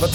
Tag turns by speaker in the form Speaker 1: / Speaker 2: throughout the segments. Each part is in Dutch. Speaker 1: Wat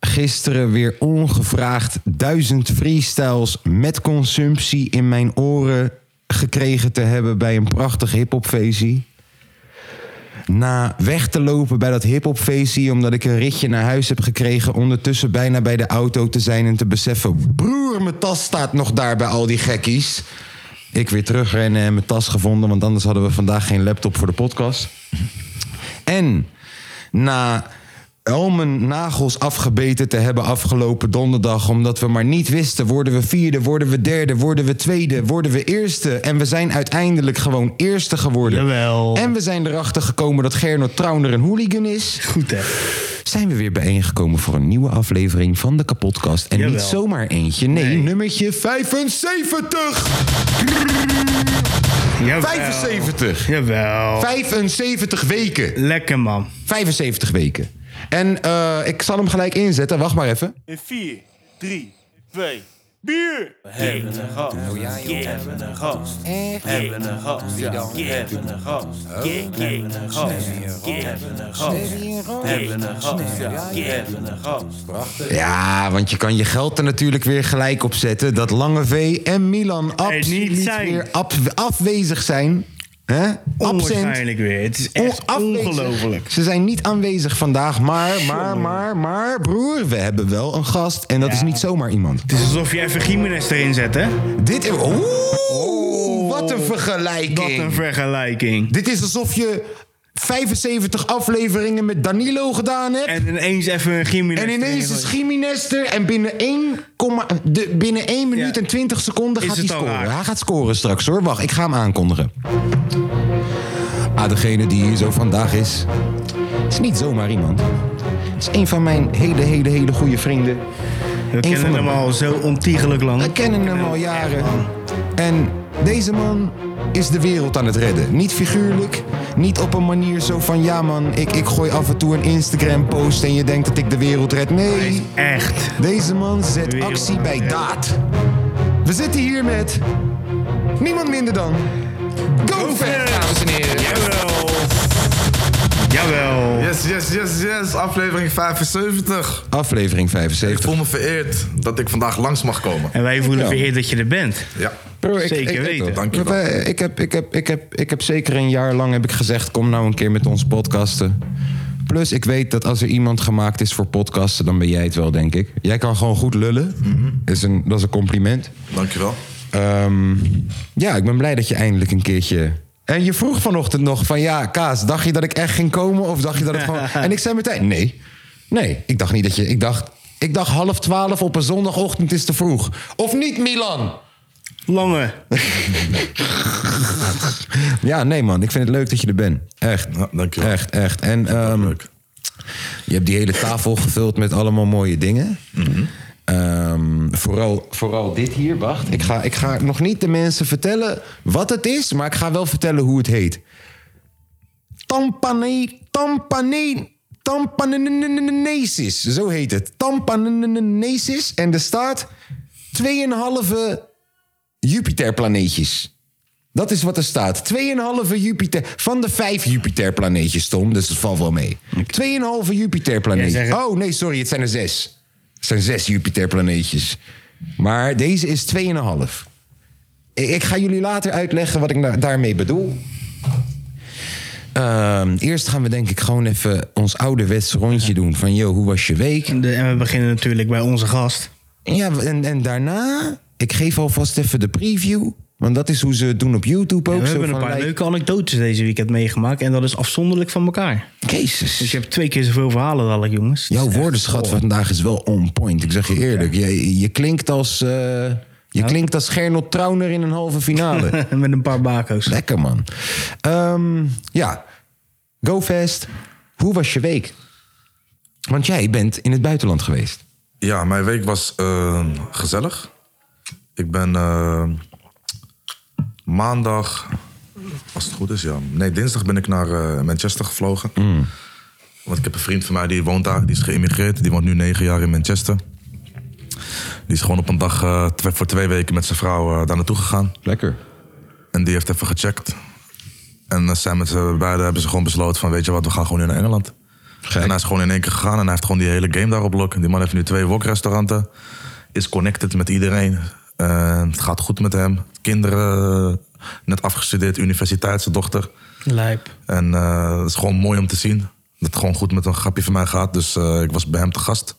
Speaker 2: gisteren weer ongevraagd duizend freestyles met consumptie in mijn oren gekregen te hebben bij een prachtig hiphopfeestje. Na weg te lopen bij dat hiphopfeestje omdat ik een ritje naar huis heb gekregen, ondertussen bijna bij de auto te zijn en te beseffen: broer, mijn tas staat nog daar bij al die gekkies. Ik weer terugrennen en eh, mijn tas gevonden, want anders hadden we vandaag geen laptop voor de podcast. En na al mijn nagels afgebeten te hebben afgelopen donderdag... omdat we maar niet wisten, worden we vierde, worden we derde... worden we tweede, worden we eerste... en we zijn uiteindelijk gewoon eerste geworden.
Speaker 3: Jawel.
Speaker 2: En we zijn erachter gekomen dat Gernot Trauner een hooligan is.
Speaker 3: Goed hè.
Speaker 2: Zijn we weer bijeengekomen voor een nieuwe aflevering van de Kapotkast. En niet
Speaker 3: Jawel.
Speaker 2: zomaar eentje, nee,
Speaker 3: Nee.
Speaker 2: nummertje 75!
Speaker 3: Jawel.
Speaker 2: 75!
Speaker 3: Jawel.
Speaker 2: 75 weken!
Speaker 3: Lekker man.
Speaker 2: 75 weken. En eh, ik zal hem gelijk inzetten. Wacht maar even.
Speaker 4: In 4, 3, 2, bier! We hebben een gast. We hebben een gast. We hebben een gast. We hebben een gast. We hebben een gast. We hebben een gast. We hebben een gast. We hebben een gast.
Speaker 2: Ja, want je kan je geld er natuurlijk weer gelijk op zetten... dat Lange V en Milan absoluut
Speaker 3: niet zijn.
Speaker 2: weer ab- afwezig zijn. hè? Absent.
Speaker 3: Onwaarschijnlijk weer. Het is
Speaker 2: On-
Speaker 3: echt
Speaker 2: afwezig.
Speaker 3: ongelooflijk.
Speaker 2: Ze zijn niet aanwezig vandaag, maar, maar, maar, maar, broer, we hebben wel een gast. En dat is niet zomaar iemand.
Speaker 3: Het is alsof jij even Gimenez erin zet hè.
Speaker 2: Dit is. Oeh, wat een vergelijking.
Speaker 3: Oh. Wat een vergelijking.
Speaker 2: Dit is alsof je 75 afleveringen met Danilo gedaan hebt.
Speaker 3: En ineens even een Gimenez
Speaker 2: En
Speaker 3: erin
Speaker 2: ineens
Speaker 3: gooien.
Speaker 2: is Giminester en binnen 1, de, binnen 1 minuut
Speaker 3: Ja.
Speaker 2: en 20 seconden
Speaker 3: Is
Speaker 2: gaat hij
Speaker 3: het al
Speaker 2: scoren.
Speaker 3: raak?
Speaker 2: Hij gaat scoren straks hoor. Wacht, ik ga hem aankondigen. Ah, degene die hier zo vandaag is, is niet zomaar iemand. Het is een van mijn hele, hele, hele goede vrienden.
Speaker 3: We kennen
Speaker 2: van de-
Speaker 3: hem al zo ontiegelijk lang.
Speaker 2: We kennen hem al jaren. En deze man is de wereld aan het redden. Niet figuurlijk, niet op een manier zo van... ja man, ik, ik gooi af en toe een Instagram-post en je denkt dat ik de wereld red. Nee,
Speaker 3: Echt.
Speaker 2: deze man zet
Speaker 3: Wereld
Speaker 2: actie
Speaker 3: aan het
Speaker 2: bij
Speaker 3: redden.
Speaker 2: daad. We zitten hier met niemand minder dan... GoFed, dames en heren.
Speaker 3: Jawel. Jawel.
Speaker 5: Yes, yes, yes, yes. Aflevering 75.
Speaker 2: Aflevering
Speaker 5: Ik
Speaker 2: 75.
Speaker 5: voel me vereerd dat ik vandaag langs mag komen.
Speaker 3: En wij
Speaker 2: Ja.
Speaker 3: voelen vereerd dat je er bent.
Speaker 5: Ja.
Speaker 2: Bro,
Speaker 3: Zeker weten.
Speaker 5: Dank je
Speaker 2: Ik
Speaker 5: wel.
Speaker 2: heb, eh, ik, heb, ik, heb, ik, heb, ik heb zeker een jaar lang heb ik gezegd: kom nou een keer met ons podcasten. Plus, ik weet dat als er iemand gemaakt is voor podcasten, dan ben jij het wel, denk ik. Jij kan gewoon goed lullen.
Speaker 3: Mhm.
Speaker 2: is een, dat is een compliment.
Speaker 5: Dank je wel.
Speaker 2: Ehm, ja, ik ben blij dat je eindelijk een keertje. En je vroeg vanochtend nog van ja, Kaas, dacht je dat ik echt ging komen? Of dacht je dat het gewoon. En ik zei meteen: nee. Nee, ik dacht niet dat je. Ik dacht, ik dacht half twaalf op een zondagochtend is te vroeg. Of niet, Milan?
Speaker 3: Lange.
Speaker 2: Ja, nee man, ik vind het leuk dat je er bent. Echt.
Speaker 5: Ja, dankjewel.
Speaker 2: Echt, echt. En ehm,
Speaker 5: Leuk.
Speaker 2: je hebt die hele tafel gevuld met allemaal mooie dingen. Ehm, vooral, vooral dit hier, wacht. Ik ga, ik ga nog niet de mensen vertellen wat het is, maar ik ga wel vertellen hoe het heet. Tampane, tampane, tampanenesis. Zo heet het. Tampanenesis. En er staat 2,5 Jupiterplaneetjes. Dat is wat er staat. 2,5 Jupiter. Van de vijf Jupiterplaneetjes, Tom. Dus dat valt wel mee. 2,5
Speaker 3: Jij
Speaker 2: Jupiterplaneetjes.
Speaker 3: zegt het.
Speaker 2: Oh, nee, sorry. Het zijn er zes. Het zijn zes Jupiterplaneetjes. Maar deze is 2,5. Ik, ik ga jullie later uitleggen wat ik da- daarmee bedoel. Ehm, eerst gaan we denk ik gewoon even ons ouderwets rondje doen. Van, yo, hoe was je week?
Speaker 3: De- en we beginnen natuurlijk bij onze gast.
Speaker 2: Ja, en, en daarna, ik geef alvast even de preview. Want dat is hoe ze het doen op YouTube ook.
Speaker 3: we
Speaker 2: zo
Speaker 3: hebben een
Speaker 2: van,
Speaker 3: paar
Speaker 2: like,
Speaker 3: leuke anekdotes deze weekend meegemaakt. En dat is afzonderlijk van elkaar.
Speaker 2: Jezus.
Speaker 3: Dus je hebt twee keer zoveel verhalen dadelijk, jongens.
Speaker 2: Jouw woordenschat van vandaag is wel on point. Ik zeg je eerlijk. Je, je klinkt als... eh, je klinkt als Gernot Trauner in een halve finale.
Speaker 3: Met een paar bako's.
Speaker 2: Lekker, man. Ehm, ja. GoFest. Hoe was je week? Want jij bent in het buitenland geweest.
Speaker 5: Ja, mijn week was eh, gezellig. Ik ben eh, maandag, als het goed is, ja. Nee, dinsdag ben ik naar eh, Manchester gevlogen. Want ik heb een vriend van mij die woont daar, die is geïmigreerd. Die woont nu negen jaar in Manchester. Die is gewoon op een dag eh, tw- voor twee weken met zijn vrouw eh, daar naartoe gegaan.
Speaker 1: Lekker.
Speaker 5: En die heeft even gecheckt. En eh, zijn met z'n beiden hebben ze gewoon besloten van... weet je wat, we gaan gewoon nu naar Engeland. En hij is gewoon in één keer gegaan en hij heeft gewoon die hele game daarop blok. Die man heeft nu twee wokrestauranten. Is connected met iedereen. Eh, het gaat goed met hem. Kinderen, eh, net afgestudeerd, universiteit, zijn dochter.
Speaker 3: Lijp.
Speaker 5: En eh, het is gewoon mooi om te zien. Dat het gewoon goed met een grapje van mij gaat. Dus eh, ik was bij hem te gast.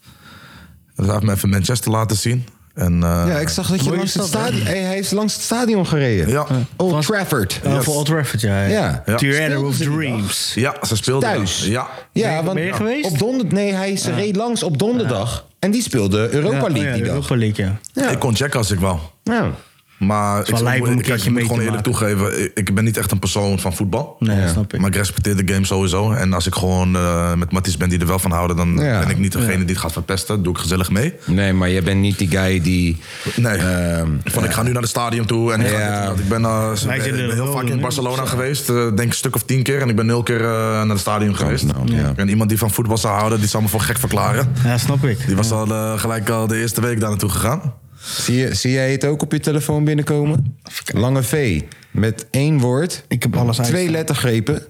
Speaker 5: Dus hij heeft me even Manchester laten zien. En, eh,
Speaker 1: Ja, ik zag dat je
Speaker 3: Mooie
Speaker 1: langs het
Speaker 3: stad, hè?
Speaker 1: stadion... Hey, hij is langs het stadion gereden.
Speaker 5: Ja.
Speaker 1: Old Trafford.
Speaker 3: Oh, voor Old Trafford, ja.
Speaker 1: Ja.
Speaker 5: Ja.
Speaker 3: Theater
Speaker 1: Speelden
Speaker 3: of
Speaker 1: ze die
Speaker 3: Dreams.
Speaker 5: ja, ze speelde
Speaker 1: Thuis?
Speaker 5: daar. Ja.
Speaker 1: Ja,
Speaker 3: Ben je-
Speaker 1: want
Speaker 3: ben je geweest?
Speaker 1: Op donder, nee, hij is reed langs op donderdag. En die speelde Europa
Speaker 3: Ja, oh
Speaker 1: League
Speaker 3: ja,
Speaker 1: die dag.
Speaker 3: Europa League, ja.
Speaker 1: Ja.
Speaker 5: Ik kon checken als ik wou.
Speaker 1: Ja.
Speaker 5: Maar ik,
Speaker 3: wel lijp om een
Speaker 5: ik, ik,
Speaker 3: keertje
Speaker 5: moet
Speaker 3: mee
Speaker 5: gewoon
Speaker 3: te
Speaker 5: eerlijk toegeven, ik, ik ben niet echt een persoon van voetbal.
Speaker 3: Nee, dat snap ik.
Speaker 5: Maar ik respecteer de game sowieso. En als ik gewoon eh, met matties ben die er wel van houden, dan
Speaker 1: Ja.
Speaker 5: ben ik niet degene die het gaat verpesten. Doe ik gezellig mee.
Speaker 1: Nee, maar jij bent niet die guy die...
Speaker 5: Nee.
Speaker 1: Ehm,
Speaker 5: van ik ga nu naar de stadion toe. En ik, ga
Speaker 1: Ja.
Speaker 5: dit en dat. ik ben, eh, ik
Speaker 3: Lijkt je
Speaker 5: ben
Speaker 3: er
Speaker 5: heel
Speaker 3: wel
Speaker 5: vaak in
Speaker 3: een
Speaker 5: Barcelona geweest. eh, denk een stuk of tien keer. En ik ben nul keer eh, naar het stadion geweest.
Speaker 1: nou, ja.
Speaker 5: En iemand die van voetbal zou houden, die zou me voor gek verklaren.
Speaker 3: Ja, snap ik.
Speaker 5: Die was al eh, gelijk al de eerste week daar naartoe gegaan.
Speaker 1: Zie, je, zie jij het ook op je telefoon binnenkomen? Lange V. Met één woord.
Speaker 3: Ik heb alles
Speaker 1: Twee
Speaker 3: uitstaan.
Speaker 1: lettergrepen.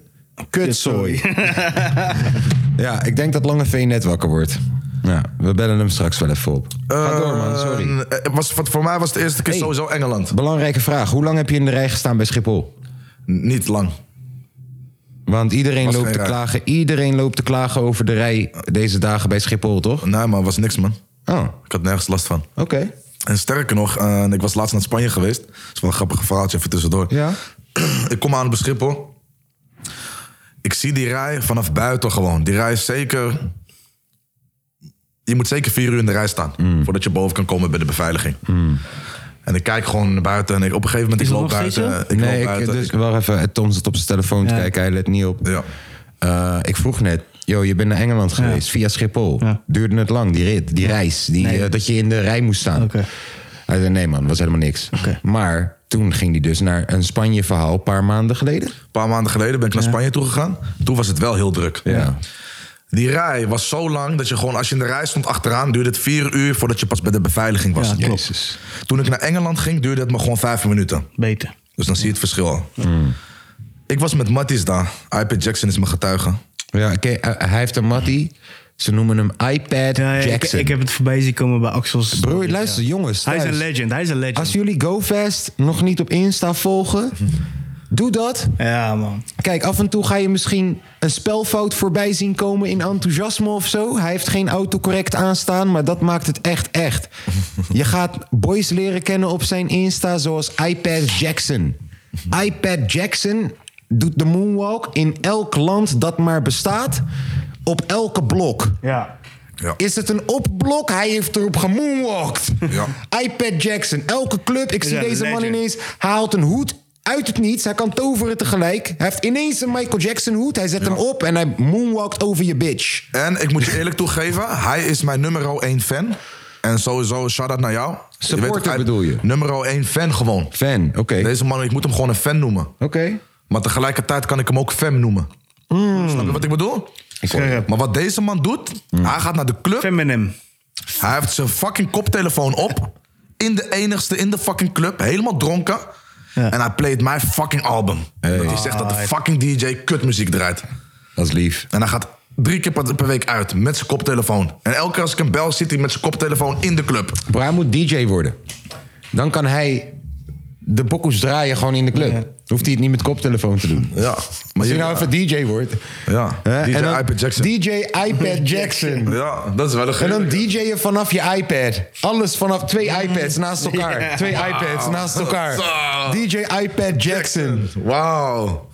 Speaker 1: Kutzooi. ja, ik denk dat Lange V net wakker wordt. Ja, we bellen hem straks wel even op. Ga door, man. Sorry.
Speaker 5: Eh, het was, voor mij was het de eerste keer
Speaker 1: Hey.
Speaker 5: sowieso Engeland.
Speaker 1: Belangrijke vraag. Hoe lang heb je in de rij gestaan bij Schiphol?
Speaker 5: N- niet lang.
Speaker 1: Want iedereen
Speaker 5: Was
Speaker 1: loopt
Speaker 5: geen
Speaker 1: te
Speaker 5: rij.
Speaker 1: klagen. Iedereen loopt te klagen over de rij deze dagen bij Schiphol, toch?
Speaker 5: Nee, maar was niks, man.
Speaker 1: Oh, oké.
Speaker 5: Ik had nergens last van. En sterker nog, eh, ik was laatst naar Spanje geweest. Dat is wel een grappig verhaaltje even tussendoor.
Speaker 1: Ja.
Speaker 5: Ik kom aan op Schiphol. Ik zie die rij vanaf buiten gewoon. Die rij is zeker... Je moet zeker vier uur in de rij staan. Voordat je boven kan komen bij de beveiliging. En ik kijk gewoon naar buiten. En ik, op een gegeven moment,
Speaker 3: Is
Speaker 5: ik
Speaker 3: dat
Speaker 5: loop
Speaker 3: nog steeds
Speaker 5: buiten.
Speaker 3: zo?
Speaker 5: Ik loop
Speaker 1: nee, ik,
Speaker 5: buiten.
Speaker 1: dus, wel even. Tom zit op zijn telefoon te
Speaker 3: Ja.
Speaker 1: kijken. Hij let niet op.
Speaker 5: Ja.
Speaker 1: Eh, ik vroeg net, joh, je bent naar Engeland geweest via Schiphol.
Speaker 3: Ja.
Speaker 1: Duurde het lang, die rit, die reis, die,
Speaker 3: Nee.
Speaker 1: eh, dat je in de rij moest staan?
Speaker 3: Oké.
Speaker 1: Hij zei, nee man, was helemaal niks.
Speaker 3: Oké.
Speaker 1: Maar toen ging hij dus naar een Spanje-verhaal een paar maanden geleden.
Speaker 5: Een paar maanden geleden ben ik naar Spanje toegegaan. Toen was het wel heel druk.
Speaker 1: Ja.
Speaker 5: Die rij was zo lang dat je gewoon, als je in de rij stond achteraan, duurde het vier uur voordat je pas bij de beveiliging was.
Speaker 3: Ja, klopt.
Speaker 1: Jezus.
Speaker 5: Toen ik naar Engeland ging, duurde het me gewoon vijf minuten.
Speaker 3: Beter.
Speaker 5: Dus dan zie je het verschil al.
Speaker 1: Mm.
Speaker 5: Ik was met Matties daar. iPad Jackson is mijn getuige.
Speaker 1: Ja, oké, eh, hij heeft een mattie. Ze noemen hem iPad
Speaker 3: Ja, ik,
Speaker 1: Jackson.
Speaker 3: ik heb het voorbij zien komen bij Axel's.
Speaker 1: Broer, luister, jongens.
Speaker 3: Hij is
Speaker 1: thuis.
Speaker 3: een legend, hij is een legend.
Speaker 1: Als jullie GoFest nog niet op Insta volgen, doe dat.
Speaker 3: Ja, man.
Speaker 1: Kijk, af en toe ga je misschien een spelfout voorbij zien komen in enthousiasme of zo. Hij heeft geen autocorrect aanstaan, maar dat maakt het echt echt. Je gaat boys leren kennen op zijn Insta zoals iPad Jackson. iPad Jackson doet de moonwalk in elk land dat maar bestaat, op elke blok.
Speaker 3: Ja.
Speaker 5: Ja.
Speaker 1: Is het een opblok? Hij heeft erop gemoonwalkt.
Speaker 5: Ja.
Speaker 1: iPad Jackson. Elke club. Ik zie
Speaker 3: Ja,
Speaker 1: deze man
Speaker 3: legend.
Speaker 1: ineens. Hij haalt een hoed uit het niets. Hij kan toveren tegelijk. Hij heeft ineens een Michael Jackson hoed. Hij zet hem op en hij moonwalkt over je bitch.
Speaker 5: En ik moet je eerlijk toegeven, hij is mijn nummer 1 fan. En sowieso, shout-out naar jou.
Speaker 1: Supporter
Speaker 5: weet toch, hij-
Speaker 1: bedoel je?
Speaker 5: Nummer 1 fan gewoon.
Speaker 1: Fan, oké.
Speaker 5: Deze man, ik moet hem gewoon een fan noemen. Maar tegelijkertijd kan ik hem ook fem noemen.
Speaker 1: Hmm.
Speaker 5: Snap je wat ik bedoel?
Speaker 3: Scherp.
Speaker 5: Maar wat deze man doet, hij gaat naar de club.
Speaker 3: Feminem.
Speaker 5: Hij heeft zijn fucking koptelefoon op. In de enigste, in de fucking club. Helemaal dronken. En hij playt mijn fucking album. Dat hij zegt dat de fucking DJ kutmuziek draait.
Speaker 1: Dat is lief.
Speaker 5: En hij gaat drie keer per, per week uit met zijn koptelefoon. En elke keer als ik hem bel, zit hij met zijn koptelefoon in de club.
Speaker 1: Bro, hij moet DJ worden. Dan kan hij de bokkoes draaien gewoon in de club. Hoeft hij het niet met koptelefoon te doen.
Speaker 5: Ja. Maar
Speaker 1: Als
Speaker 5: je,
Speaker 1: hij nou even DJ wordt.
Speaker 5: Ja,
Speaker 1: Hè?
Speaker 5: DJ
Speaker 1: Eh, En dan
Speaker 5: iPad Jackson.
Speaker 1: DJ iPad Jackson.
Speaker 5: ja, dat is wel
Speaker 1: En
Speaker 5: een gekke.
Speaker 1: dan DJ je vanaf je iPad. Alles vanaf twee iPads naast elkaar.
Speaker 3: Ja.
Speaker 1: Twee iPads naast elkaar.
Speaker 5: Zo.
Speaker 1: DJ iPad Jackson.
Speaker 5: Wauw.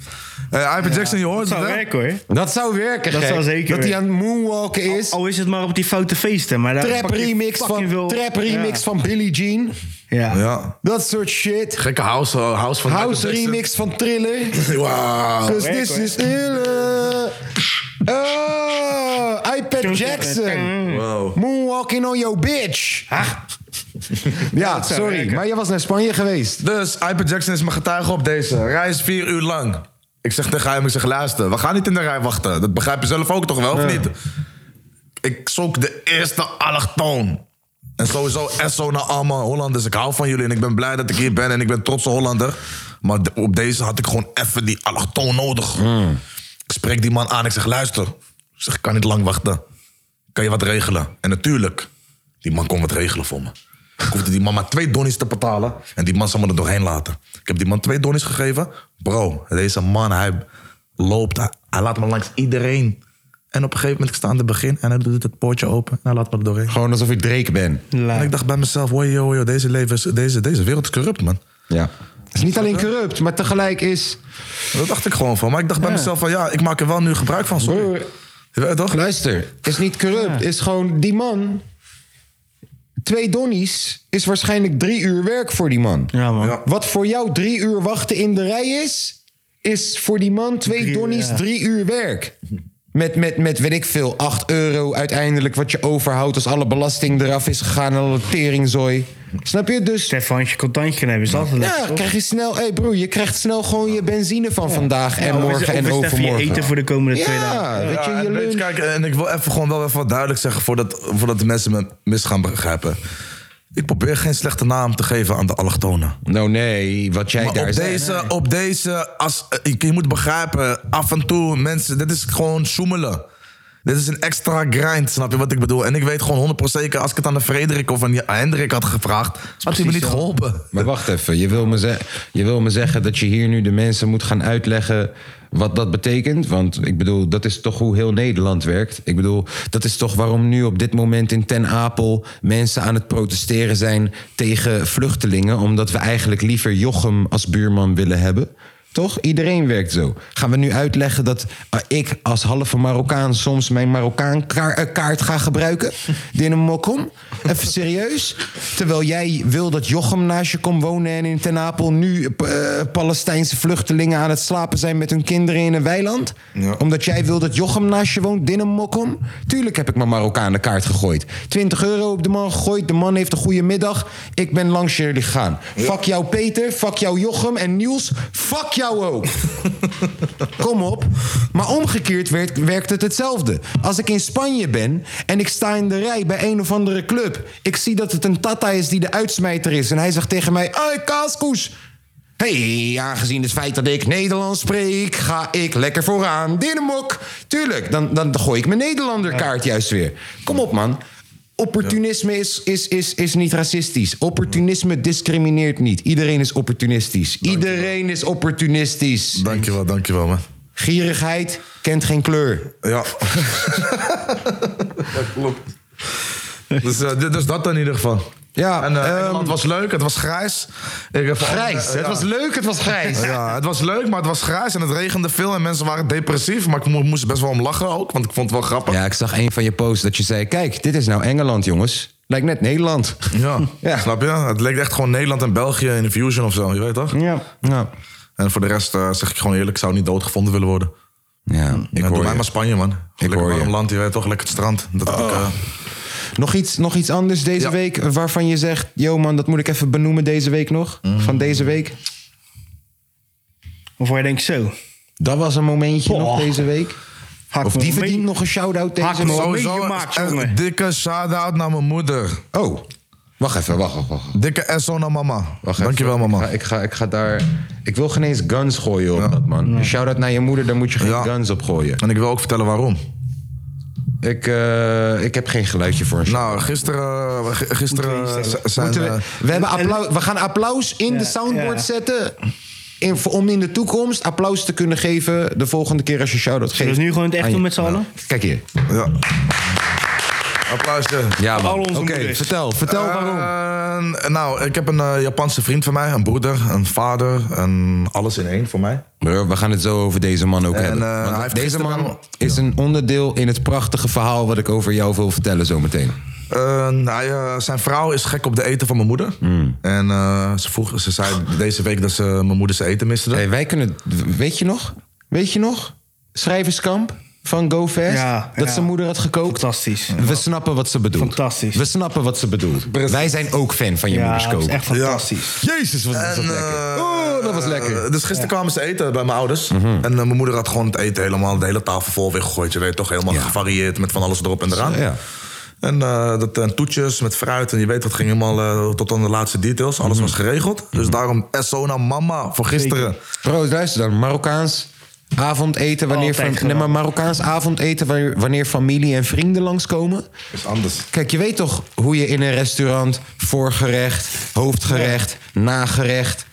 Speaker 5: Hey, iPad Jackson, je hoort
Speaker 3: Dat
Speaker 5: het,
Speaker 3: zou
Speaker 5: hè?
Speaker 3: werken hoor.
Speaker 1: Dat zou werken,
Speaker 3: Dat
Speaker 1: gek.
Speaker 3: zou zeker
Speaker 1: Dat hij aan het moonwalken is.
Speaker 3: Al is het maar op die foute feesten. Maar daar
Speaker 1: trap
Speaker 3: pak je
Speaker 1: remix, van,
Speaker 3: fucking veel-
Speaker 1: trap remix
Speaker 3: Ja.
Speaker 1: van Billie Jean.
Speaker 3: Ja.
Speaker 5: Ja.
Speaker 1: Dat soort shit.
Speaker 5: Gekke house, eh, house van
Speaker 1: House
Speaker 5: Michael Jackson.
Speaker 1: remix van
Speaker 3: Oh,
Speaker 1: Thriller.
Speaker 5: Wauw.
Speaker 1: Dus
Speaker 3: Werk,
Speaker 1: this
Speaker 3: hoor.
Speaker 1: is Thriller. Oh, iPad Jackson. Oh.
Speaker 5: Wow.
Speaker 1: Moonwalking on your bitch. Ja,
Speaker 3: dat zou
Speaker 1: sorry.
Speaker 3: werken.
Speaker 1: Maar jij was naar Spanje geweest.
Speaker 5: Dus Hyper Jackson is mijn getuige op deze. Rij is vier uur lang. Ik zeg tegen hem, ik zeg luister, we gaan niet in de rij wachten. Dat begrijp je zelf ook toch wel, of niet? Ik zoek de eerste allochtoon. En sowieso SO naar allemaal Hollanders. Ik hou van jullie en ik ben blij dat ik hier ben en ik ben trotse Hollander. Maar de- op deze had ik gewoon even die allochtoon nodig.
Speaker 1: Hmm.
Speaker 5: Ik spreek die man aan, ik zeg luister. Ik zeg, ik kan niet lang wachten. Kan je wat regelen? En natuurlijk, die man kon wat regelen voor me. Ik hoefde die man maar twee donnies te betalen. En die man zal me er doorheen laten. Ik heb die man twee donnies gegeven. Bro, deze man, hij loopt. Hij, hij laat me langs iedereen. En op een gegeven moment, ik sta aan het begin. En hij doet het poortje open. En hij laat me er doorheen.
Speaker 1: Gewoon Oh, alsof ik Drake ben.
Speaker 3: La-
Speaker 5: En ik dacht bij mezelf, wow, yo, yo, deze, leven is, deze, deze wereld is corrupt, man.
Speaker 1: Ja. Het is niet alleen corrupt, maar tegelijk is...
Speaker 5: Dat dacht ik gewoon van. Maar ik dacht bij mezelf van, ja, ik maak er wel nu gebruik van. Sorry.
Speaker 1: Broer,
Speaker 5: Je weet toch?
Speaker 1: Luister, is niet corrupt. Is gewoon die man. Twee donnies is waarschijnlijk drie uur werk voor die man.
Speaker 3: Ja, man.
Speaker 5: Ja.
Speaker 1: Wat voor jou drie uur wachten in de rij is, is voor die man twee donnies
Speaker 3: ja.
Speaker 1: drie uur werk. Met, met, met, weet ik veel, 8 euro uiteindelijk wat je overhoudt als alle belasting eraf is gegaan en alle teringzooi. Snap je? Dus
Speaker 3: Stefan'tje contantje kunnen hebben is altijd lekker.
Speaker 1: ja, krijg je snel, hey broer, je krijgt snel gewoon je benzine van vandaag en
Speaker 3: Of is-
Speaker 1: morgen
Speaker 3: of
Speaker 1: en
Speaker 3: is het even je
Speaker 1: overmorgen.
Speaker 3: eten voor de komende twee dagen.
Speaker 1: Ja, weet je,
Speaker 5: Ja,
Speaker 1: je
Speaker 5: en weet
Speaker 1: lunch.
Speaker 5: je, kijk, en ik wil even gewoon wel even wat duidelijk zeggen voordat, voordat de mensen me mis gaan begrijpen. Ik probeer geen slechte naam te geven aan de allochtonen.
Speaker 1: Nou nee, wat jij
Speaker 5: Maar
Speaker 1: daar
Speaker 5: op
Speaker 1: zegt.
Speaker 5: deze, op deze als, eh, je, je moet begrijpen, af en toe mensen, dit is gewoon zoemelen. Dit is een extra grind, snap je wat ik bedoel? En ik weet gewoon 100% zeker, als ik het aan de Frederik of aan die Hendrik had gevraagd, had hij me niet geholpen.
Speaker 1: Maar wacht even, je wil, me ze- je wil me zeggen dat je hier nu de mensen moet gaan uitleggen wat dat betekent? Want ik bedoel, dat is toch hoe heel Nederland werkt. Ik bedoel, dat is toch waarom nu op dit moment in Ten Apel mensen aan het protesteren zijn tegen vluchtelingen, omdat we eigenlijk liever Jochem als buurman willen hebben. Toch? Iedereen werkt zo. Gaan we nu uitleggen dat eh, ik als halve Marokkaan soms mijn Marokkaan kaar- eh, kaart ga gebruiken? Dinne Mokkom? Even serieus? Terwijl jij wil dat Jochem naast je komt wonen en in Ten Apel nu eh, Palestijnse vluchtelingen aan het slapen zijn met hun kinderen in een weiland? Omdat jij wil dat Jochem naast je woont, Dinne Mokkom? Tuurlijk heb ik mijn Marokkaan kaart gegooid. 20 euro op de man gegooid, de man heeft een goede middag. Ik ben langs jullie gegaan. Fuck jou Peter, fuck jou Jochem en Niels, fuck jou ook. Kom op. Maar omgekeerd werd, werkt het hetzelfde. Als ik in Spanje ben en ik sta in de rij bij een of andere club. Ik zie dat het een tata is die de uitsmijter is. En hij zegt tegen mij, hey kaaskoes. hey, aangezien het feit dat ik Nederlands spreek, ga ik lekker vooraan. Dinnemok. Tuurlijk, dan, dan gooi ik mijn Nederlanderkaart juist weer. Kom op, man. Opportunisme is, is, is, is niet racistisch. Opportunisme discrimineert niet. Iedereen is opportunistisch. Iedereen is opportunistisch.
Speaker 5: Dankjewel, dankjewel man.
Speaker 1: Gierigheid kent geen kleur.
Speaker 5: Ja. dat klopt. Dus, eh, dit- dus dat in ieder geval.
Speaker 1: Ja,
Speaker 5: en, eh,
Speaker 1: ehm,
Speaker 5: Engeland was leuk, het was grijs. Ik heb-
Speaker 1: Grijs.
Speaker 5: eh,
Speaker 1: het
Speaker 5: ja.
Speaker 1: was leuk, het was grijs.
Speaker 5: Ja, het was leuk, maar het was grijs en het regende veel en mensen waren depressief. Maar ik mo- moest er best wel om lachen ook, want ik vond het wel grappig.
Speaker 1: Ja, ik zag een van je posts dat je zei... kijk, dit is nou Engeland, jongens. Lijkt net Nederland.
Speaker 5: Ja.
Speaker 1: Ja.
Speaker 5: snap je? Het leek echt gewoon Nederland en België in de fusion of zo, je weet toch?
Speaker 1: Ja. Ja,
Speaker 5: En voor de rest eh, zeg ik gewoon eerlijk, ik zou niet doodgevonden willen worden.
Speaker 1: ja ik
Speaker 5: Ja, doe
Speaker 1: hoor
Speaker 5: mij
Speaker 1: je.
Speaker 5: maar Spanje, man. Lekker
Speaker 1: hoor je. Oh.
Speaker 5: warm land, je weet toch? Lekker het strand. Dat heb ik, eh,
Speaker 1: Nog iets, nog iets anders deze
Speaker 5: Ja.
Speaker 1: week waarvan je zegt... yo man, dat moet ik even benoemen deze week nog. Van deze week.
Speaker 3: Of waar je denkt zo.
Speaker 1: Dat was een momentje
Speaker 3: Boah.
Speaker 1: nog deze week.
Speaker 3: Hak
Speaker 1: Of
Speaker 3: me
Speaker 1: die
Speaker 3: wel
Speaker 1: verdient
Speaker 3: mee.
Speaker 1: nog een shout-out
Speaker 3: Haak
Speaker 1: deze
Speaker 3: me
Speaker 1: week.
Speaker 3: wel
Speaker 5: Sowieso
Speaker 3: gemaakt,
Speaker 5: een
Speaker 3: jongen.
Speaker 5: dikke shout-out naar mijn moeder.
Speaker 1: Oh, wacht even, wacht, wacht, wacht.
Speaker 5: Dikke SO naar mama.
Speaker 1: Wacht even.
Speaker 5: Dankjewel,
Speaker 1: Ik
Speaker 5: mama.
Speaker 1: ga, ik, ga, ik ga daar... Ik wil geen eens guns gooien op dat, man. Shout-out naar je moeder, daar moet je geen
Speaker 5: Ja.
Speaker 1: guns op gooien.
Speaker 5: En ik wil ook vertellen waarom.
Speaker 1: Ik, eh, ik heb geen geluidje voor.
Speaker 5: Nou, gisteren, eh, g- gisteren eh, z- zijn...
Speaker 1: Moeten we,
Speaker 5: eh,
Speaker 1: we, hebben applaus, we gaan applaus in
Speaker 3: Ja,
Speaker 1: de soundboard
Speaker 3: ja.
Speaker 1: zetten. In, om in de toekomst applaus te kunnen geven de volgende keer als je shout-out
Speaker 3: Zullen
Speaker 1: geeft.
Speaker 3: we het nu gewoon in het echt
Speaker 1: aan je-
Speaker 3: doen met z'n allen?
Speaker 1: Kijk hier.
Speaker 5: eh, Ja. Applausje.
Speaker 1: Ja,
Speaker 3: man. Al onze
Speaker 1: Oké,
Speaker 3: moeders.
Speaker 1: vertel. Vertel waarom.
Speaker 5: Eh, nou, ik heb een eh, Japanse vriend van mij, een broeder, een vader, een alles in één voor mij.
Speaker 1: Broer, we gaan het zo over deze man ook
Speaker 5: En,
Speaker 1: hebben.
Speaker 5: eh,
Speaker 1: Want
Speaker 5: hij heeft
Speaker 1: deze
Speaker 5: gisteren
Speaker 1: man
Speaker 5: wel-
Speaker 1: is een onderdeel in het prachtige verhaal... wat ik over jou wil vertellen zometeen.
Speaker 5: Eh, hij, eh, zijn vrouw is gek op de eten van mijn moeder.
Speaker 1: Mm.
Speaker 5: En eh, ze, vroeg, ze zei deze week dat ze mijn moeder zijn eten miste.
Speaker 1: Hey, wij kunnen... Weet je nog? Weet je nog? Schrijverskamp. van GoFest.
Speaker 3: Ja,
Speaker 1: dat
Speaker 3: ja.
Speaker 1: zijn moeder had gekookt.
Speaker 3: Fantastisch.
Speaker 1: We snappen wat ze bedoelt.
Speaker 3: Fantastisch.
Speaker 1: We snappen wat ze bedoelt. Wij zijn ook fan van je
Speaker 3: Ja,
Speaker 1: moeders
Speaker 3: het is
Speaker 1: koken.
Speaker 3: echt fantastisch.
Speaker 1: Jezus, wat was dat
Speaker 5: En,
Speaker 1: lekker.
Speaker 5: eh,
Speaker 1: Oh, dat was lekker. Mhm.
Speaker 5: eh, dus gisteren kwamen ze eten bij mijn ouders. En eh, mijn moeder had gewoon het eten helemaal, de hele tafel vol weggegooid. Je weet toch, helemaal
Speaker 1: Ja.
Speaker 5: gevarieerd met van alles erop en eraan.
Speaker 1: Ja.
Speaker 5: En eh, dat, en toetjes met fruit en je weet, dat ging helemaal eh, tot aan de laatste details. Alles
Speaker 1: Mhm.
Speaker 5: was geregeld. Dus daarom SO naar mama voor gisteren.
Speaker 1: Bro, luister dan. Marokkaans avondeten wanneer...
Speaker 3: Altijd
Speaker 1: Van, nee, maar
Speaker 3: geweldig.
Speaker 1: Marokkaans avondeten wanneer- wanneer familie en vrienden langskomen.
Speaker 5: Is anders.
Speaker 1: Kijk, je weet toch hoe je in een restaurant voorgerecht, hoofdgerecht, nagerecht.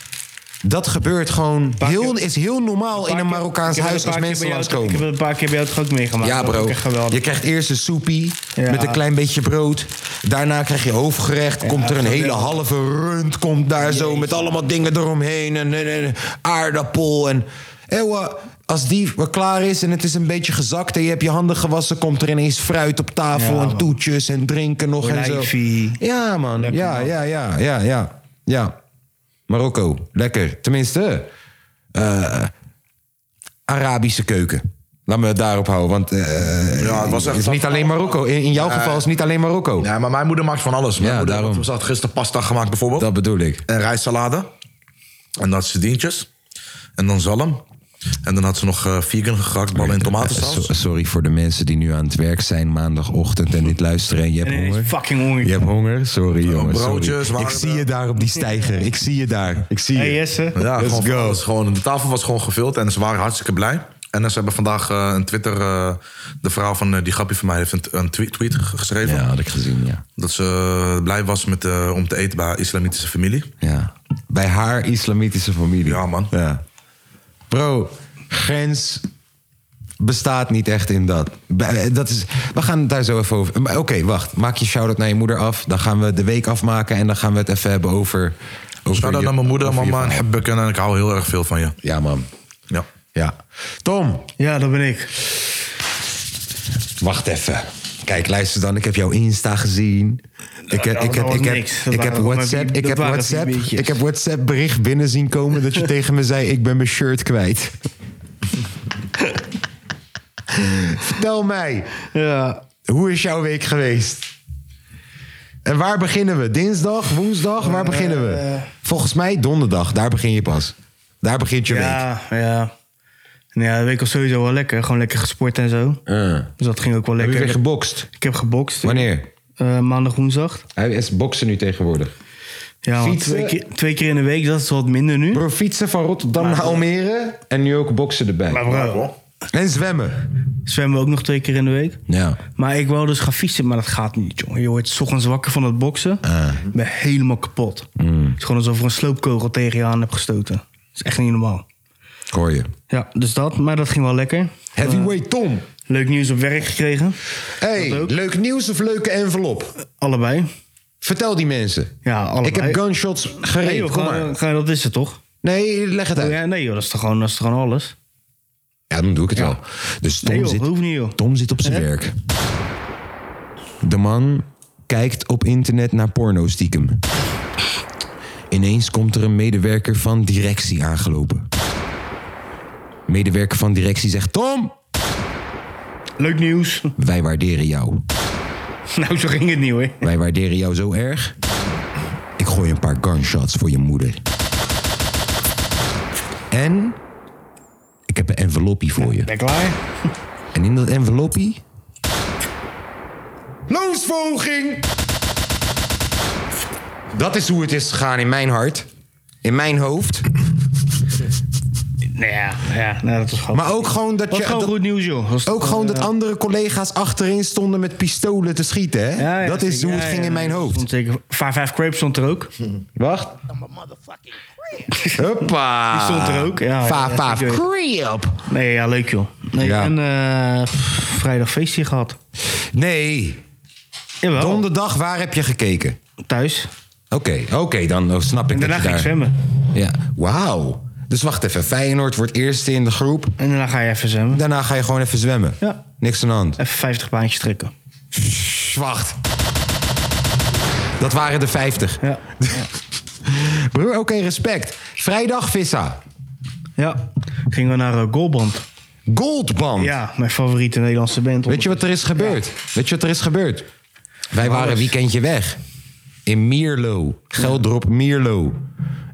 Speaker 1: Dat gebeurt gewoon
Speaker 3: Paar
Speaker 1: heel,
Speaker 3: keer-
Speaker 1: is heel normaal in een
Speaker 3: keer-
Speaker 1: Marokkaans
Speaker 3: ik heb
Speaker 1: huis als
Speaker 3: dat een paar
Speaker 1: mensen
Speaker 3: keer bij jou-
Speaker 1: langskomen.
Speaker 3: Ik heb dat een paar keer bij jou toch ook meegemaakt.
Speaker 1: Ja,
Speaker 3: Dat was
Speaker 1: bro.
Speaker 3: ook echt geweldig.
Speaker 1: Je krijgt eerst een soepie
Speaker 3: Ja.
Speaker 1: met een klein beetje brood. Daarna krijg je hoofdgerecht. komt er een hele
Speaker 3: geweldig.
Speaker 1: halve rund komt daar zo met allemaal dingen eromheen. En, en, en aardappel en... Ewa, als die wel klaar is en het is een beetje gezakt... en je hebt je handen gewassen, komt er ineens fruit op tafel...
Speaker 3: Ja,
Speaker 1: en
Speaker 3: man.
Speaker 1: toetjes en drinken nog en zo.
Speaker 3: Olijfie.
Speaker 1: Ja, man.
Speaker 3: Lekker,
Speaker 1: ja,
Speaker 3: man.
Speaker 1: ja, ja, ja, ja, ja. Marokko, lekker. Tenminste, eh, Arabische keuken. Laat me het daarop houden, want eh,
Speaker 5: Ja, Ah, het was echt...
Speaker 1: het is niet alleen Marokko. In, in jouw geval is het niet alleen Marokko.
Speaker 5: Ja, maar mijn moeder maakt van alles. Mijn
Speaker 1: Ja,
Speaker 5: moeder,
Speaker 1: daarom.
Speaker 5: Ze had gisteren pasta gemaakt bijvoorbeeld.
Speaker 1: Dat bedoel ik.
Speaker 5: En rijstsalade. En dan had ze dientjes. En dan zalm. En dan had ze nog eh, vegan gehaktballen in
Speaker 1: Eh, so-
Speaker 5: tomatensaus.
Speaker 1: sorry voor de mensen die nu aan het werk zijn maandagochtend en dit luisteren en je hebt
Speaker 3: En ineens
Speaker 1: honger.
Speaker 3: fucking honger.
Speaker 1: Je hebt honger? Sorry jongens.
Speaker 5: broodjes,
Speaker 1: sorry. Ik
Speaker 5: warme-
Speaker 1: zie je daar op die stijger. Ik zie je daar. Ik zie
Speaker 3: Hey
Speaker 1: je.
Speaker 3: Jesse.
Speaker 5: Ja,
Speaker 1: Let's
Speaker 5: gewoon, van
Speaker 1: go.
Speaker 5: alles. gewoon, de tafel was gewoon gevuld en ze waren hartstikke blij. En eh, ze hebben vandaag eh, een Twitter... eh, de vrouw van eh, die grappie van mij heeft een, een tweet, tweet ge- geschreven.
Speaker 1: Ja, had ik gezien, ja.
Speaker 5: Dat ze blij was met, eh, om te eten bij haar islamitische familie.
Speaker 1: Ja. Bij haar islamitische familie.
Speaker 5: Ja, man.
Speaker 1: Ja. Bro, grens bestaat niet echt in dat. Bij- eh, Dat is, we gaan het daar zo even over. maar Oké, wacht. Maak je shout-out naar je moeder af. Dan gaan we de week afmaken en dan gaan we het even hebben over... over
Speaker 5: Shout-out
Speaker 1: je-
Speaker 5: naar mijn moeder,
Speaker 1: over je
Speaker 5: mama en
Speaker 1: verhaal.
Speaker 5: Hebbek. En ik hou heel erg veel van je.
Speaker 1: Ja, man.
Speaker 5: Ja.
Speaker 1: Ja. Tom,
Speaker 3: Ja, dat ben ik.
Speaker 1: wacht even. Kijk, luister dan. Ik heb jouw Insta gezien. Ik heb,
Speaker 3: dat
Speaker 1: ik heb,
Speaker 3: was
Speaker 1: ik heb,
Speaker 3: niks. Dat
Speaker 1: ik heb
Speaker 3: waren maar
Speaker 1: WhatsApp,
Speaker 3: wie-
Speaker 1: ik
Speaker 3: dat
Speaker 1: heb
Speaker 3: waren
Speaker 1: WhatsApp,
Speaker 3: wie beetjes.
Speaker 1: ik heb WhatsApp bericht binnen zien komen dat je tegen me zei: ik ben mijn shirt kwijt. Vertel mij,
Speaker 3: Ja.
Speaker 1: hoe is jouw week geweest? En waar beginnen we? Dinsdag, woensdag? Waar
Speaker 3: Eh,
Speaker 1: beginnen we? Volgens mij donderdag. Daar begin je pas. Daar begint je week.
Speaker 3: Ja, ja. Nou ja, de week was sowieso wel lekker. Gewoon lekker gesport en zo. Dus dat ging ook wel
Speaker 1: Heb je
Speaker 3: lekker.
Speaker 1: weer gebokst?
Speaker 3: ik heb gebokst.
Speaker 1: Wanneer?
Speaker 3: Eh, maandag, woensdag.
Speaker 1: Hij is boksen nu tegenwoordig.
Speaker 3: Ja, want
Speaker 1: Fietsen?
Speaker 3: twee, keer, twee keer in de week, dat is wat minder nu.
Speaker 1: Bro, fietsen van Rotterdam naar Almere en nu ook boksen erbij.
Speaker 3: Maar bro,
Speaker 1: En zwemmen.
Speaker 3: zwemmen we ook nog twee keer in de week.
Speaker 1: Ja.
Speaker 3: Maar ik wou dus gaan fietsen, maar dat gaat niet, jongen. Je wordt 's ochtends wakker van het boksen.
Speaker 1: Ah.
Speaker 3: Ik ben helemaal kapot.
Speaker 1: Mm.
Speaker 3: Het is gewoon alsof er een sloopkogel tegen je aan heb gestoten. Dat is echt niet normaal.
Speaker 1: Ik hoor je.
Speaker 3: Ja, dus dat. Maar dat ging wel lekker.
Speaker 1: Heavyweight Tom.
Speaker 3: Leuk nieuws op werk gekregen.
Speaker 1: Hey,
Speaker 3: Eh, ook.
Speaker 1: leuk nieuws of leuke envelop?
Speaker 3: Allebei.
Speaker 1: Vertel die mensen.
Speaker 3: Ja, allebei.
Speaker 1: Ik heb gunshots
Speaker 3: Nee,
Speaker 1: gereed.
Speaker 3: joh,
Speaker 1: Kom
Speaker 3: gewoon,
Speaker 1: maar.
Speaker 3: gewoon, dat is het toch?
Speaker 1: Nee, leg het uit.
Speaker 3: Ja, nee, joh, dat is toch gewoon, dat is toch gewoon alles?
Speaker 1: Ja, dan doe ik het wel. Dus Tom,
Speaker 3: Nee, joh,
Speaker 1: zit,
Speaker 3: dat hoeft niet, joh.
Speaker 1: Tom zit op zijn werk. De man kijkt op internet naar porno stiekem. Ineens komt er een medewerker van directie aangelopen. Medewerker van directie zegt: Tom,
Speaker 3: Leuk nieuws.
Speaker 1: wij waarderen jou.
Speaker 3: nou, zo ging het niet, hoor.
Speaker 1: Wij waarderen jou zo erg. Ik gooi een paar gunshots voor je moeder. En ik heb een envelopje voor je.
Speaker 3: Ben je klaar?
Speaker 1: En in dat envelopje. Loonsverhoging! Dat is hoe het is gegaan in mijn hart. In mijn hoofd.
Speaker 3: Nou ja, ja nou, dat was gewoon...
Speaker 1: Maar ook gewoon dat je.
Speaker 3: dat was gewoon
Speaker 1: dat-
Speaker 3: goed nieuws, joh. was
Speaker 1: ook
Speaker 3: toch,
Speaker 1: gewoon
Speaker 3: eh,
Speaker 1: dat andere collega's achterin stonden met pistolen te schieten, hè?
Speaker 3: ja, ja,
Speaker 1: dat is
Speaker 3: zeker.
Speaker 1: hoe het
Speaker 3: Ja,
Speaker 1: ging
Speaker 3: ja,
Speaker 1: in mijn
Speaker 3: er
Speaker 1: hoofd.
Speaker 3: Stond zeker, 5 Crepes stond er ook.
Speaker 1: Wacht. Hoppa.
Speaker 3: Die stond er ook. Ja,
Speaker 1: Vaaf,
Speaker 3: ja,
Speaker 1: vaaf.
Speaker 3: zeker.
Speaker 1: Creep.
Speaker 3: Nee, ja, leuk joh. Nee,
Speaker 1: Ja.
Speaker 3: En eh, pff, vrijdag feestje gehad.
Speaker 1: Nee.
Speaker 3: Jawel,
Speaker 1: Donderdag, waar heb je gekeken?
Speaker 3: thuis.
Speaker 1: Oké, oké, dan oh, snap ik
Speaker 3: En daarna
Speaker 1: dat je
Speaker 3: ging ik
Speaker 1: daar...
Speaker 3: zwemmen.
Speaker 1: Ja, wauw. Dus wacht even, Feyenoord wordt eerste in de groep.
Speaker 3: En daarna ga je even zwemmen.
Speaker 1: Daarna ga je gewoon even zwemmen.
Speaker 3: Ja.
Speaker 1: Niks aan de hand.
Speaker 3: Even 50 baantjes trekken.
Speaker 1: Pff, Wacht. Dat waren de 50.
Speaker 3: Ja.
Speaker 1: Broer, oké, respect. Vrijdag, Vissa.
Speaker 3: ja. Gingen we naar eh, Goalband.
Speaker 1: Goldband.
Speaker 3: Ja, mijn favoriete Nederlandse band.
Speaker 1: Weet je wat er is gebeurd? Weet je wat er is gebeurd? Wij waren een weekendje weg. In Mierlo. Geldrop Mierlo.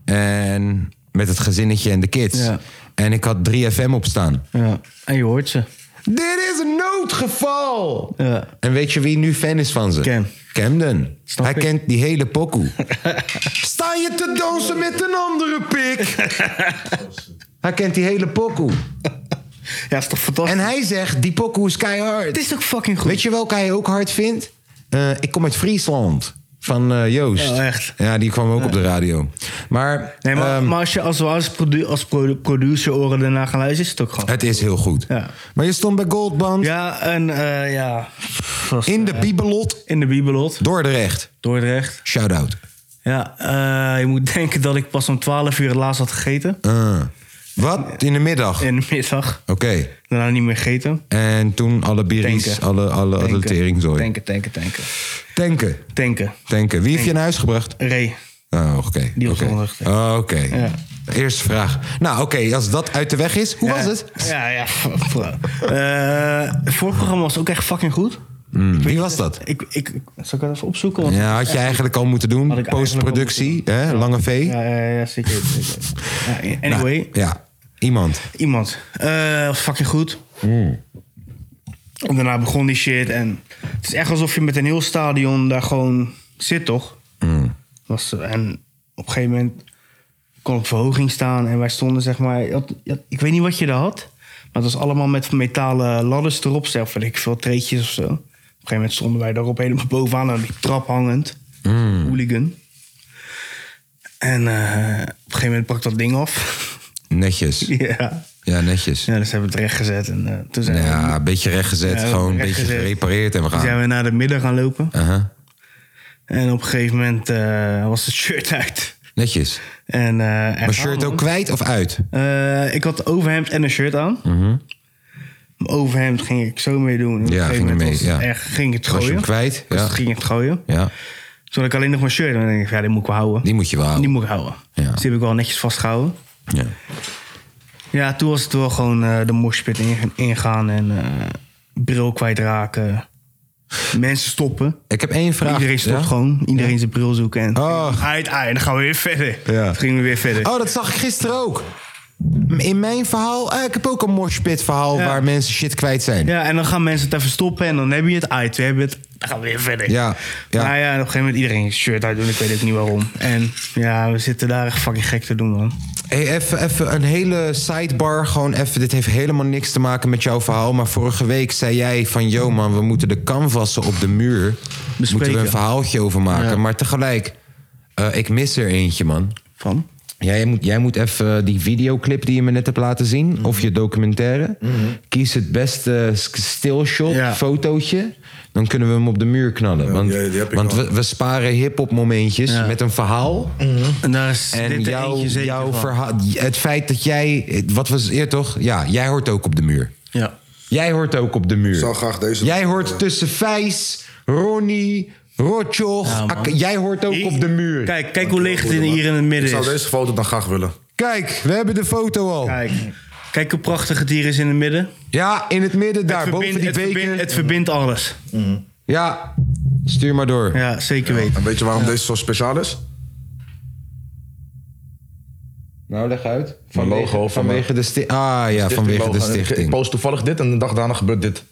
Speaker 1: En met het gezinnetje en de kids.
Speaker 3: Ja.
Speaker 1: En ik had 3FM op staan.
Speaker 3: Ja. En je hoort ze.
Speaker 1: Dit is een noodgeval!
Speaker 3: Ja.
Speaker 1: En weet je wie nu fan is van ze?
Speaker 3: Cam.
Speaker 1: Camden.
Speaker 3: Snap
Speaker 1: Hij
Speaker 3: ik.
Speaker 1: kent die hele pokoe. Sta je te dansen met een andere pik? Hij kent die hele pokoe.
Speaker 3: Ja, is toch fantastisch?
Speaker 1: En hij zegt, die pokoe is keihard.
Speaker 3: het is toch fucking goed?
Speaker 1: Weet je welke hij ook hard vindt? Eh, ik kom uit Friesland. Van eh, Joost.
Speaker 3: Oh, echt?
Speaker 1: Ja, die kwam ook op de radio. Maar,
Speaker 3: Nee, maar,
Speaker 1: ehm,
Speaker 3: maar als je als, we als, produ als produ- producer oren daarna gaan luisteren, is het ook gewoon.
Speaker 1: eh, het is heel goed.
Speaker 3: Ja.
Speaker 1: Maar je stond bij Goldband
Speaker 3: Ja, en eh, ja. vast,
Speaker 1: in de
Speaker 3: eh,
Speaker 1: Bibelot
Speaker 3: in de Bibelot,
Speaker 1: Dordrecht.
Speaker 3: Dordrecht.
Speaker 1: Shout-out.
Speaker 3: Ja, eh, je moet denken dat ik pas om 12 uur het laatst had gegeten.
Speaker 1: Eh, wat? In de middag? Oké.
Speaker 3: In de middag. Daarna niet meer gegeten.
Speaker 1: En toen alle bieries,
Speaker 3: Tanken.
Speaker 1: alle, alle, alle teringzooi. Tanken.
Speaker 3: Tanken, tanken, tanken.
Speaker 1: Tanken.
Speaker 3: Tanken.
Speaker 1: Wie heeft je naar huis gebracht?
Speaker 3: Ray.
Speaker 1: Oh, oké.
Speaker 3: Die was
Speaker 1: Oké.
Speaker 3: zondag.
Speaker 1: Oh, Oké.
Speaker 3: Ja.
Speaker 1: Eerste vraag. Nou, oké, als dat uit de weg is, hoe was het?
Speaker 3: Ja, ja. Eh, het vorige programma was ook echt fucking goed.
Speaker 1: Hm. Wie was dat?
Speaker 3: Ik, ik, zal ik dat even opzoeken? Want
Speaker 1: Ja, had je eigenlijk al moeten
Speaker 3: Had
Speaker 1: doen.
Speaker 3: ik eigenlijk
Speaker 1: Postproductie, hè? Lange V.
Speaker 3: Ja, ja, ja, zeker. zeker. Ja,
Speaker 1: Nou,
Speaker 3: anyway,
Speaker 1: ja, iemand.
Speaker 3: iemand. Eh, was fucking goed. En daarna begon die shit. En het is echt alsof je met een heel stadion daar gewoon zit, toch? Was, en op een gegeven moment kon op verhoging staan. En wij stonden, zeg maar... je had- je had- ik weet niet wat je daar had. Maar het was allemaal met metalen ladders erop. Zeg, of weet ik veel, treetjes of zo. Op een gegeven moment stonden wij daarop helemaal bovenaan. Aan die trap hangend. Hooligan. En eh, op een gegeven moment brak dat ding af.
Speaker 1: Netjes.
Speaker 3: ja.
Speaker 1: Ja, netjes.
Speaker 3: Ja, dus hebben we het recht gezet. En eh, toen zijn, eh,
Speaker 1: Ja, een beetje rechtgezet.
Speaker 3: Ja,
Speaker 1: gewoon een beetje
Speaker 3: rechtgezet.
Speaker 1: gerepareerd en we
Speaker 3: we, zijn
Speaker 1: gaan.
Speaker 3: we naar de midden gaan lopen.
Speaker 1: Aha.
Speaker 3: En op een gegeven moment eh, was het shirt uit.
Speaker 1: Netjes.
Speaker 3: En, eh, echt
Speaker 1: Maar shirt ook
Speaker 3: aan, man.
Speaker 1: kwijt of uit?
Speaker 3: Eh, ik had overhemd en een shirt aan.
Speaker 1: Mhm.
Speaker 3: Mijn overhemd ging ik zo mee doen. En op
Speaker 1: Ja,
Speaker 3: een gegeven
Speaker 1: ging je
Speaker 3: moment
Speaker 1: mee,
Speaker 3: was het
Speaker 1: ja.
Speaker 3: echt, ging ik het
Speaker 1: Was je
Speaker 3: gooien.
Speaker 1: hem kwijt?
Speaker 3: Dus
Speaker 1: Ja.
Speaker 3: ging ik het gooien.
Speaker 1: Ja,
Speaker 3: Toen had ik alleen nog mijn shirt. En dan denk ik, ja, die moet ik wel houden.
Speaker 1: die moet je wel
Speaker 3: Die
Speaker 1: houden.
Speaker 3: moet ik houden.
Speaker 1: Ja.
Speaker 3: Dus die heb ik wel netjes vastgehouden.
Speaker 1: Ja.
Speaker 3: Ja, toen was het wel gewoon eh, de moshpit in- ingaan en eh, bril kwijtraken. Mensen stoppen.
Speaker 1: Ik heb één vraag.
Speaker 3: Iedereen stopt
Speaker 1: Ja?
Speaker 3: gewoon. Iedereen zijn bril zoeken. En
Speaker 1: Ach.
Speaker 3: uit, uit. Dan gaan we weer verder.
Speaker 1: Ja.
Speaker 3: Toen gingen we weer verder.
Speaker 1: Oh, dat zag ik gisteren ook. In mijn verhaal, eh, ik heb ook een moshpit verhaal
Speaker 3: Ja.
Speaker 1: waar mensen shit kwijt zijn.
Speaker 3: Ja, en dan gaan mensen het even stoppen. En dan heb je het uit. We hebben het. Dan gaan we weer verder.
Speaker 1: Ja, ja.
Speaker 3: Nou ja, en op een gegeven moment iedereen een shirt uit doen. Ik weet ook niet waarom. En ja, we zitten daar echt fucking gek te doen, man.
Speaker 1: Hey, even, even een hele sidebar. Gewoon even, dit heeft helemaal niks te maken met jouw verhaal. Maar vorige week zei jij van... Yo man, we moeten de canvassen op de muur... moeten we een verhaaltje over maken. Maar tegelijk, eh, ik mis er eentje man.
Speaker 3: Van?
Speaker 1: Jij moet, jij moet even die videoclip die je me net hebt laten zien...
Speaker 5: Mhm.
Speaker 1: of je documentaire. Kies het beste s- stilshot,
Speaker 3: Ja.
Speaker 1: fotootje. Dan kunnen we hem op de muur knallen. want
Speaker 5: die- die heb ik
Speaker 1: want
Speaker 5: al. Mhm.
Speaker 1: we, we sparen hip-hop momentjes met een verhaal...
Speaker 3: En daar is
Speaker 1: En
Speaker 3: dit er
Speaker 1: jouw,
Speaker 3: eentje zeker
Speaker 1: jouw
Speaker 3: van.
Speaker 1: verhaal, het feit dat jij, wat was eer toch? Ja, jij hoort ook op de muur.
Speaker 3: Ja.
Speaker 1: Jij hoort ook op de muur.
Speaker 5: zou graag deze-
Speaker 1: Jij hoort tussen Vijs, Ronnie, Rotjoch. Ak- jij hoort ook op de muur. Kijk,
Speaker 3: Kijk, kijk hoe leeg het in- hier in het
Speaker 5: Ik
Speaker 3: midden
Speaker 5: zou
Speaker 3: is.
Speaker 5: deze foto dan graag willen.
Speaker 1: we hebben de foto al.
Speaker 3: Kijk. Kijk hoe prachtig het hier is in het midden.
Speaker 1: Ja, in het midden daar,
Speaker 3: het, verbindt,
Speaker 1: boven die
Speaker 3: het, verbindt,
Speaker 1: beker.
Speaker 3: het verbindt alles.
Speaker 1: Ja, stuur maar door.
Speaker 3: Ja, zeker weten.
Speaker 5: En weet je waarom deze zo speciaal is?
Speaker 1: Nou, leg uit.
Speaker 5: Mijn logo
Speaker 1: Vanwege,
Speaker 5: van
Speaker 1: vanwege de sti- Ah ja, vanwege de
Speaker 5: Logo. En ik- Ik
Speaker 1: stichting.
Speaker 5: post toevallig dit en de dag daarna gebeurt dit.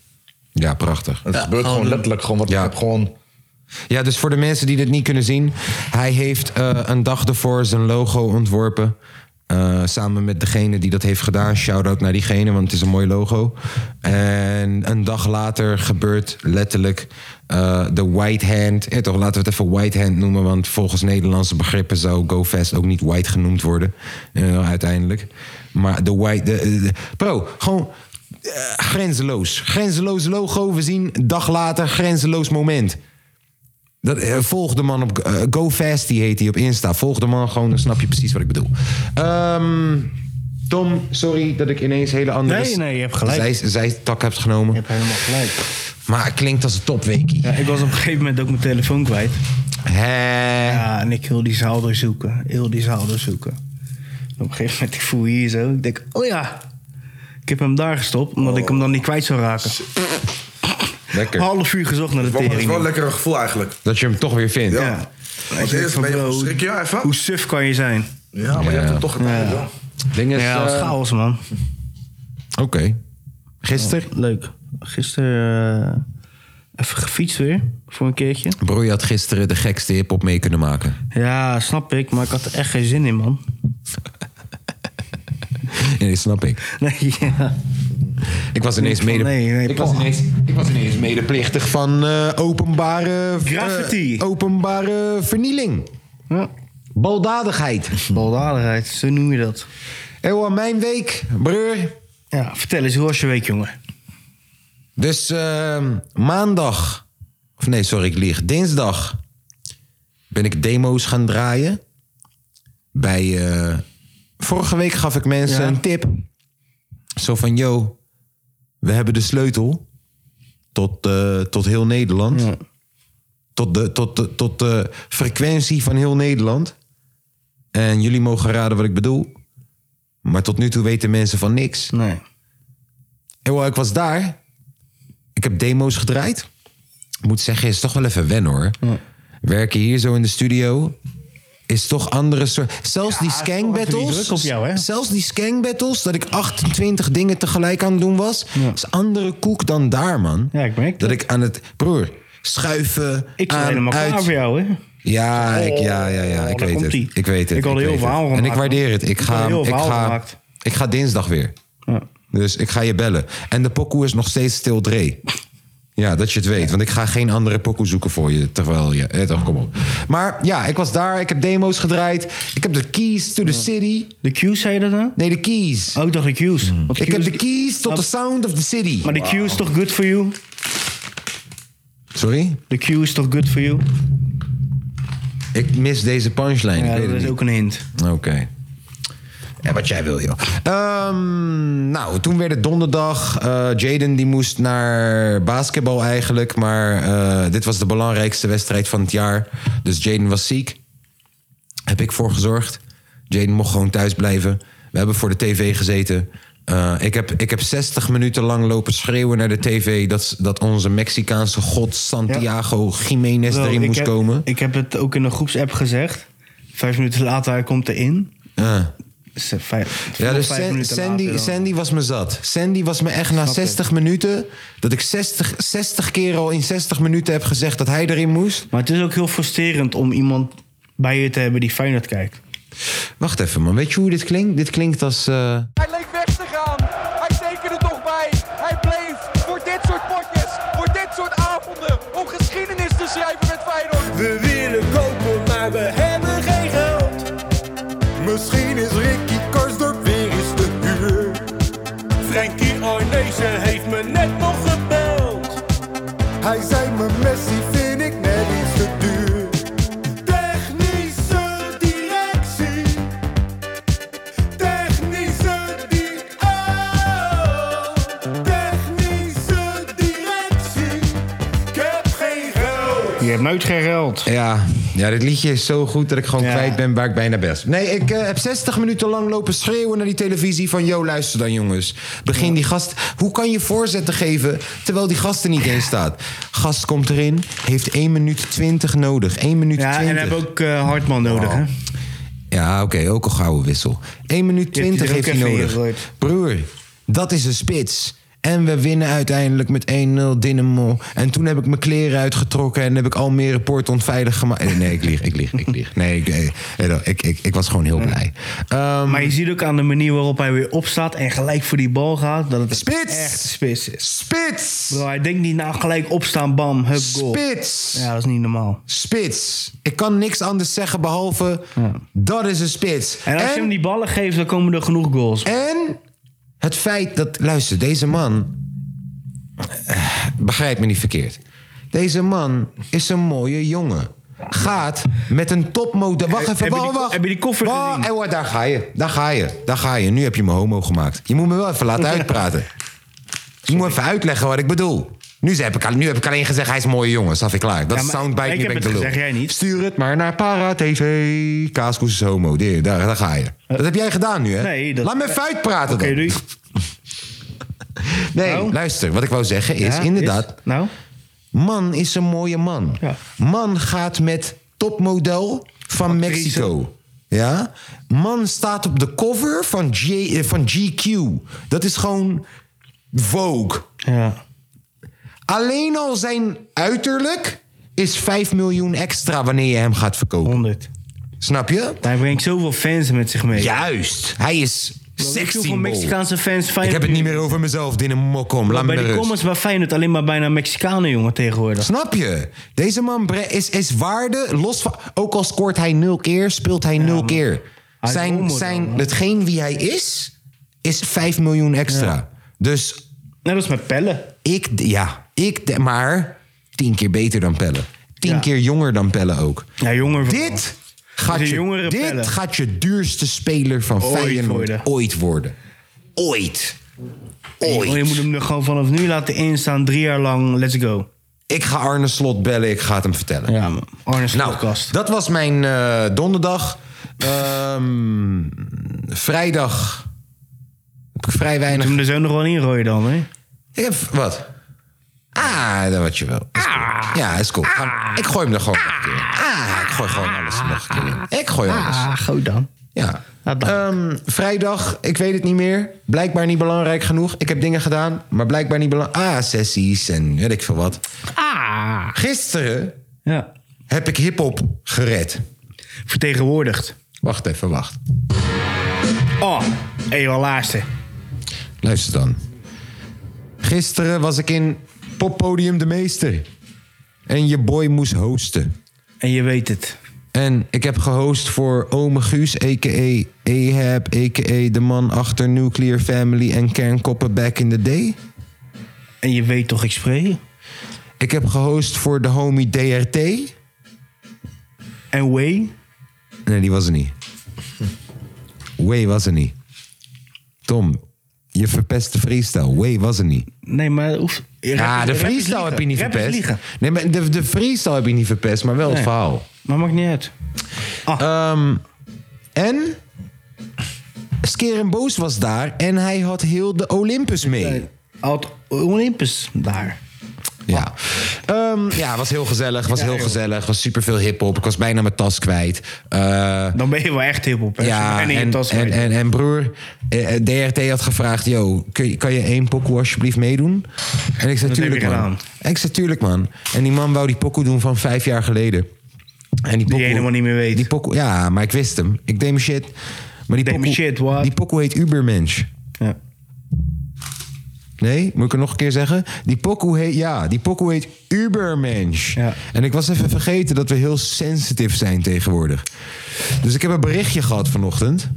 Speaker 1: Ja, prachtig.
Speaker 5: Het gebeurt gewoon letterlijk gewoon wat
Speaker 1: Ja.
Speaker 5: ik heb gewoon.
Speaker 1: Ja, dus voor de mensen die dit niet kunnen zien. Hij heeft eh, een dag ervoor zijn logo ontworpen. Eh, samen met degene die dat heeft gedaan. Shout-out naar diegene, want het is een mooi logo. En een dag later gebeurt letterlijk eh, de white hand. Ja, toch, laten we het even white hand noemen. Want volgens Nederlandse begrippen zou GoFest ook niet white genoemd worden. eh, uiteindelijk. Maar de white... De, de- bro, gewoon eh, grenzeloos. Grenzeloos logo. We zien een dag later grenzeloos moment. Dat, eh, volg de man op eh, GoFast, die heet hij op Insta. Volg de man gewoon, dan snap je precies wat ik bedoel. Ehm, Tom, sorry dat ik ineens hele andere...
Speaker 3: Nee, nee, je hebt gelijk.
Speaker 1: Zij, zij tak heb genomen.
Speaker 3: Je hebt helemaal gelijk.
Speaker 1: Maar het klinkt als een topweekie.
Speaker 3: Ja, ik was op een gegeven moment ook mijn telefoon kwijt.
Speaker 1: Hè?
Speaker 3: Ja, en ik heel die zaal doorzoeken. Heel die zaal doorzoeken. En op een gegeven moment ik voel hier zo. Ik denk, oh ja. Ik heb hem daar gestopt, omdat ik hem dan niet kwijt zou raken. Een
Speaker 1: Lekker.
Speaker 3: half uur gezocht naar de
Speaker 5: Wel- Het is wel een
Speaker 3: tering.
Speaker 5: lekker gevoel eigenlijk.
Speaker 1: Dat je hem toch weer vindt.
Speaker 5: Ja.
Speaker 3: Ja.
Speaker 5: Want eerst ben je
Speaker 3: Bro,
Speaker 5: gewoon schrik je even.
Speaker 3: Hoe suf kan je zijn?
Speaker 5: Ja, maar je hebt hem toch gedaan, joh.
Speaker 1: Ding is,
Speaker 3: Ja, dat is
Speaker 1: eh,
Speaker 3: chaos, man.
Speaker 1: Oké. Gisteren?
Speaker 3: Oh, Leuk. Gisteren eh, even gefietst weer, voor een keertje.
Speaker 1: Bro, je had gisteren de gekste hip-hop mee kunnen maken.
Speaker 3: Ja, snap ik, maar ik had er echt geen zin in, man.
Speaker 1: Ja, dat snap ik.
Speaker 3: Nee, ja.
Speaker 1: Ik was ineens,
Speaker 3: Van,
Speaker 1: mede...
Speaker 3: nee, nee,
Speaker 1: ik was
Speaker 3: pa.
Speaker 1: ineens, ik was ineens medeplichtig van eh, openbare... eh,
Speaker 3: Graffiti.
Speaker 1: openbare vernieling.
Speaker 3: ja.
Speaker 1: Baldadigheid.
Speaker 3: Baldadigheid, zo noem je dat.
Speaker 1: Eeuw, aan mijn week, broer.
Speaker 3: Ja, vertel eens, hoe was je week, jongen?
Speaker 1: Dus ehm, maandag, of nee, sorry, ik lieg. Dinsdag ben ik demo's gaan draaien. Bij, eh, vorige week gaf ik mensen
Speaker 3: Ja.
Speaker 1: een tip. Zo van, yo, we hebben de sleutel tot, eh, tot heel Nederland. Tot, de, tot, de, tot de frequentie van heel Nederland. En jullie mogen raden wat ik bedoel. Maar tot nu toe weten mensen van niks.
Speaker 3: Nee.
Speaker 1: Ewa, ik was daar. Ik heb demo's gedraaid. Ik moet zeggen, is toch wel even wennen hoor. Werken hier zo in de studio is toch andere soort. Zelfs die
Speaker 3: is toch
Speaker 1: skank
Speaker 3: even die
Speaker 1: battles.
Speaker 3: druk op jou, hè?
Speaker 1: Zelfs die skank battles, dat ik 28 dingen tegelijk aan het doen was. Is andere koek dan daar, man.
Speaker 3: Ja, ik merk
Speaker 1: dat.
Speaker 3: dat.
Speaker 1: ik aan het. Broer, schuiven.
Speaker 3: Ik was
Speaker 1: aan,
Speaker 3: helemaal
Speaker 1: uit.
Speaker 3: klaar voor jou, hè?
Speaker 1: Ja, ik, ja, ja, ja, ik
Speaker 3: Oh, daar
Speaker 1: weet
Speaker 3: komt
Speaker 1: het.
Speaker 3: ie.
Speaker 1: Ik weet het.
Speaker 3: Ik had
Speaker 1: ik
Speaker 3: heel
Speaker 1: weet
Speaker 3: veel
Speaker 1: het.
Speaker 3: verhaal
Speaker 1: En ik
Speaker 3: gemaakt,
Speaker 1: waardeer het. Ik
Speaker 3: Ik had
Speaker 1: ga,
Speaker 3: heel
Speaker 1: ik
Speaker 3: verhaal
Speaker 1: ga,
Speaker 3: gemaakt.
Speaker 1: ik ga dinsdag weer.
Speaker 3: Ja.
Speaker 1: Dus ik ga je bellen. En de pokoe is nog steeds stil Dre. Ja, dat je het weet. Want ik ga geen andere pokoe zoeken voor je. Terwijl je... Eh, toch, kom op. Maar ja, ik was daar. Ik heb demo's gedraaid. Ik heb de keys to the city.
Speaker 3: De Q's, zei je dat nou?
Speaker 1: Nee, de keys.
Speaker 3: Oh, ik dacht de Q's. Want
Speaker 1: Ik heb
Speaker 3: Q's
Speaker 1: de keys tot the sound of the city.
Speaker 3: Ah. Maar de Q is toch good for you?
Speaker 1: Sorry?
Speaker 3: De Q is toch good for you?
Speaker 1: Ik mis deze punchline.
Speaker 3: Ja,
Speaker 1: ik weet
Speaker 3: dat
Speaker 1: het
Speaker 3: is
Speaker 1: niet.
Speaker 3: ook een hint.
Speaker 1: Oké. En wat jij wil, joh. Ehm, nou, toen werd het donderdag. Eh, Jaden die moest naar basketbal eigenlijk. Maar eh, dit was de belangrijkste wedstrijd van het jaar. Dus Jaden was ziek. Heb ik voor gezorgd. Jaden mocht gewoon thuis blijven. We hebben voor de tv gezeten. Eh, ik, heb, ik heb 60 minuten lang lopen schreeuwen naar de tv... dat, dat onze Mexicaanse god Santiago Jiménez
Speaker 3: Wel,
Speaker 1: erin
Speaker 3: ik
Speaker 1: moest
Speaker 3: heb,
Speaker 1: komen.
Speaker 3: Ik heb het ook in een groepsapp gezegd. Vijf minuten later, hij komt erin.
Speaker 1: Eh.
Speaker 3: Dus, eh, Vijf,
Speaker 1: Ja, dus
Speaker 3: vijf
Speaker 1: San-
Speaker 3: minuten later
Speaker 1: Sandy,
Speaker 3: dan.
Speaker 1: Sandy was me zat. Sandy was me echt na 60 minuten... dat ik 60, 60 keer al in 60 minuten heb gezegd dat hij erin moest.
Speaker 3: Maar het is ook heel frustrerend om iemand bij je te hebben die Feyenoord kijkt.
Speaker 1: Wacht even, man. Weet je hoe dit klinkt? Dit klinkt als... eh,
Speaker 6: Hij leek weg te gaan. Hij tekende toch bij. Hij bleef voor dit soort potjes, voor dit soort avonden, om geschiedenis te schrijven met Feyenoord.
Speaker 7: We willen kopen, maar we hebben geen geld. Misschien is Ricky Karsdorp weer eens te huur. Frankie Arnezen heeft me net nog gebeld. Hij zei me Messi vind ik net iets te duur. Technische directie. Technische di- oh. Technische directie. Ik heb geen geld.
Speaker 3: Je hebt me uitgereld.
Speaker 1: ja, ja, dit liedje is zo goed dat ik gewoon
Speaker 3: Ja.
Speaker 1: kwijt ben waar ik bijna best. Nee, ik eh, heb 60 minuten lang lopen schreeuwen naar die televisie... van, yo, luister dan, jongens. Begin die gast... Hoe kan je voorzetten geven terwijl die gast er niet in staat? Gast komt erin, heeft 1 minuut 20 nodig. 1 minuut
Speaker 3: Ja,
Speaker 1: 20.
Speaker 3: en hebben ook eh, Hartman nodig,
Speaker 1: Oh.
Speaker 3: hè?
Speaker 1: Ja, oké, ook een gouden wissel. 1 minuut
Speaker 3: Je hebt
Speaker 1: 20
Speaker 3: die er
Speaker 1: heeft
Speaker 3: ook
Speaker 1: hij
Speaker 3: even
Speaker 1: nodig.
Speaker 3: ingegooid.
Speaker 1: Broer, dat is een spits. En we winnen uiteindelijk met 1-0 Dynamo. En toen heb ik mijn kleren uitgetrokken en heb ik Almere Port onveilig gemaakt. Eh, Nee, ik lieg, ik lieg, ik lieg. Nee, ik, eh, eh, ik, ik, ik was gewoon heel blij. Ehm,
Speaker 3: Maar je ziet ook aan de manier waarop hij weer opstaat en gelijk voor die bal gaat... dat het
Speaker 1: Spits!
Speaker 3: echt een spits is.
Speaker 1: spits!
Speaker 3: Bro, hij denkt niet nou gelijk opstaan, bam, hup, goal.
Speaker 1: Spits!
Speaker 3: Ja, dat is niet normaal.
Speaker 1: Spits! Ik kan niks anders zeggen behalve... dat is een spits.
Speaker 3: En als je hem die ballen geeft, dan komen er genoeg goals.
Speaker 1: En het feit dat, luister, deze man. eh, Begrijp me niet verkeerd. Deze man is een mooie jongen. Gaat met een topmodel. Wacht
Speaker 3: Eh, Heb
Speaker 1: even,
Speaker 3: je die
Speaker 1: wacht,
Speaker 3: ko-
Speaker 1: wacht.
Speaker 3: heb je die koffer
Speaker 1: Wacht,
Speaker 3: gezien?
Speaker 1: eh, wacht, daar ga je, daar ga je, daar ga je. Nu heb je me homo gemaakt. Je moet me wel even laten uitpraten. Je moet even uitleggen wat ik bedoel. Nu heb ik, al- nu heb ik alleen gezegd, hij is een mooie jongen. Snap je klaar? Dat
Speaker 3: Ja,
Speaker 1: is
Speaker 3: maar
Speaker 1: soundbite,
Speaker 3: ik
Speaker 1: nu
Speaker 3: heb
Speaker 1: ben ik
Speaker 3: het
Speaker 1: de lul.
Speaker 3: gezegd, jij niet.
Speaker 1: Stuur het maar naar Para TV. Kaaskoes is homo. Daar, daar, daar ga je. Dat heb jij gedaan nu, hè?
Speaker 3: Eh. Nee, dat-
Speaker 1: Laat me even uitpraten
Speaker 3: Oké,
Speaker 1: dan.
Speaker 3: doei.
Speaker 1: Nee,
Speaker 3: Nou?
Speaker 1: luister. Wat ik wou zeggen is
Speaker 3: Ja,
Speaker 1: inderdaad...
Speaker 3: nou,
Speaker 1: Man is een mooie man.
Speaker 3: Ja.
Speaker 1: Man gaat met topmodel van Mexico. Ja? Man staat op de cover van, G, eh, van GQ. Dat is gewoon Vogue.
Speaker 3: ja.
Speaker 1: Alleen al zijn uiterlijk is 5 miljoen extra wanneer je hem gaat verkopen.
Speaker 3: 100.
Speaker 1: Snap je?
Speaker 3: Hij brengt zoveel fans met zich mee.
Speaker 1: Juist. Hij is
Speaker 3: Weet je
Speaker 1: sexy.
Speaker 3: Hoeveel Mexicaanse fans
Speaker 1: Ik
Speaker 3: Feyenoord
Speaker 1: heb het niet
Speaker 3: nu-
Speaker 1: meer over mezelf, Dinne Mokkom. Laat me
Speaker 3: Bij de
Speaker 1: rust.
Speaker 3: comments waar Feyenoord alleen maar bijna Mexicanen jongen tegenwoordig.
Speaker 1: Snap je? Deze man bre- is, is waarde, los van... Ook al scoort hij nul keer, speelt hij nul keer.
Speaker 3: is
Speaker 1: Zijn,
Speaker 3: onmodel,
Speaker 1: zijn,
Speaker 3: man.
Speaker 1: hetgeen wie hij is, is 5 miljoen extra. Dus
Speaker 3: Net als met Pelle.
Speaker 1: ik, d- ja, ik, d- maar 10 keer beter dan Pelle. 10
Speaker 3: Ja.
Speaker 1: keer jonger dan Pelle ook.
Speaker 3: Ja, jonger. van-
Speaker 1: Dit gaat,
Speaker 3: een
Speaker 1: je,
Speaker 3: jongere Pelle.
Speaker 1: dit gaat je duurste speler van
Speaker 3: Ooit
Speaker 1: Feyenoord
Speaker 3: worden.
Speaker 1: ooit worden. Ooit.
Speaker 3: Oh, je
Speaker 1: Ooit.
Speaker 3: moet hem er gewoon vanaf nu laten instaan. Drie jaar lang. Let's go.
Speaker 1: Ik ga Arne Slot bellen, ik ga het hem vertellen.
Speaker 3: Ja, man. Arne's
Speaker 1: Nou,
Speaker 3: podcast.
Speaker 1: dat was mijn eh, donderdag. Ehm, vrijdag heb ik vrij
Speaker 3: Moet
Speaker 1: weinig.
Speaker 3: hem er zo nog wel in gooien dan, hè?
Speaker 1: Ik heb, wat? Ah, dat wat je wel.
Speaker 3: Ah.
Speaker 1: Ja, is cool. Gaan- ik gooi hem er gewoon nog een keer in. Ah, ik gooi gewoon alles er nog een keer in. Ik gooi
Speaker 3: Ah.
Speaker 1: alles.
Speaker 3: goed dan.
Speaker 1: Ja.
Speaker 3: Ah, dank.
Speaker 1: Ehm, vrijdag, ik weet het niet meer. Blijkbaar niet belangrijk genoeg. Ik heb dingen gedaan, maar blijkbaar niet belangrijk. Ah, sessies en weet ik veel wat. Ah. Gisteren
Speaker 3: Ja.
Speaker 1: heb ik hip-hop gered.
Speaker 3: Vertegenwoordigd.
Speaker 1: Wacht even, wacht.
Speaker 3: Oh, hé, wel laatste.
Speaker 1: Luister dan. Gisteren was ik in Poppodium de Meester. En je boy moest hosten.
Speaker 3: En je weet het.
Speaker 1: En ik heb gehost voor Ome Guus, a.k.a. Ahab, a.k.a. de man achter Nuclear Family en Kernkoppen Back in the Day.
Speaker 3: En je weet toch, ik spreek je?
Speaker 1: Ik heb gehost voor de homie DRT.
Speaker 3: En Way?
Speaker 1: Nee, die was er niet. Way was er niet. Tom, je verpeste freestyle. Way was er niet.
Speaker 3: Nee, maar... Oef,
Speaker 1: Ja, de freestyle heb je niet verpest.
Speaker 3: Liegen.
Speaker 1: Nee, maar de, de freestyle heb je niet verpest, maar wel het
Speaker 3: Nee.
Speaker 1: verhaal.
Speaker 3: Maar maakt niet uit.
Speaker 1: Ehm, en Skeren Boos was daar en hij had heel de Olympus mee.
Speaker 3: Oud Olympus daar.
Speaker 1: Ja, Ehm, ja was heel gezellig, was heel gezellig, was superveel hip-hop. Ik was bijna mijn tas kwijt. Eh,
Speaker 3: Dan ben je wel echt heel op.
Speaker 1: ja,
Speaker 3: en in je
Speaker 1: en,
Speaker 3: tas
Speaker 1: en,
Speaker 3: kwijt.
Speaker 1: en, en broer, eh, eh, DRT had gevraagd: Yo, kun je- kan je één pokoe alsjeblieft meedoen? En ik zei:
Speaker 3: heb
Speaker 1: Tuurlijk,
Speaker 3: je
Speaker 1: man.
Speaker 3: gedaan.
Speaker 1: En ik zei: Tuurlijk, man. En die man wou die pokoe doen van vijf jaar geleden. En die, pokoe,
Speaker 3: helemaal niet meer weet.
Speaker 1: Die pokoe, ja, maar ik wist hem. Ik deed mijn shit. Maar die
Speaker 3: Deed mijn
Speaker 1: pokoe-
Speaker 3: shit, what?
Speaker 1: Die pokoe heet Ubermensch.
Speaker 3: Ja.
Speaker 1: Nee, moet ik het nog een keer zeggen? Die pokoe heet, ja, die pokoe heet Ubermensch.
Speaker 3: Ja.
Speaker 1: En ik was even vergeten dat we heel sensitief zijn tegenwoordig. Dus ik heb een berichtje gehad vanochtend.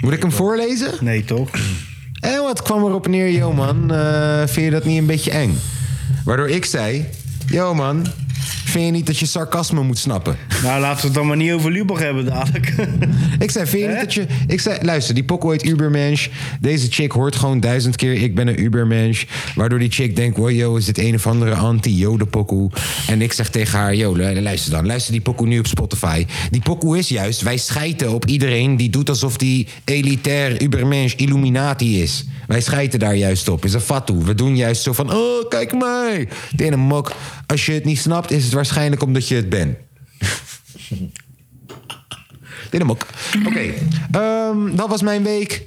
Speaker 1: Moet ik hem voorlezen?
Speaker 3: Nee, toch?
Speaker 1: En Eh, wat kwam erop neer, yo man, eh, vind je dat niet een beetje eng? Waardoor ik zei, yo man, vind je niet dat je sarcasme moet snappen?
Speaker 3: nou, laten we het dan maar niet over Lubach hebben dadelijk.
Speaker 1: Ik zei, vind je niet
Speaker 3: Hè?
Speaker 1: dat je... Ik zei, luister, die pokoe heet Ubermensch. Deze chick hoort gewoon duizend keer, ik ben een Ubermensch. Waardoor die chick denkt, wow, yo, is dit een of andere anti-joden pokoe? En ik zeg tegen haar, yo, lu- luister dan. Luister die pokoe nu op Spotify. Die pokoe is juist, wij schijten op iedereen die doet alsof die elitair Ubermensch Illuminati is. Wij schijten daar juist op. Is een fatu. We doen juist zo van, oh, kijk mij. Het ene mok. Als je het niet snapt, is het waarschijnlijk omdat je het bent. Dit hem ook. Oké, ehm, dat was mijn week.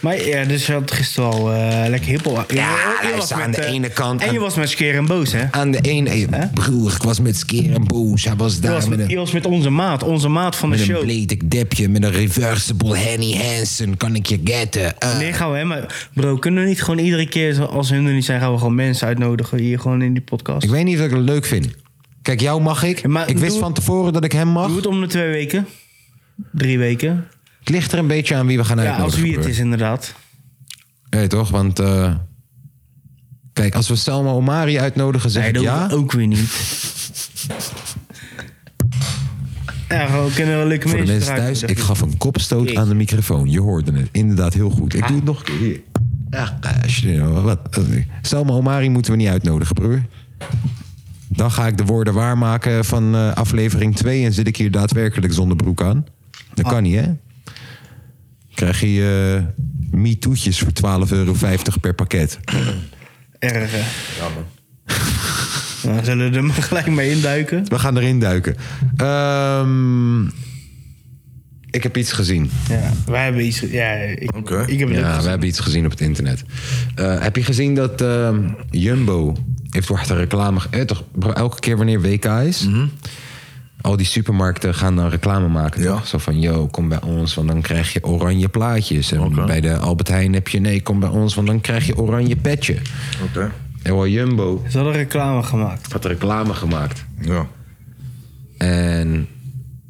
Speaker 3: maar ja, dus je had gisteren al eh, lekker hippel.
Speaker 1: Ja,
Speaker 3: je was
Speaker 1: luister, aan de
Speaker 3: eh,
Speaker 1: ene kant-
Speaker 3: En je
Speaker 1: aan-
Speaker 3: was met Skeer en Boos, hè?
Speaker 1: Aan de ene... eh, Broer, ik was met Skeer en Boos. Hij was
Speaker 3: Je
Speaker 1: daar
Speaker 3: was,
Speaker 1: met
Speaker 3: met, je
Speaker 1: een,
Speaker 3: was met onze maat, onze maat van de
Speaker 1: met een
Speaker 3: show.
Speaker 1: bledig depje. Met een reversible Henny Hansen. Kan ik je getten? Eh,
Speaker 3: Nee, gaan we hè? Maar bro, kunnen we niet gewoon iedere keer, zo- als hun er niet zijn, gaan we gewoon mensen uitnodigen hier gewoon in die podcast?
Speaker 1: Ik weet niet of ik het leuk vind. Kijk, jou mag ik.
Speaker 3: Ja, maar
Speaker 1: ik wist
Speaker 3: doe-
Speaker 1: van tevoren dat ik hem mag.
Speaker 3: Doe het om de twee weken. Drie weken.
Speaker 1: Het ligt er een beetje aan wie we gaan
Speaker 3: Ja,
Speaker 1: uitnodigen.
Speaker 3: als wie het
Speaker 1: broer.
Speaker 3: is inderdaad.
Speaker 1: Nee, toch? Want... eh, kijk, als we Selma Omari uitnodigen, zeg
Speaker 3: Nee,
Speaker 1: ik
Speaker 3: dat
Speaker 1: ja.
Speaker 3: hoeft ook weer niet. Ja, gewoon kunnen we leuke
Speaker 1: Voor de
Speaker 3: mensen
Speaker 1: mensen
Speaker 3: eruit
Speaker 1: thuis,
Speaker 3: nodigen.
Speaker 1: ik gaf een kopstoot aan de microfoon. Je hoorde het inderdaad heel goed. Ik doe het nog een keer hier. Ja, als je- wat? Selma Omari moeten we niet uitnodigen, broer. Dan ga ik de woorden waarmaken van eh, aflevering 2 en zit ik hier daadwerkelijk zonder broek aan. Dat kan niet, hè? Krijg je eh MeToo'tjes voor 12,50 euro per pakket.
Speaker 3: Erg, hè? Dan zullen we er maar gelijk mee induiken.
Speaker 1: We gaan erin duiken. Ehm, ik heb iets gezien.
Speaker 3: Ja, wij hebben iets... Ja, ik,
Speaker 5: Oké.
Speaker 3: ik heb het ook
Speaker 1: Ja, we
Speaker 3: gezien.
Speaker 1: hebben iets gezien op het internet. Eh, heb je gezien dat ehm, Jumbo heeft toch de reclame... ge- eh, toch, bro, elke keer wanneer WK is... Al die supermarkten gaan dan reclame maken.
Speaker 5: Ja.
Speaker 1: toch? Zo van, yo, kom bij ons, want dan krijg je oranje plaatjes. En
Speaker 5: Oké.
Speaker 1: bij de Albert Heijn heb je, nee, kom bij ons, want dan krijg je oranje petje.
Speaker 5: Oké.
Speaker 1: En wel Jumbo
Speaker 3: Ze hadden reclame gemaakt.
Speaker 1: had reclame gemaakt.
Speaker 5: Ja.
Speaker 1: En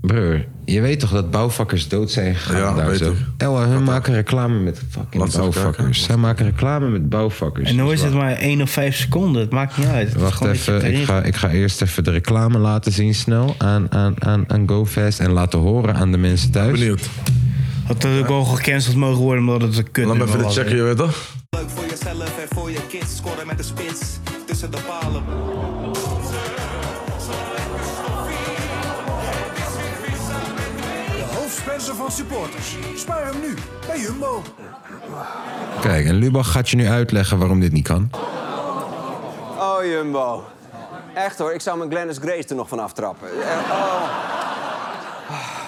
Speaker 1: broer, je weet toch dat bouwvakkers dood zijn gegaan
Speaker 5: Ja,
Speaker 1: daar
Speaker 5: weet
Speaker 1: zo?
Speaker 5: ik.
Speaker 1: Elwa, hun maken reclame met fucking
Speaker 5: Laat ze eens
Speaker 1: bouwvakkers.
Speaker 5: kijken.
Speaker 1: Zij maken reclame met bouwvakkers.
Speaker 3: En dan
Speaker 1: Dus
Speaker 3: is het maar 1 of 5 seconden. Het maakt niet uit. Het is
Speaker 1: Wacht
Speaker 3: gewoon dat je
Speaker 1: even,
Speaker 3: erin-
Speaker 1: ik ga, ik ga eerst even de reclame laten zien snel aan, aan, aan, aan GoFest en laten horen aan de mensen thuis.
Speaker 5: Benieuwd.
Speaker 3: Had dat ook wel gecanceld mogen worden omdat het een kut
Speaker 5: Laat me even dit
Speaker 3: was.
Speaker 5: checken, je weet toch?
Speaker 8: Leuk voor jezelf en voor je kids. Scoren met de spits tussen de palen.
Speaker 7: De hoofdsponsor van supporters. Spaar hem nu bij Jumbo.
Speaker 1: Kijk, en Lubach gaat je nu uitleggen waarom dit niet kan.
Speaker 8: Oh, Jumbo. Echt hoor, ik zou mijn Glennis Grace er nog van aftrappen. Eh, Oh.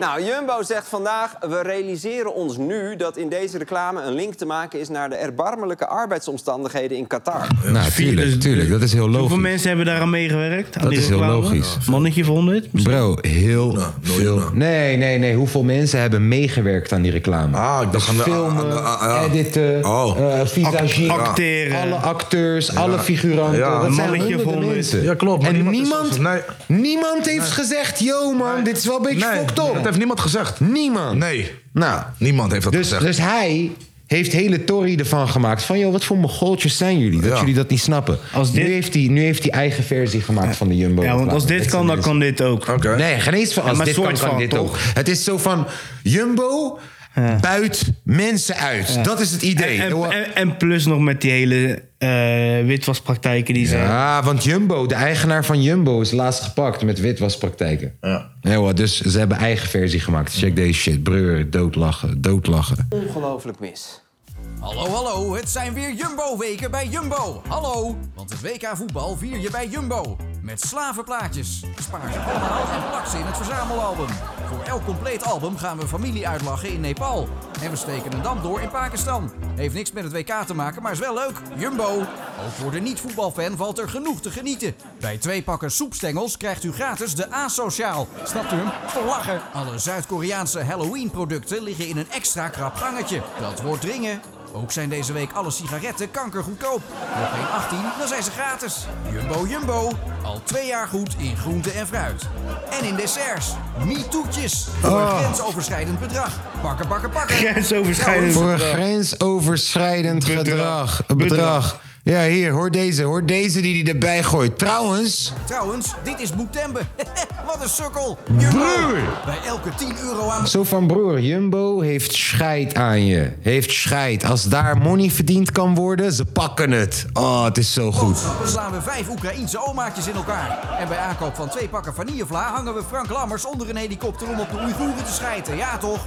Speaker 8: Nou, Jumbo zegt vandaag... we realiseren ons nu dat in deze reclame een link te maken is... naar de erbarmelijke arbeidsomstandigheden in Qatar.
Speaker 1: nou, tuurlijk,
Speaker 3: dus-
Speaker 1: tuurlijk, dat is heel
Speaker 3: Hoeveel
Speaker 1: logisch.
Speaker 3: mensen hebben daaraan meegewerkt? Aan
Speaker 1: Dat
Speaker 3: die
Speaker 1: is heel
Speaker 3: reclame?
Speaker 1: logisch.
Speaker 3: Mannetje voor 100?
Speaker 1: Bro, heel
Speaker 5: Nou, miljoenen.
Speaker 1: veel. Nee, nee, nee. Hoeveel mensen hebben meegewerkt aan die reclame? Dus
Speaker 5: Ah, ik dacht aan de-
Speaker 1: filmen,
Speaker 5: aan de- ah, ja.
Speaker 1: editen,
Speaker 5: Oh.
Speaker 1: eh, visagieren,
Speaker 3: Ac- acteren.
Speaker 1: alle acteurs, alle figuranten.
Speaker 5: Ja,
Speaker 1: dat zijn
Speaker 3: mannetje
Speaker 1: honderden
Speaker 3: vol
Speaker 1: mensen.
Speaker 5: Ja, klopt, maar
Speaker 1: En
Speaker 5: niemand is
Speaker 1: niemand,
Speaker 5: ons- nee.
Speaker 1: niemand heeft gezegd, yo man, dit is wel een beetje fucked up.
Speaker 5: dat heeft niemand gezegd.
Speaker 1: Niemand.
Speaker 5: Nee,
Speaker 1: Nou,
Speaker 5: niemand heeft dat
Speaker 1: dus,
Speaker 5: gezegd.
Speaker 1: dus hij heeft hele tory ervan gemaakt. Van, joh, wat voor mogoltjes zijn jullie? Dat
Speaker 5: Ja.
Speaker 1: jullie dat niet snappen.
Speaker 3: Als dit-
Speaker 1: Nu, heeft hij, nu heeft hij eigen versie gemaakt van de Jumbo.
Speaker 3: Ja, want als
Speaker 1: reclame.
Speaker 3: dit
Speaker 1: Dat
Speaker 3: kan,
Speaker 1: zijn
Speaker 3: dan kan dit ook.
Speaker 5: Oké.
Speaker 1: Nee, geen eens van als
Speaker 3: maar
Speaker 1: dit kan,
Speaker 3: soort
Speaker 1: kan
Speaker 3: van,
Speaker 1: dit
Speaker 3: toch?
Speaker 1: ook. Het is zo van, Jumbo buit mensen uit. Dat is het idee.
Speaker 3: En, en, en plus nog met die hele eh, witwaspraktijken die zijn.
Speaker 1: ja, want Jumbo, de eigenaar van Jumbo, is laatst gepakt met witwaspraktijken.
Speaker 5: Ja.
Speaker 1: Nee, hoor, dus ze hebben eigen versie gemaakt. Check deze shit. Breur, doodlachen, doodlachen.
Speaker 8: Ongelooflijk mis.
Speaker 9: Hallo, hallo, het zijn weer Jumbo-weken bij Jumbo. Hallo, want het WK voetbal vier je bij Jumbo. Met slavenplaatjes. Spaar ze allemaal en plak ze in het verzamelalbum. Voor elk compleet album gaan we familie uitlachen in Nepal. En we steken een dam door in Pakistan. Heeft niks met het WK te maken, maar is wel leuk. Jumbo. Ook voor de niet-voetbalfan valt er genoeg te genieten. Bij twee pakken soepstengels krijgt u gratis de asociaal. Snapt u hem? Voor lachen. Alle Zuid-Koreaanse Halloween-producten liggen in een extra krap gangetje. Dat wordt dringen. Ook zijn deze week alle sigaretten kankergoedkoop. Nog geen 18, dan zijn ze gratis. Jumbo Jumbo, al twee jaar goed in groente en fruit. En in desserts,
Speaker 4: Ah.
Speaker 9: MeToo'tjes. Voor een grensoverschrijdend bedrag. Pakken, pakken, pakken.
Speaker 3: Grensoverschrijdend.
Speaker 1: Voor een grensoverschrijdend gedrag.
Speaker 3: Bedrag.
Speaker 1: Bedrag. Ja, hier, hoor deze. Hoor deze die hij erbij gooit. Trouwens,
Speaker 9: Trouwens, dit is Boetembe. Wat een sukkel. Jumbo, bij elke 10 euro aan
Speaker 1: Zo van broer, Jumbo heeft scheid aan je. Heeft scheid. Als daar money verdiend kan worden, ze pakken het. Oh, het is zo goed.
Speaker 9: boodschappen slaan we vijf Oekraïense omaatjes in elkaar. En bij aankoop van twee pakken vanillevla hangen we Frank Lammers onder een helikopter om op de Oeigoeren te schijten. Ja toch?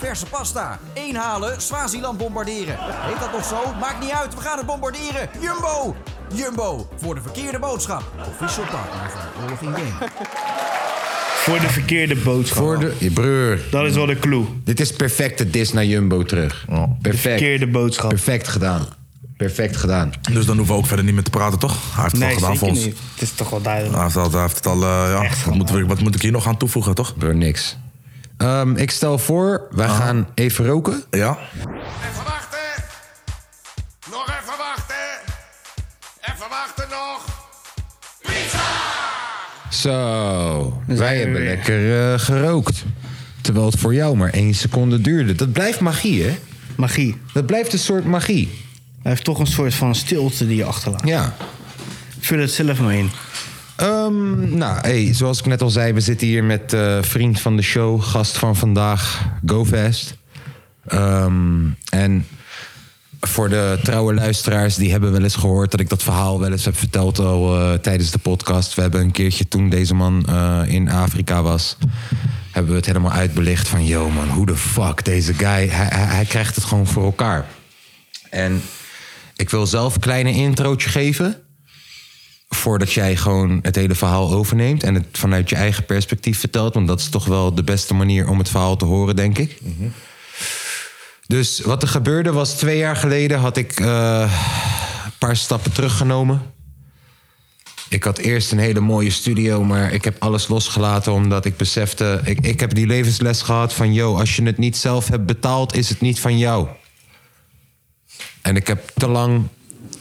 Speaker 9: Verse pasta. Eén halen, Swaziland bombarderen. Heet dat nog zo? Maakt niet uit, we gaan het bombarderen. Jumbo! Jumbo, voor de verkeerde boodschap. Official partner van Oorlog in Game.
Speaker 3: Voor de verkeerde boodschap.
Speaker 1: Voor de, je broer,
Speaker 3: Dat is wel de clue.
Speaker 1: dit is perfecte dis naar Jumbo terug. Perfect.
Speaker 3: Verkeerde boodschap.
Speaker 1: Perfect gedaan. Perfect gedaan.
Speaker 5: Dus dan hoeven we ook verder niet meer te praten, toch? Hij heeft het al
Speaker 3: Nee,
Speaker 5: gedaan voor
Speaker 3: zeker
Speaker 5: ons.
Speaker 3: niet. Het is toch wel duidelijk.
Speaker 5: Hij heeft het al, hij heeft het al eh, ja. Wat moet, ik- wat moet ik hier nog aan toevoegen, toch?
Speaker 1: Broer, niks. Ehm, ik stel voor, wij gaan even roken.
Speaker 5: Ja?
Speaker 7: Even wachten. Nog even wachten. Even wachten nog.
Speaker 1: Zo,
Speaker 3: zijn
Speaker 1: wij
Speaker 3: we
Speaker 1: hebben
Speaker 3: weer.
Speaker 1: lekker eh, gerookt. Terwijl het voor jou maar één seconde duurde. Dat blijft magie, hè?
Speaker 3: Magie.
Speaker 1: Dat blijft een soort magie.
Speaker 3: Hij heeft toch een soort van stilte die je achterlaat.
Speaker 1: Ja.
Speaker 3: Vul het zelf maar in.
Speaker 1: Ehm, nou, hey, zoals ik net al zei, we zitten hier met eh, vriend van de show, gast van vandaag, GoFest. Ehm, en voor de trouwe luisteraars, die hebben wel eens gehoord dat ik dat verhaal wel eens heb verteld al eh, tijdens de podcast. We hebben een keertje toen deze man eh, in Afrika was, hebben we het helemaal uitbelicht van... yo man, hoe de fuck, deze guy, hij, hij, hij krijgt het gewoon voor elkaar. En ik wil zelf een kleine introotje geven... voordat jij gewoon het hele verhaal overneemt... en het vanuit je eigen perspectief vertelt... want dat is toch wel de beste manier om het verhaal te horen, denk ik. Dus wat er gebeurde was twee jaar geleden had ik eh, een paar stappen teruggenomen. Ik had eerst een hele mooie studio, maar ik heb alles losgelaten omdat ik besefte. Ik, ik heb die levensles gehad van: yo, als je het niet zelf hebt betaald, is het niet van jou. En ik heb te lang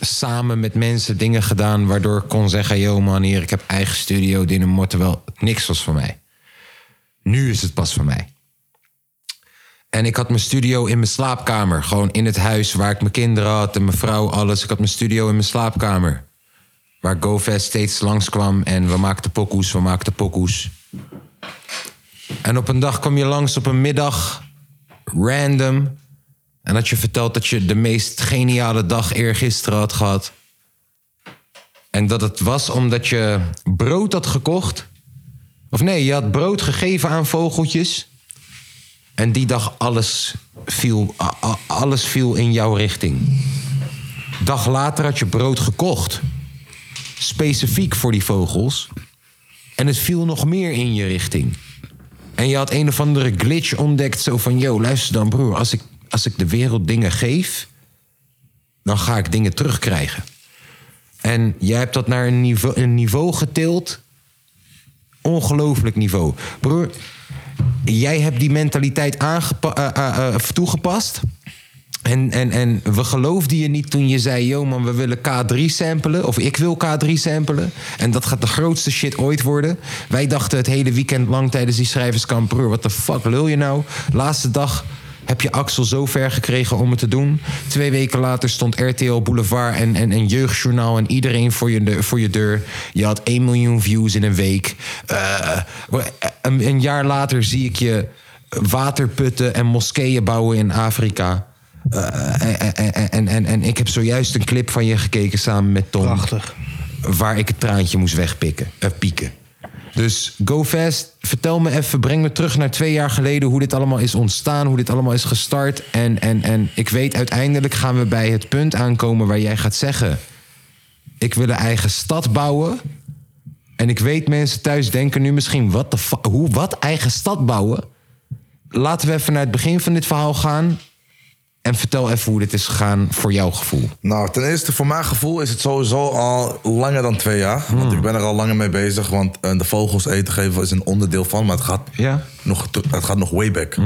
Speaker 1: samen met mensen dingen gedaan waardoor ik kon zeggen: yo, man, hier, ik heb eigen studio, Dinamo, terwijl niks was van mij. Nu is het pas van mij. En ik had mijn studio in mijn slaapkamer. Gewoon in het huis waar ik mijn kinderen had en mijn vrouw, alles. Ik had mijn studio in mijn slaapkamer. Waar GoFest steeds langskwam en we maakten pokoes, we maakten pokoes. En op een dag kwam je langs op een middag, random. En had je verteld dat je de meest geniale dag eergisteren had gehad. En dat het was omdat je brood had gekocht. Of nee, je had brood gegeven aan vogeltjes. En die dag alles viel, a- a- alles viel in jouw richting. Dag later had je brood gekocht. Specifiek voor die vogels. En het viel nog meer in je richting. En je had een of andere glitch ontdekt. Zo van, yo, luister dan broer. Als ik, als ik de wereld dingen geef... dan ga ik dingen terugkrijgen. En jij hebt dat naar een niveau, een niveau getild. Ongelooflijk niveau. Broer, jij hebt die mentaliteit aangepa- eh, eh, eh, toegepast. En, en, en we geloofden je niet toen je zei: Yo, man, we willen K3 samplen. Of ik wil K3 samplen. En dat gaat de grootste shit ooit worden. Wij dachten het hele weekend lang tijdens die schrijverskamp: Broer, wat de fuck lul je nou? Laatste dag heb je Axel zo ver gekregen om het te doen. Twee weken later stond RTL Boulevard en, en, en Jeugdjournaal en iedereen voor je, de- voor je deur. Je had 1 miljoen views in een week. Eh, een, een jaar later zie ik je waterputten en moskeeën bouwen in Afrika. Eh, en, en, en, en, en ik heb zojuist een clip van je gekeken samen met Tom. Prachtig. Waar ik het traantje moest wegpikken, eh, pieken. Dus go fast, vertel me even, breng me terug naar twee jaar geleden... hoe dit allemaal is ontstaan, hoe dit allemaal is gestart. En, en, en ik weet, uiteindelijk gaan we bij het punt aankomen waar jij gaat zeggen... ik wil een eigen stad bouwen. En ik weet, mensen thuis denken nu misschien... wat de fu- hoe, wat, eigen stad bouwen? Laten we even naar het begin van dit verhaal gaan... en vertel even hoe dit is gegaan voor jouw gevoel.
Speaker 5: Nou, ten eerste, voor mijn gevoel is het sowieso al langer dan twee jaar.
Speaker 3: Hmm.
Speaker 5: Want ik ben er al langer mee bezig. Want eh, de vogels eten geven is een onderdeel van. Maar het gaat, nog, te- het gaat nog way back.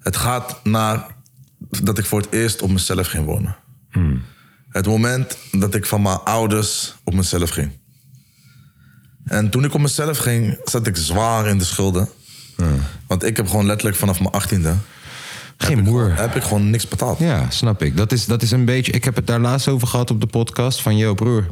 Speaker 5: Het gaat naar dat ik voor het eerst op mezelf ging wonen. Het moment dat ik van mijn ouders op mezelf ging. En toen ik op mezelf ging, zat ik zwaar in de schulden. Want ik heb gewoon letterlijk vanaf mijn achttiende...
Speaker 1: Geen moer.
Speaker 5: Heb ik gewoon niks betaald.
Speaker 1: Ja, snap ik. Dat is, dat is een beetje. Ik heb het daar laatst over gehad op de podcast van yo broer.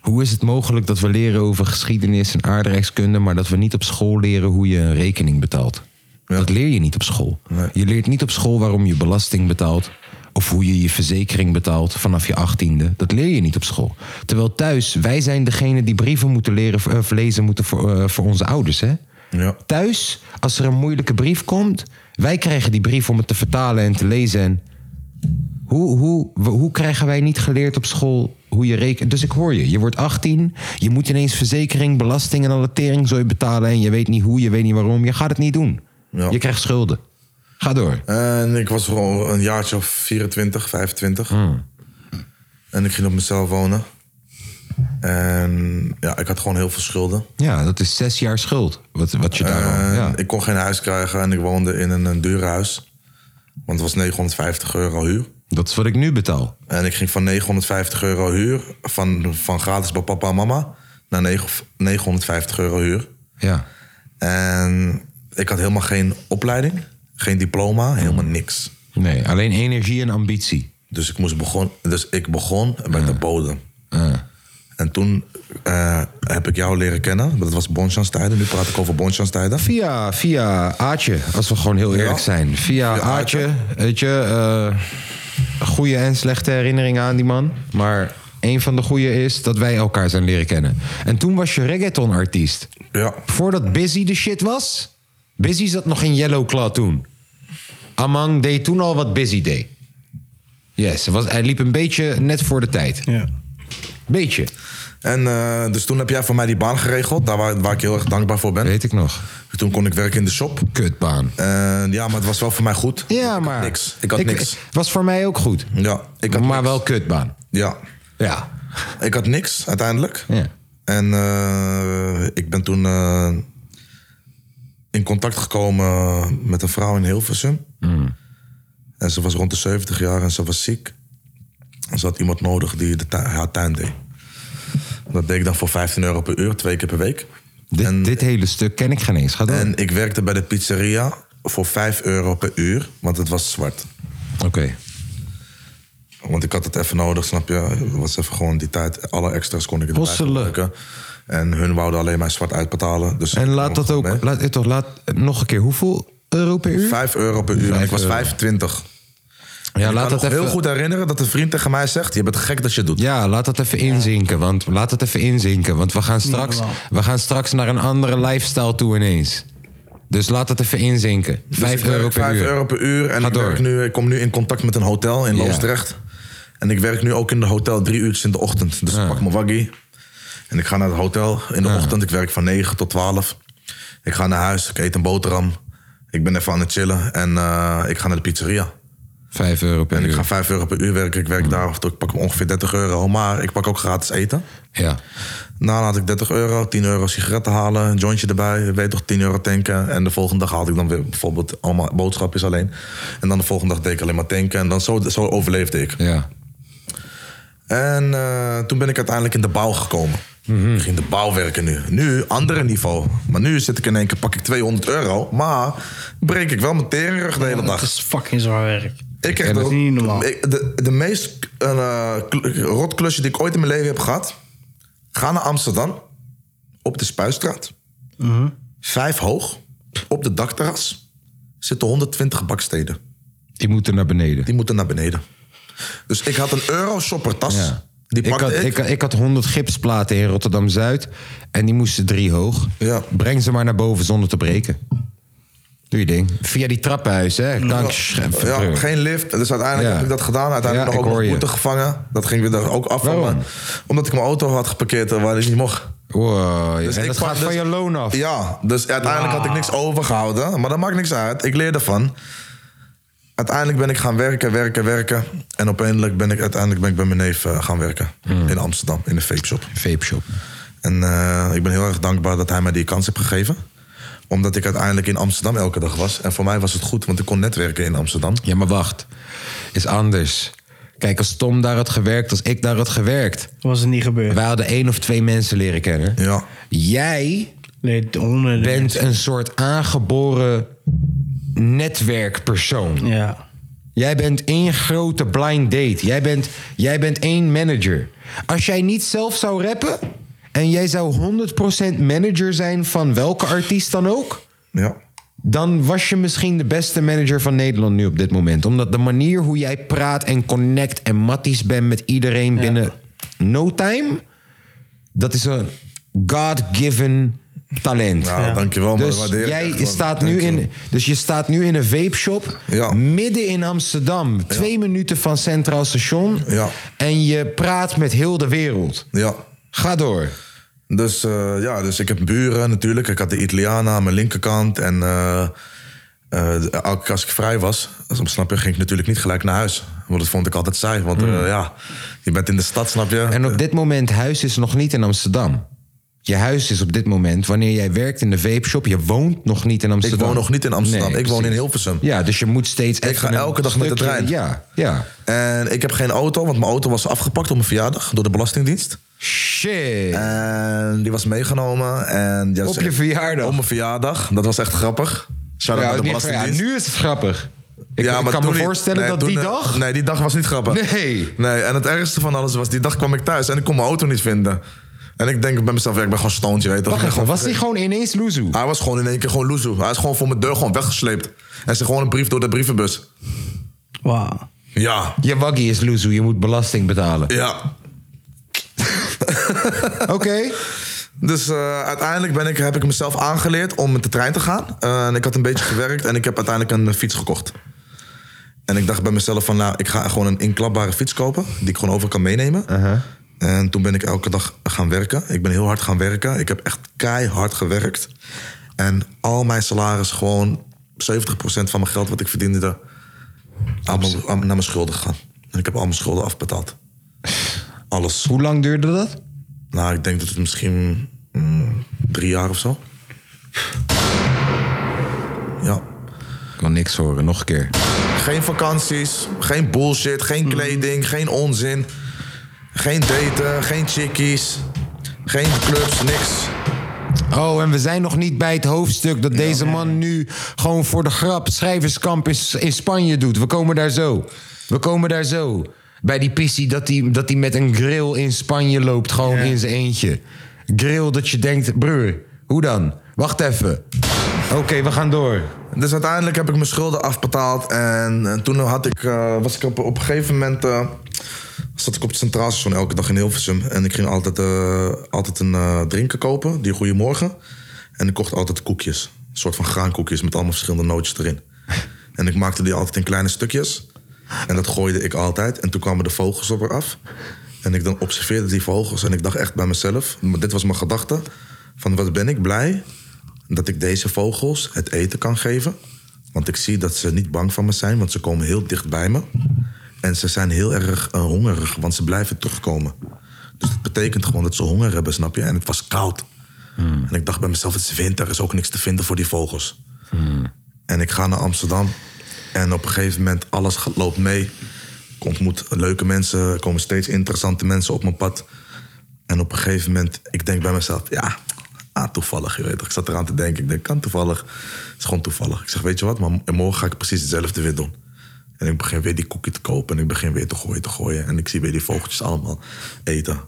Speaker 1: Hoe is het mogelijk dat we leren over geschiedenis en aardrijkskunde, maar dat we niet op school leren hoe je een rekening betaalt? Dat leer je niet op school. Je leert niet op school waarom je belasting betaalt. Of hoe je je verzekering betaalt vanaf je achttiende. Dat leer je niet op school. Terwijl thuis, wij zijn degene die brieven moeten leren of lezen moeten voor, eh, voor onze ouders. Hè? Thuis, als er een moeilijke brief komt, wij krijgen die brief om het te vertalen en te lezen. En hoe, hoe, w- hoe krijgen wij niet geleerd op school hoe je rekent? Dus ik hoor je. Je wordt 18, je moet ineens verzekering, belasting en alle teringzooi betalen. En je weet niet hoe, je weet niet waarom. Je gaat het niet doen. Je krijgt schulden. Ga door.
Speaker 5: En ik was gewoon een jaartje of 24, 25. En ik ging op mezelf wonen. En ja, ik had gewoon heel veel schulden.
Speaker 1: Ja, dat is zes jaar schuld. Wat, wat je daar.
Speaker 5: En Ik kon geen huis krijgen en ik woonde in een, een duur huis. Want het was 950 euro huur.
Speaker 1: Dat is wat ik nu betaal.
Speaker 5: En ik ging van 950 euro huur, van, van gratis bij papa en mama, naar negen- 950 euro huur.
Speaker 1: Ja.
Speaker 5: En ik had helemaal geen opleiding, geen diploma, helemaal niks.
Speaker 1: Nee, alleen energie en ambitie.
Speaker 5: Dus ik, moest begon, dus ik begon bij de bodem. En toen eh, heb ik jou leren kennen. Dat was Bonchans tijden. Nu praat ik over Bonchans tijden.
Speaker 1: Via, via Aatje, als we gewoon heel eerlijk zijn. Via Aatje, weet je, eh, goede en slechte herinneringen aan die man. Maar een van de goede is dat wij elkaar zijn leren kennen. En toen was je reggaeton-artiest.
Speaker 5: Ja.
Speaker 1: Voordat Busy de shit was, Busy zat nog in Yellow Claw toen. Amang deed toen al wat Busy deed. Yes, hij was, hij liep een beetje net voor de tijd.
Speaker 3: Ja.
Speaker 1: Beetje.
Speaker 5: En eh, dus toen heb jij voor mij die baan geregeld, daar waar, waar ik heel erg dankbaar voor ben.
Speaker 1: Weet ik nog.
Speaker 5: Toen kon ik werken in de shop.
Speaker 1: Kutbaan.
Speaker 5: En ja, maar het was wel voor mij goed.
Speaker 1: Ja, maar...
Speaker 5: Niks. Ik had niks.
Speaker 1: Was voor mij ook goed.
Speaker 5: Ja, ik had
Speaker 1: maar wel kutbaan.
Speaker 5: Ja.
Speaker 1: Ja.
Speaker 5: Ik had niks uiteindelijk.
Speaker 1: Ja.
Speaker 5: En eh, ik ben toen eh, in contact gekomen met een vrouw in Hilversum.
Speaker 1: Mm.
Speaker 5: En ze was rond de 70 jaar en ze was ziek. En ze had iemand nodig die de tuin, haar tuin deed. Dat deed ik dan voor 15 euro per uur, twee keer per week.
Speaker 1: Dit, dit hele stuk ken ik geen eens. Ga door.
Speaker 5: En ik werkte bij de pizzeria voor 5 euro per uur, want het was zwart.
Speaker 1: Oké.
Speaker 5: Want ik had het even nodig, snap je? Het was even gewoon die tijd. Alle extra's kon ik erbij
Speaker 1: Hosselen.
Speaker 5: gebruiken. En hun wouden alleen maar zwart uitbetalen. Dus
Speaker 1: En laat dat ook... Laat, eh, toch, laat, eh, nog een keer, hoeveel euro per uur?
Speaker 5: 5 euro per uur. En ik
Speaker 1: Vijf
Speaker 5: was
Speaker 1: euro.
Speaker 5: 25.
Speaker 1: Ja,
Speaker 5: ik
Speaker 1: laat
Speaker 5: kan
Speaker 1: dat
Speaker 5: nog
Speaker 1: even...
Speaker 5: heel goed herinneren dat een vriend tegen mij zegt... je bent gek dat je het doet.
Speaker 1: Ja, laat dat even inzinken. Want laat dat even inzinken. Want we gaan straks,
Speaker 3: normaal.
Speaker 1: we gaan straks naar een andere lifestyle toe ineens. Dus laat dat even inzinken.
Speaker 5: Dus
Speaker 1: Vijf
Speaker 5: ik werk
Speaker 1: euro per
Speaker 5: vijf
Speaker 1: uur.
Speaker 5: euro per uur. En
Speaker 1: Ga
Speaker 5: ik,
Speaker 1: door.
Speaker 5: werk nu, ik kom nu in contact met een hotel in
Speaker 1: Ja.
Speaker 5: Loosdrecht. En ik werk nu ook in de hotel drie uurtjes in de ochtend. Dus ik pak mijn waggie. En ik ga naar het hotel in de ochtend. Ik werk van 9 tot 12. Ik ga naar huis. Ik eet een boterham. Ik ben even aan het chillen. En eh, ik ga naar de pizzeria.
Speaker 1: Vijf euro per
Speaker 5: En ik
Speaker 1: uur.
Speaker 5: ga 5 euro per uur werken. Ik werk daar, ik pak ongeveer 30 euro. Maar ik pak ook gratis eten.
Speaker 1: Ja.
Speaker 5: Nou, had ik 30 euro, 10 euro sigaretten halen, een jointje erbij. Je weet toch, 10 euro tanken. En de volgende dag haalde ik dan weer bijvoorbeeld allemaal boodschapjes alleen. En dan de volgende dag deed ik alleen maar tanken. En dan zo, zo overleefde ik.
Speaker 1: ja.
Speaker 5: En eh, toen ben ik uiteindelijk in de bouw gekomen. Ik ging de bouw werken nu. Nu, andere niveau. Maar nu zit ik in één keer, pak ik 200 euro. Maar breek ik wel mijn teringrug de hele
Speaker 3: Dat
Speaker 5: dag.
Speaker 3: is fucking zwaar werk.
Speaker 5: Ik krijg
Speaker 3: ken
Speaker 5: de,
Speaker 3: het niet normaal.
Speaker 5: ik- de, de meest eh, kl- rotklusje die ik ooit in mijn leven heb gehad. Ga naar Amsterdam. Op de Spuistraat.
Speaker 1: Mhm.
Speaker 5: Vijf hoog. Op de dakterras. Zitten 120 baksteden.
Speaker 1: Die moeten naar beneden.
Speaker 5: Die moeten naar beneden. Dus ik had een euro-shopper tas.
Speaker 1: Ja.
Speaker 5: Die
Speaker 1: Ik
Speaker 5: pakte
Speaker 1: had,
Speaker 5: ik.
Speaker 1: ik, ik had 100 gipsplaten in Rotterdam Zuid. En die moesten drie hoog.
Speaker 5: Ja.
Speaker 1: Breng ze maar naar boven zonder te breken. Doe je ding. Via die trappenhuis, hè? Dank.
Speaker 5: ja, geen lift. Dus uiteindelijk
Speaker 1: Ja.
Speaker 5: heb ik dat gedaan. Uiteindelijk
Speaker 1: Ja,
Speaker 5: nog
Speaker 1: ik
Speaker 5: ook
Speaker 1: hoor
Speaker 5: nog
Speaker 1: je.
Speaker 5: boete gevangen. Dat ging weer daar ook af. van
Speaker 1: Waarom?
Speaker 5: me. Omdat ik mijn auto had geparkeerd eh, waar ik niet mocht.
Speaker 1: Wow,
Speaker 5: Dus
Speaker 1: en
Speaker 5: ik
Speaker 1: dat
Speaker 5: pak
Speaker 1: gaat
Speaker 5: dus-
Speaker 1: van je loon af.
Speaker 5: Ja, dus uiteindelijk had ik niks
Speaker 1: Ah.
Speaker 5: overgehouden. Maar dat maakt niks uit. Ik leer ervan. Uiteindelijk ben ik gaan werken, werken, werken. En opeindelijk ben ik, uiteindelijk ben ik bij mijn neef eh, gaan werken.
Speaker 1: Hmm.
Speaker 5: In Amsterdam, in een vape shop.
Speaker 1: Vape shop.
Speaker 5: En eh, ik ben heel erg dankbaar dat hij mij die kans heeft gegeven. Omdat ik uiteindelijk in Amsterdam elke dag was. En voor mij was het goed, want ik kon netwerken in Amsterdam.
Speaker 1: Ja, maar wacht. Is anders. Kijk, als Tom daar had gewerkt, als ik daar had gewerkt.
Speaker 3: Was het niet gebeurd.
Speaker 1: Wij hadden één of twee mensen leren kennen.
Speaker 5: Ja,
Speaker 1: Jij
Speaker 3: Nee, de honderden.
Speaker 1: bent een soort aangeboren netwerkpersoon.
Speaker 3: Ja.
Speaker 1: Jij bent één grote blind date. Jij bent, jij bent één manager. Als jij niet zelf zou rappen en jij zou 100% manager zijn van welke artiest dan ook,
Speaker 5: ja.
Speaker 1: dan was je misschien de beste manager van Nederland nu op dit moment. Omdat de manier hoe jij praat en connect en matties bent met iedereen binnen no time, dat is een God-given talent.
Speaker 5: Nou, dankjewel. man.
Speaker 1: Dus
Speaker 5: Dat waardeer ik
Speaker 1: jij
Speaker 5: echt wel.
Speaker 1: staat nu
Speaker 5: Dankjewel.
Speaker 1: in, dus je staat nu in een vape shop
Speaker 5: Ja.
Speaker 1: midden in Amsterdam, twee minuten van Centraal Station,
Speaker 5: Ja.
Speaker 1: en je praat met heel de wereld.
Speaker 5: Ja,
Speaker 1: Ga door.
Speaker 5: Dus eh, ja, dus ik heb buren natuurlijk. Ik had de Italiana aan mijn linkerkant. En eh, eh, elke keer als ik vrij was, soms snap je, ging ik natuurlijk niet gelijk naar huis. Want dat vond ik altijd saai. Want eh, ja, je bent in de stad, snap je?
Speaker 1: Hmm. En op dit moment, huis is nog niet in Amsterdam. Je huis is op dit moment, wanneer jij werkt in de vape-shop, je woont nog niet in
Speaker 5: ik
Speaker 1: Amsterdam.
Speaker 5: woon nog niet in Amsterdam.
Speaker 1: Nee,
Speaker 5: ik woon in
Speaker 1: precies.
Speaker 5: Hilversum.
Speaker 1: Ja, dus je moet steeds. Ik
Speaker 5: ga elke dag met de trein.
Speaker 1: Ja, ja.
Speaker 5: En ik heb geen auto, want mijn auto was afgepakt op mijn verjaardag door de Belastingdienst.
Speaker 1: Shit.
Speaker 5: En die was meegenomen. En, ja,
Speaker 1: Op
Speaker 5: ze-
Speaker 1: je verjaardag?
Speaker 5: Op mijn verjaardag. Dat was echt grappig. Shout out
Speaker 1: Ja,
Speaker 5: naar de
Speaker 1: niet- ja,
Speaker 5: Belastingdienst.
Speaker 1: nu is het grappig. Ik, ik kan
Speaker 5: toen
Speaker 1: me
Speaker 5: niet.
Speaker 1: voorstellen
Speaker 5: Nee,
Speaker 1: dat
Speaker 5: toen,
Speaker 1: die
Speaker 5: eh,
Speaker 1: dag.
Speaker 5: Nee, die dag was niet grappig.
Speaker 1: Nee.
Speaker 5: Nee, en het ergste van alles was, die dag kwam ik thuis en ik kon mijn auto niet vinden. En ik denk bij mezelf, ja, ik ben gewoon stoned, je weet toch? Ik
Speaker 1: Wacht
Speaker 5: ben
Speaker 1: even,
Speaker 5: gewoon
Speaker 1: was die gewoon ineens Loezoe?
Speaker 5: Hij was gewoon in één keer gewoon loezoe. Hij is gewoon voor mijn deur gewoon weggesleept. En ze gewoon een brief door de brievenbus.
Speaker 3: Wauw.
Speaker 5: Ja,
Speaker 1: Je waggie is Loezoe, je moet belasting betalen.
Speaker 5: ja.
Speaker 1: Oké.
Speaker 5: Dus eh, uiteindelijk ben ik, heb ik mezelf aangeleerd om met de trein te gaan. Eh, en ik had een beetje gewerkt en ik heb uiteindelijk een eh, fiets gekocht. En ik dacht bij mezelf van, nou, ik ga gewoon een inklapbare fiets kopen... die ik gewoon over kan meenemen. En toen ben ik elke dag gaan werken. Ik ben heel hard gaan werken. Ik heb echt keihard gewerkt. En al mijn salaris gewoon... 70% van mijn geld wat ik verdiende... Aan mijn, aan- naar mijn schulden gegaan. En ik heb al mijn schulden afbetaald. Alles.
Speaker 1: Hoe lang duurde dat?
Speaker 5: Nou, ik denk dat het misschien mm, drie jaar of zo. Ja.
Speaker 1: Ik kan niks horen, nog een keer.
Speaker 5: Geen vakanties, geen bullshit, geen kleding, geen onzin. Geen daten, geen chickies, geen clubs, niks.
Speaker 1: Oh, en we zijn nog niet bij het hoofdstuk dat deze man nu gewoon voor de grap schrijverskamp in, in Spanje doet. We komen daar zo. We komen daar zo. Bij die pissie dat hij dat die met een grill in Spanje loopt, gewoon in zijn eentje. Grill dat je denkt, broer, hoe dan? Wacht even. Oké, we gaan door.
Speaker 5: Dus uiteindelijk heb ik mijn schulden afbetaald. En, en toen had ik, eh, was ik op, op een gegeven moment. eh, zat ik op het Centraal Station elke dag in Hilversum. En ik ging altijd, eh, altijd een eh, drinken kopen, die Goeiemorgen. En ik kocht altijd koekjes. Een soort van graankoekjes met allemaal verschillende nootjes erin. En ik maakte die altijd in kleine stukjes. En dat gooide ik altijd. En toen kwamen de vogels op haar af. En ik dan observeerde die vogels. En ik dacht echt bij mezelf, maar dit was mijn gedachte. Van wat ben ik blij dat ik deze vogels het eten kan geven. Want ik zie dat ze niet bang van me zijn, want ze komen heel dicht bij me. En ze zijn heel erg eh, hongerig, want ze blijven terugkomen. Dus dat betekent gewoon dat ze honger hebben, snap je? En het was koud. En ik dacht bij mezelf, het is winter, er is ook niks te vinden voor die vogels. En ik ga naar Amsterdam. En op een gegeven moment, alles gaat- loopt mee. Ik ontmoet leuke mensen, er komen steeds interessante mensen op mijn pad. En op een gegeven moment, ik denk bij mezelf, ja, ah, toevallig. Je weet, toch. ik zat eraan te denken, ik denk, kan toevallig. Het is gewoon toevallig. Ik zeg, weet je wat, maar morgen ga ik precies hetzelfde weer doen. En ik begin weer die koekje te kopen en ik begin weer te gooien, te gooien. En ik zie weer die vogeltjes allemaal eten.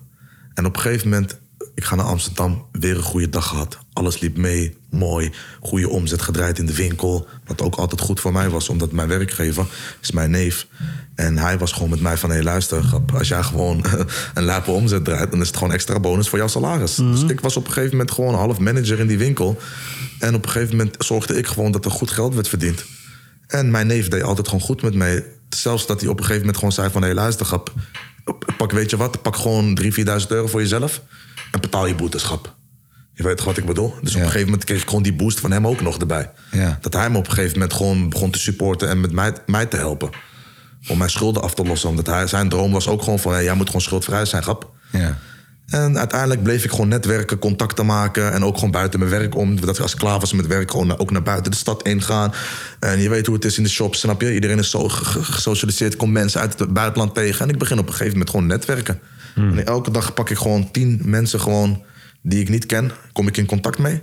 Speaker 5: En op een gegeven moment, ik ga naar Amsterdam, weer een goede dag gehad. Alles liep mee, mooi, goede omzet gedraaid in de winkel. Wat ook altijd goed voor mij was, omdat mijn werkgever is mijn neef. En hij was gewoon met mij van, hé hey, luister, grap, als jij gewoon een lape omzet draait... dan is het gewoon extra bonus voor jouw salaris. Dus ik was op een gegeven moment gewoon half manager in die winkel. En op een gegeven moment zorgde ik gewoon dat er goed geld werd verdiend. En mijn neef deed altijd gewoon goed met mij. Zelfs dat hij op een gegeven moment gewoon zei van... hé, luister, grap, pak, weet je wat, pak gewoon 3.000, 4.000 euro voor jezelf... en betaal je boetes, grap. Je weet toch wat ik bedoel? Dus op een gegeven moment kreeg ik gewoon die boost van hem ook nog erbij.
Speaker 1: Ja.
Speaker 5: Dat hij me op een gegeven moment gewoon begon te supporten... en met mij, mij te helpen. Om mijn schulden af te lossen. Omdat hij, zijn droom was ook gewoon van... hé, jij moet gewoon schuldvrij zijn, grap.
Speaker 1: Ja.
Speaker 5: En uiteindelijk bleef ik gewoon netwerken, contacten maken. En ook gewoon buiten mijn werk om. Dat ik als ik klaar was met werk, gewoon naar- ook naar buiten de stad ingaan. En je weet hoe het is in de shops, snap je? Iedereen is zo ge- ge- gesocialiseerd, komt mensen uit het buitenland tegen. En ik begin op een gegeven moment gewoon netwerken. En elke dag pak ik gewoon tien mensen gewoon die ik niet ken. Kom ik in contact mee.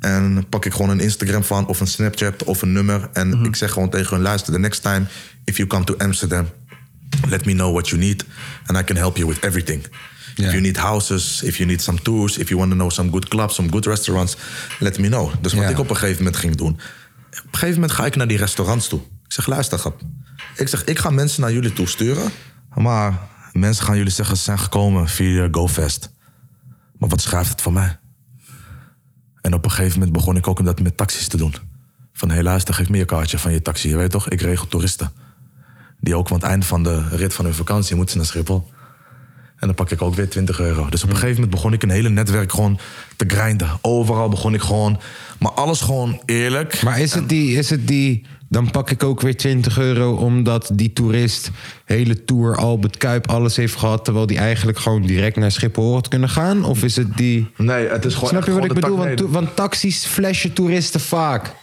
Speaker 5: En pak ik gewoon een Instagram van of een Snapchat of een nummer. En ik zeg gewoon tegen hun, luister, the next time if you come to Amsterdam... let me know what you need and I can help you with everything. If you need houses, if you need some tours, if you want to know some good clubs, some good restaurants, let me know. Dus wat
Speaker 1: Ja.
Speaker 5: ik op een gegeven moment ging doen. Op een gegeven moment ga ik naar die restaurants toe. Ik zeg, luister, grap. Ik zeg, ik ga mensen naar jullie toe sturen. Maar mensen gaan jullie zeggen, ze zijn gekomen via GoFest. Maar wat schrijft het voor mij? En op een gegeven moment begon ik ook dat met taxis te doen. Van hé, luister, geef me je kaartje van je taxi. Je weet toch, ik regel toeristen. Die ook aan het eind van de rit van hun vakantie moeten ze naar Schiphol. En dan pak ik ook weer 20 euro. Dus op
Speaker 1: Hmm.
Speaker 5: een gegeven moment begon ik een hele netwerk gewoon te grinden. Overal begon ik gewoon. Maar alles gewoon eerlijk.
Speaker 1: Maar is het, die, is het die, dan pak ik ook weer 20 euro omdat die toerist hele tour Albert Kuip alles heeft gehad, terwijl die eigenlijk gewoon direct naar Schiphol had kunnen gaan? Of is het die...
Speaker 5: Nee, het is gewoon.
Speaker 1: Snap je
Speaker 5: echt
Speaker 1: wat ik
Speaker 5: gewoon de
Speaker 1: bedoel?
Speaker 5: tak- Mm.
Speaker 1: Want,
Speaker 5: nee,
Speaker 1: to- want taxis flashen toeristen vaak.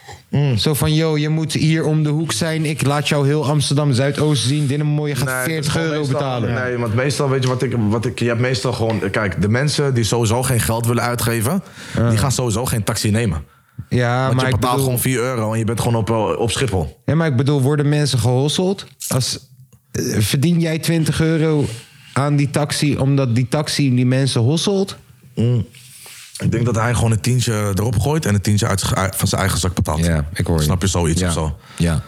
Speaker 1: Zo van, yo, je moet hier om de hoek zijn. Ik laat jou heel Amsterdam Zuidoost zien. Dit een mooie gaat
Speaker 5: Nee, het is
Speaker 1: 40
Speaker 5: gewoon
Speaker 1: euro
Speaker 5: meestal-
Speaker 1: betalen.
Speaker 5: Nee, want meestal weet je wat ik, wat ik. Je hebt meestal gewoon. Kijk, de mensen die sowieso geen geld willen uitgeven. die gaan sowieso geen taxi nemen.
Speaker 1: Ja,
Speaker 5: Want
Speaker 1: maar
Speaker 5: je
Speaker 1: ik,
Speaker 5: betaalt
Speaker 1: bedoel,
Speaker 5: gewoon 4 euro en je bent gewoon op, eh, op Schiphol.
Speaker 1: ja, maar ik bedoel, worden mensen gehosseld? Als, eh, verdien jij 20 euro aan die taxi omdat die taxi die mensen hosselt?
Speaker 5: Ik denk dat hij gewoon een tientje erop gooit en een tientje uit, zijn- uit- van zijn eigen zak betaalt.
Speaker 1: Ja, ik hoor je.
Speaker 5: Snap je zoiets
Speaker 1: Ja.
Speaker 5: of zo?
Speaker 1: Ja,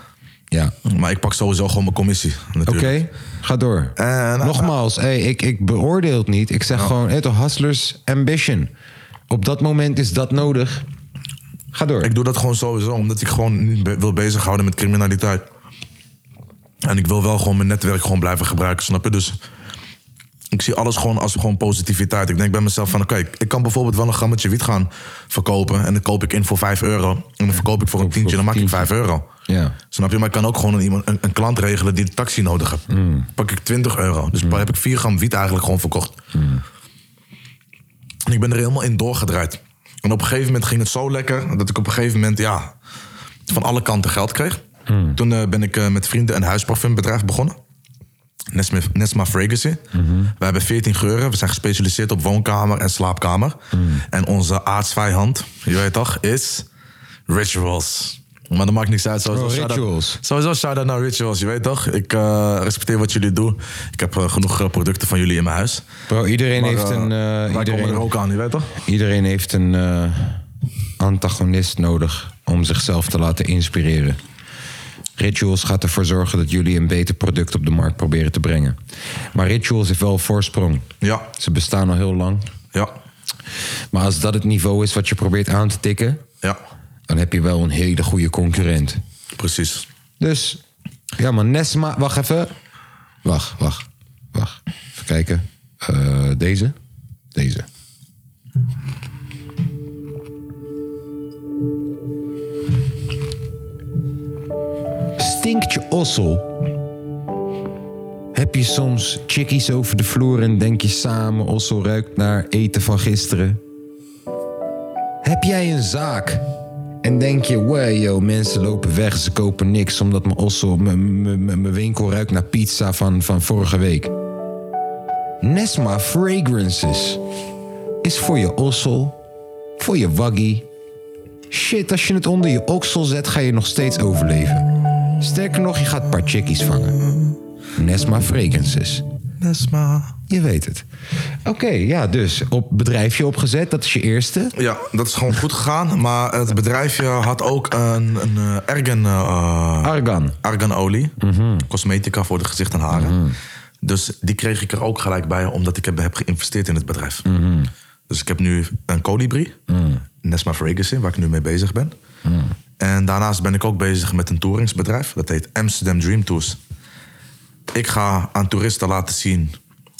Speaker 1: ja.
Speaker 5: Maar ik pak sowieso gewoon mijn commissie.
Speaker 1: Oké,
Speaker 5: natuurlijk.
Speaker 1: ga door.
Speaker 5: En-
Speaker 1: Nogmaals, hey, ik, ik beoordeel het niet. Ik zeg gewoon, hey, toch, hustlers ambition. Op dat moment is dat nodig. Ga door.
Speaker 5: Ik doe dat gewoon sowieso, omdat ik gewoon niet be- wil bezighouden met criminaliteit. En ik wil wel gewoon mijn netwerk gewoon blijven gebruiken, snap je? Dus ik zie alles gewoon als gewoon positiviteit. Ik denk bij mezelf van, oké, ik kan bijvoorbeeld wel een grammetje wiet gaan verkopen. En dan koop ik in voor 5 euro. En dan verkoop ik voor een tientje, dan maak ik 5 euro.
Speaker 1: Ja.
Speaker 5: Snap je? Maar ik kan ook gewoon een, iemand- een, een klant regelen die een taxi nodig heeft. Pak ik 20 euro. Dus heb ik 4 gram wiet eigenlijk gewoon verkocht. En ik ben er helemaal in doorgedraaid. En op een gegeven moment ging het zo lekker dat ik op een gegeven moment ja, van alle kanten geld kreeg. Toen eh, ben ik eh, met vrienden een huisparfumbedrijf begonnen. Nesma, Nesma Fragacy. We hebben 14 geuren. We zijn gespecialiseerd op woonkamer en slaapkamer. En onze aardsvijand, je weet toch, is Rituals. Maar dat maakt niks uit. Sowieso
Speaker 1: Oh,
Speaker 5: shout-out-
Speaker 1: Rituals.
Speaker 5: Sowieso shout-out naar Rituals, je weet toch? Ik eh, respecteer wat jullie doen. Ik heb eh, genoeg eh, producten van jullie in mijn huis.
Speaker 1: Bro, iedereen
Speaker 5: Maar,
Speaker 1: heeft
Speaker 5: eh,
Speaker 1: een. eh,
Speaker 5: Wij
Speaker 1: iedereen,
Speaker 5: komen er ook aan, je weet toch?
Speaker 1: iedereen heeft een eh, antagonist nodig om zichzelf te laten inspireren. Rituals gaat ervoor zorgen dat jullie een beter product op de markt proberen te brengen. Maar Rituals heeft wel een voorsprong.
Speaker 5: Ja,
Speaker 1: Ze bestaan al heel lang.
Speaker 5: ja,
Speaker 1: Maar als dat het niveau is wat je probeert aan te tikken,
Speaker 5: ja.
Speaker 1: dan heb je wel een hele goede concurrent.
Speaker 5: Precies.
Speaker 1: Dus, ja maar Nesma, wacht even. Wacht, wacht, wacht. Even kijken. Eh, deze? Deze. Stinkt je ossel? Heb je soms chickies over de vloer en denk je samen... ossel ruikt naar eten van gisteren? Heb jij een zaak? En denk je, wow, yo, mensen lopen weg, ze kopen niks... omdat mijn ossel, mijn- mijn mijn- mijn winkel ruikt naar pizza van, van vorige week. Nesma Fragrances is voor je ossel, voor je waggie... Shit, als je het onder je oksel zet, ga je nog steeds overleven. Sterker nog, je gaat een paar chickies vangen. Nesma Fragrances.
Speaker 5: Nesma.
Speaker 1: Je weet het. Oké, ja, dus op bedrijfje opgezet, dat is je eerste.
Speaker 5: Ja, dat is gewoon goed gegaan. Maar het bedrijfje had ook een, een eh, argan, eh,
Speaker 1: Argan.
Speaker 5: arganolie.
Speaker 1: Mhm.
Speaker 5: Cosmetica voor de gezicht en haren. Dus die kreeg ik er ook gelijk bij, omdat ik heb, heb geïnvesteerd in het bedrijf.
Speaker 1: Mhm.
Speaker 5: Dus ik heb nu een colibri, Nesma Fragacy, waar ik nu mee bezig ben.
Speaker 1: Mhm.
Speaker 5: En daarnaast ben ik ook bezig met een toeringsbedrijf. Dat heet Amsterdam Dream Tours. Ik ga aan toeristen laten zien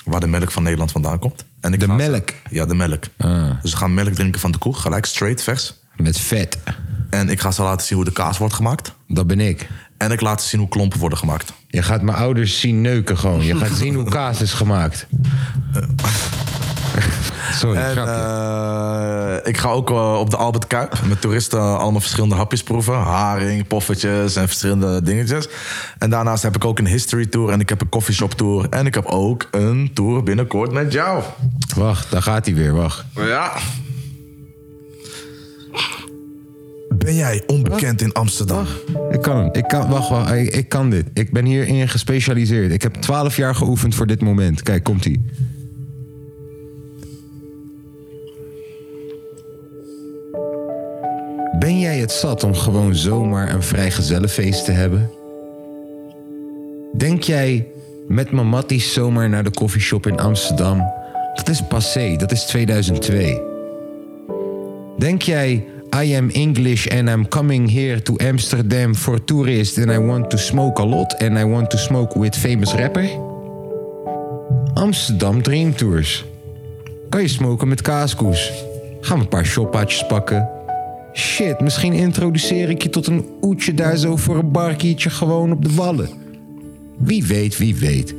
Speaker 5: waar de melk van Nederland vandaan komt. En ik
Speaker 1: De
Speaker 5: ga ze-
Speaker 1: melk? Ah.
Speaker 5: Ja, de melk. Dus ze gaan melk drinken van de koe, gelijk straight, vers.
Speaker 1: Met vet.
Speaker 5: En ik ga ze laten zien hoe de kaas wordt gemaakt.
Speaker 1: Dat ben ik.
Speaker 5: En ik laat ze zien hoe klompen worden gemaakt.
Speaker 1: Je gaat mijn ouders zien neuken gewoon. Je gaat zien hoe kaas is gemaakt. Sorry,
Speaker 5: En
Speaker 1: grapje.
Speaker 5: eh, ik ga ook eh, op de Albert Kuip met toeristen allemaal verschillende hapjes proeven. Haring, poffertjes en verschillende dingetjes. En daarnaast heb ik ook een history tour en ik heb een coffeeshop tour. En ik heb ook een tour binnenkort met jou.
Speaker 1: Wacht, daar gaat hij weer, wacht.
Speaker 5: Ja. Ben jij onbekend in Amsterdam?
Speaker 1: Ik kan hem. Ik kan, wacht, wacht. Ik, ik kan dit. Ik ben hierin gespecialiseerd. Ik heb 12 jaar geoefend voor dit moment. Kijk, komt ie. Ben jij het zat om gewoon zomaar een vrijgezellenfeest te hebben? Denk jij met mijn matties zomaar naar de koffieshop in Amsterdam? Dat is passé, dat is 2002. Denk jij, I am English and I'm coming here to Amsterdam for tourists and I want to smoke a lot and I want to smoke with famous rapper? Amsterdam Dream Tours. Kan je smoken met kaaskoes? Gaan we een paar shoppaatjes pakken? Shit, misschien introduceer ik je tot een oetje daar zo voor een barkietje gewoon op de wallen. Wie weet, wie weet.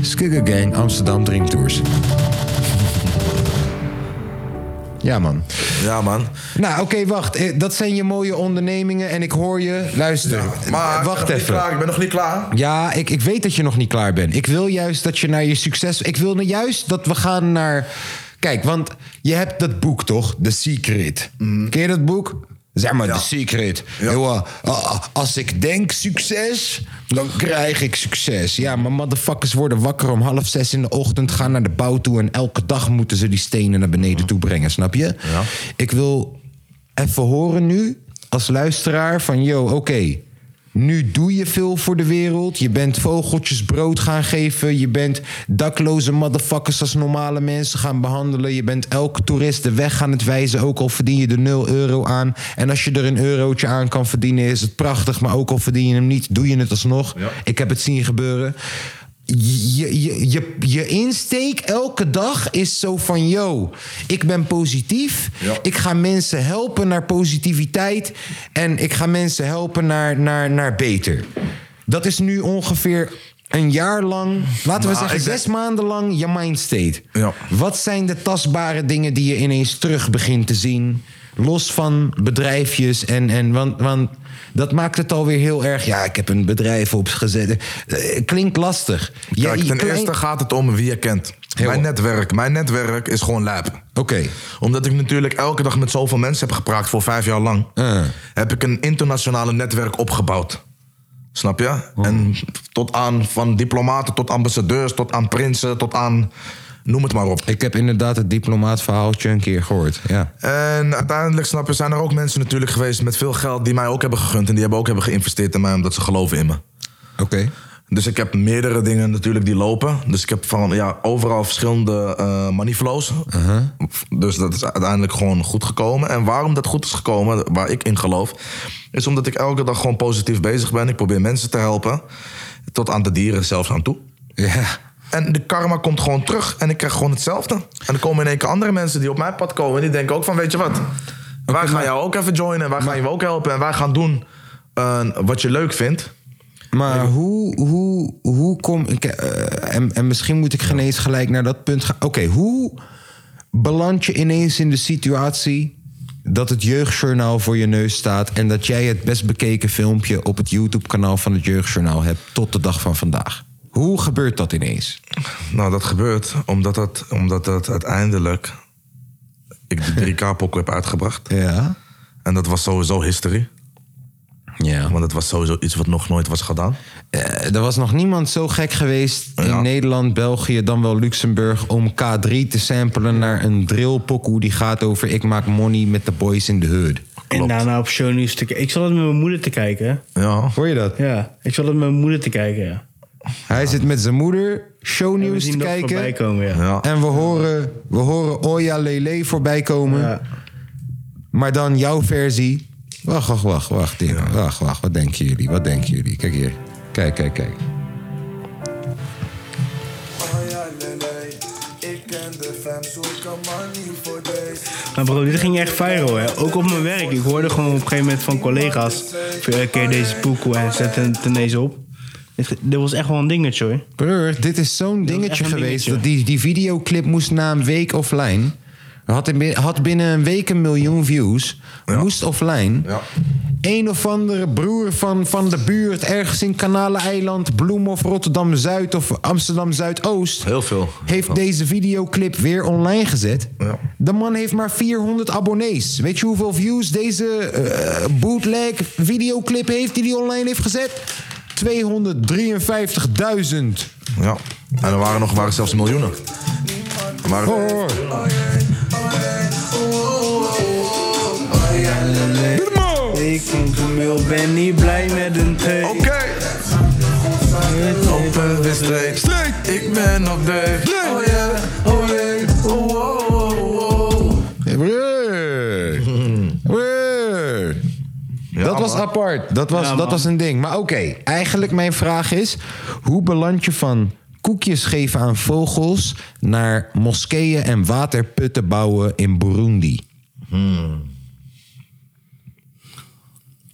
Speaker 1: Skugger Gang Amsterdam Dream Tours. Ja man.
Speaker 5: Ja, man.
Speaker 1: Nou, oké, wacht. Eh, Dat zijn je mooie ondernemingen en ik hoor je. Luister,
Speaker 5: Maar
Speaker 1: eh, wacht
Speaker 5: ik ben nog niet
Speaker 1: even.
Speaker 5: klaar. Ik ben nog niet klaar.
Speaker 1: Ja, ik, ik weet dat je nog niet klaar bent. Ik wil juist dat je naar je succes... Ik wil nou juist dat we gaan naar... Kijk, want je hebt dat boek toch? The Secret. Ken je dat boek? Zeg maar, The Secret. Jongen, ah, ah, als ik denk succes, dan krijg ik succes. Ja, maar motherfuckers worden wakker om half zes in de ochtend... gaan naar de bouw toe en elke dag moeten ze die stenen naar beneden toe brengen. Snap je? Ik wil even horen nu als luisteraar van... yo, oké, Nu doe je veel voor de wereld. Je bent vogeltjes brood gaan geven. Je bent dakloze motherfuckers als normale mensen gaan behandelen. Je bent elke toerist de weg aan het wijzen. Ook al verdien je er 0 euro aan. En als je er een eurotje aan kan verdienen, is het prachtig. Maar ook al verdien je hem niet, doe je het alsnog. Ik heb het zien gebeuren. Je, je, je, je insteek elke dag is zo van: yo, ik ben positief. Ik ga mensen helpen naar positiviteit. En ik ga mensen helpen naar, naar, naar beter. Dat is nu ongeveer een jaar lang, laten we
Speaker 5: Nou,
Speaker 1: zeggen
Speaker 5: ik
Speaker 1: zes maanden lang, je mindstate.
Speaker 5: Ja.
Speaker 1: Wat zijn de tastbare dingen die je ineens terug begint te zien? Los van bedrijfjes en. en want, want dat maakt het alweer heel erg. Ja, ik heb een bedrijf opgezet. Eh, Klinkt lastig. Ja,
Speaker 5: Kijk,
Speaker 1: je
Speaker 5: ten
Speaker 1: klein-
Speaker 5: eerste gaat het om wie je kent. Mijn netwerk. Mijn netwerk is gewoon lab. Oké. Omdat ik natuurlijk elke dag met zoveel mensen heb gepraat voor vijf jaar lang, heb ik een internationale netwerk opgebouwd. Snap je? En tot aan van diplomaten, tot ambassadeurs, tot aan prinsen, tot aan. Noem het maar op.
Speaker 1: Ik heb inderdaad het diplomaatverhaaltje een keer gehoord. Ja.
Speaker 5: En uiteindelijk, snap je, zijn er ook mensen natuurlijk geweest met veel geld die mij ook hebben gegund. En die hebben ook hebben geïnvesteerd in mij omdat ze geloven in me. Oké. Dus ik heb meerdere dingen natuurlijk die lopen. Dus ik heb van ja, overal verschillende eh money flows. Dus dat is uiteindelijk gewoon goed gekomen. En waarom dat goed is gekomen, waar ik in geloof, is omdat ik elke dag gewoon positief bezig ben. Ik probeer mensen te helpen. Tot aan de dieren zelfs aan toe. Ja. En de karma komt gewoon terug en ik krijg gewoon hetzelfde. En dan komen in één keer andere mensen die op mijn pad komen. En die denken ook van, weet je wat, wij gaan jou ook even joinen. Wij gaan je ook helpen en wij gaan doen eh, wat je leuk vindt.
Speaker 1: Maar hoe, hoe, hoe kom ik. eh, en, en misschien moet ik geen eens gelijk naar dat punt gaan. Oké, hoe beland je ineens in de situatie. dat het Jeugdjournaal voor je neus staat. en dat jij het best bekeken filmpje op het YouTube-kanaal van het Jeugdjournaal hebt. tot de dag van vandaag? Hoe gebeurt dat ineens?
Speaker 5: Nou, dat gebeurt omdat dat, omdat dat uiteindelijk... ik de 3K-pok heb uitgebracht.
Speaker 1: Ja.
Speaker 5: En dat was sowieso history.
Speaker 1: Ja.
Speaker 5: Want het was sowieso iets wat nog nooit was gedaan.
Speaker 1: Eh, er was nog niemand zo gek geweest in Nederland, België, dan wel Luxemburg... om K3 te samplen naar een drillpokoe die gaat over... ik maak money met de boys in the hood.
Speaker 3: En daarna op shownieuws te kijken. Ik zat het met mijn moeder te kijken.
Speaker 5: Ja.
Speaker 1: Hoor je dat?
Speaker 3: Ja, ik zat het met mijn moeder te kijken, ja.
Speaker 1: Hij zit met zijn moeder shownieuws
Speaker 3: En we
Speaker 1: te
Speaker 3: zien dat
Speaker 1: kijken. Nou,
Speaker 3: voorbij komen, ja.
Speaker 1: En we horen, we horen Oya Lele voorbij komen. Maar dan jouw versie. Wacht, wacht, wacht, wacht, Dina. Wacht, wacht. Wat denken jullie? Wat denken jullie? Kijk hier. Kijk, kijk, kijk.
Speaker 3: Maar Nou, bro, dit ging echt viral, hè. Ook op mijn werk. Ik hoorde gewoon op een gegeven moment van collega's... van, eh, keer deze poekoe en zet het ineens op. Dit, dit was echt wel een dingetje, hoor.
Speaker 1: Broer, dit is zo'n dingetje
Speaker 3: echt een
Speaker 1: geweest.
Speaker 3: dingetje.
Speaker 1: Dat die, die videoclip moest na een week offline. Had, in, had binnen een week een miljoen views. Moest offline. Een of andere broer van, van de buurt, ergens in Kanaleiland, Bloem of Rotterdam Zuid of Amsterdam Zuidoost.
Speaker 5: Heel veel.
Speaker 1: Heeft deze videoclip weer online gezet. De man heeft maar 400 abonnees. Weet je hoeveel views deze eh, bootleg videoclip heeft die hij online heeft gezet? 253.000.
Speaker 5: Ja. En er waren nog waren zelfs miljoenen. Er waren...
Speaker 3: Ik vind de mail, ben niet blij met een thee. Oké.
Speaker 5: Open de streep. Ik ben op de... Oh yeah, oh yeah, oh oh oh oh.
Speaker 1: Brrr. Brrr.
Speaker 5: Ja,
Speaker 1: dat was
Speaker 5: man.
Speaker 1: apart. Dat was,
Speaker 3: Ja,
Speaker 1: dat
Speaker 3: man.
Speaker 1: was een ding. Maar oké, eigenlijk mijn vraag is... hoe beland je van koekjes geven aan vogels... naar moskeeën en waterputten bouwen in Burundi?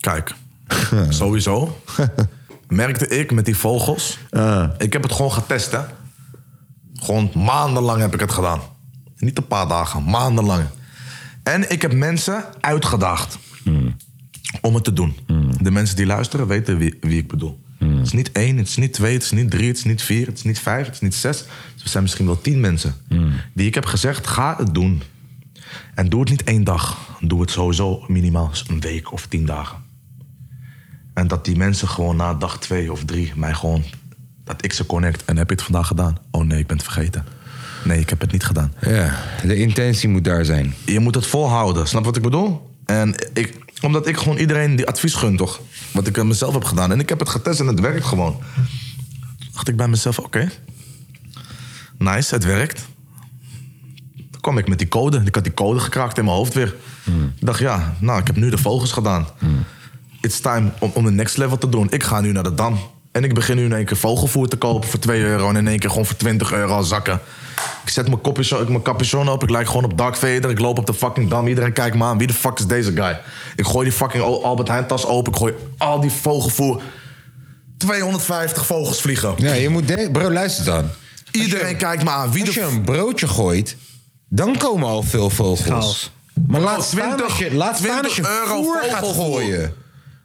Speaker 5: Kijk, sowieso merkte ik met die vogels. Ik heb het gewoon getest, hè. Gewoon maandenlang heb ik het gedaan. Niet een paar dagen, maandenlang. En ik heb mensen uitgedaagd om het te doen. De mensen die luisteren weten wie, wie ik bedoel. Het is niet één, het is niet twee, het is niet drie, het is niet vier, het is niet vijf, het is niet zes. Het zijn misschien wel tien mensen die ik heb gezegd: ga het doen. En doe het niet één dag. Doe het sowieso minimaal een week of tien dagen. En dat die mensen gewoon na dag twee of drie mij gewoon... Dat ik ze connect. En heb je het vandaag gedaan? Oh nee, ik ben het vergeten. Nee, ik heb het niet gedaan.
Speaker 1: Ja, de intentie moet daar zijn.
Speaker 5: Je moet het volhouden. Snap wat ik bedoel? En ik, Omdat ik gewoon iedereen die advies gun, toch? Wat ik aan mezelf heb gedaan. En ik heb het getest en het werkt gewoon. Dacht ik bij mezelf, oké. Nice, het werkt. Dan kwam ik met die code. Ik had die code gekraakt in mijn hoofd weer. Ik dacht, ja, nou, ik heb nu de vogels gedaan. It's time om, om de next level te doen. Ik ga nu naar de Dam. En ik begin nu in één keer vogelvoer te kopen voor 2 euro. En in één keer gewoon voor 20 euro zakken. Ik zet mijn capuchon, ik mijn capuchon op. Ik lijk gewoon op Dark Vader. Ik loop op de fucking Dam. Iedereen kijkt me aan. Wie de fuck is deze guy? Ik gooi die fucking Albert Heijn tas open. Ik gooi al die vogelvoer. 250 vogels vliegen.
Speaker 1: Ja, je moet denken, bro, luister dan.
Speaker 5: Iedereen kijkt me aan. Wie
Speaker 1: als je een broodje gooit, dan komen al veel vogels.
Speaker 3: Chaos.
Speaker 1: Maar
Speaker 5: Bro,
Speaker 1: laat staan
Speaker 5: 20
Speaker 1: als je, laat staan als je
Speaker 5: 20 euro
Speaker 1: voer gaat
Speaker 5: vogelvoer.
Speaker 1: gooien.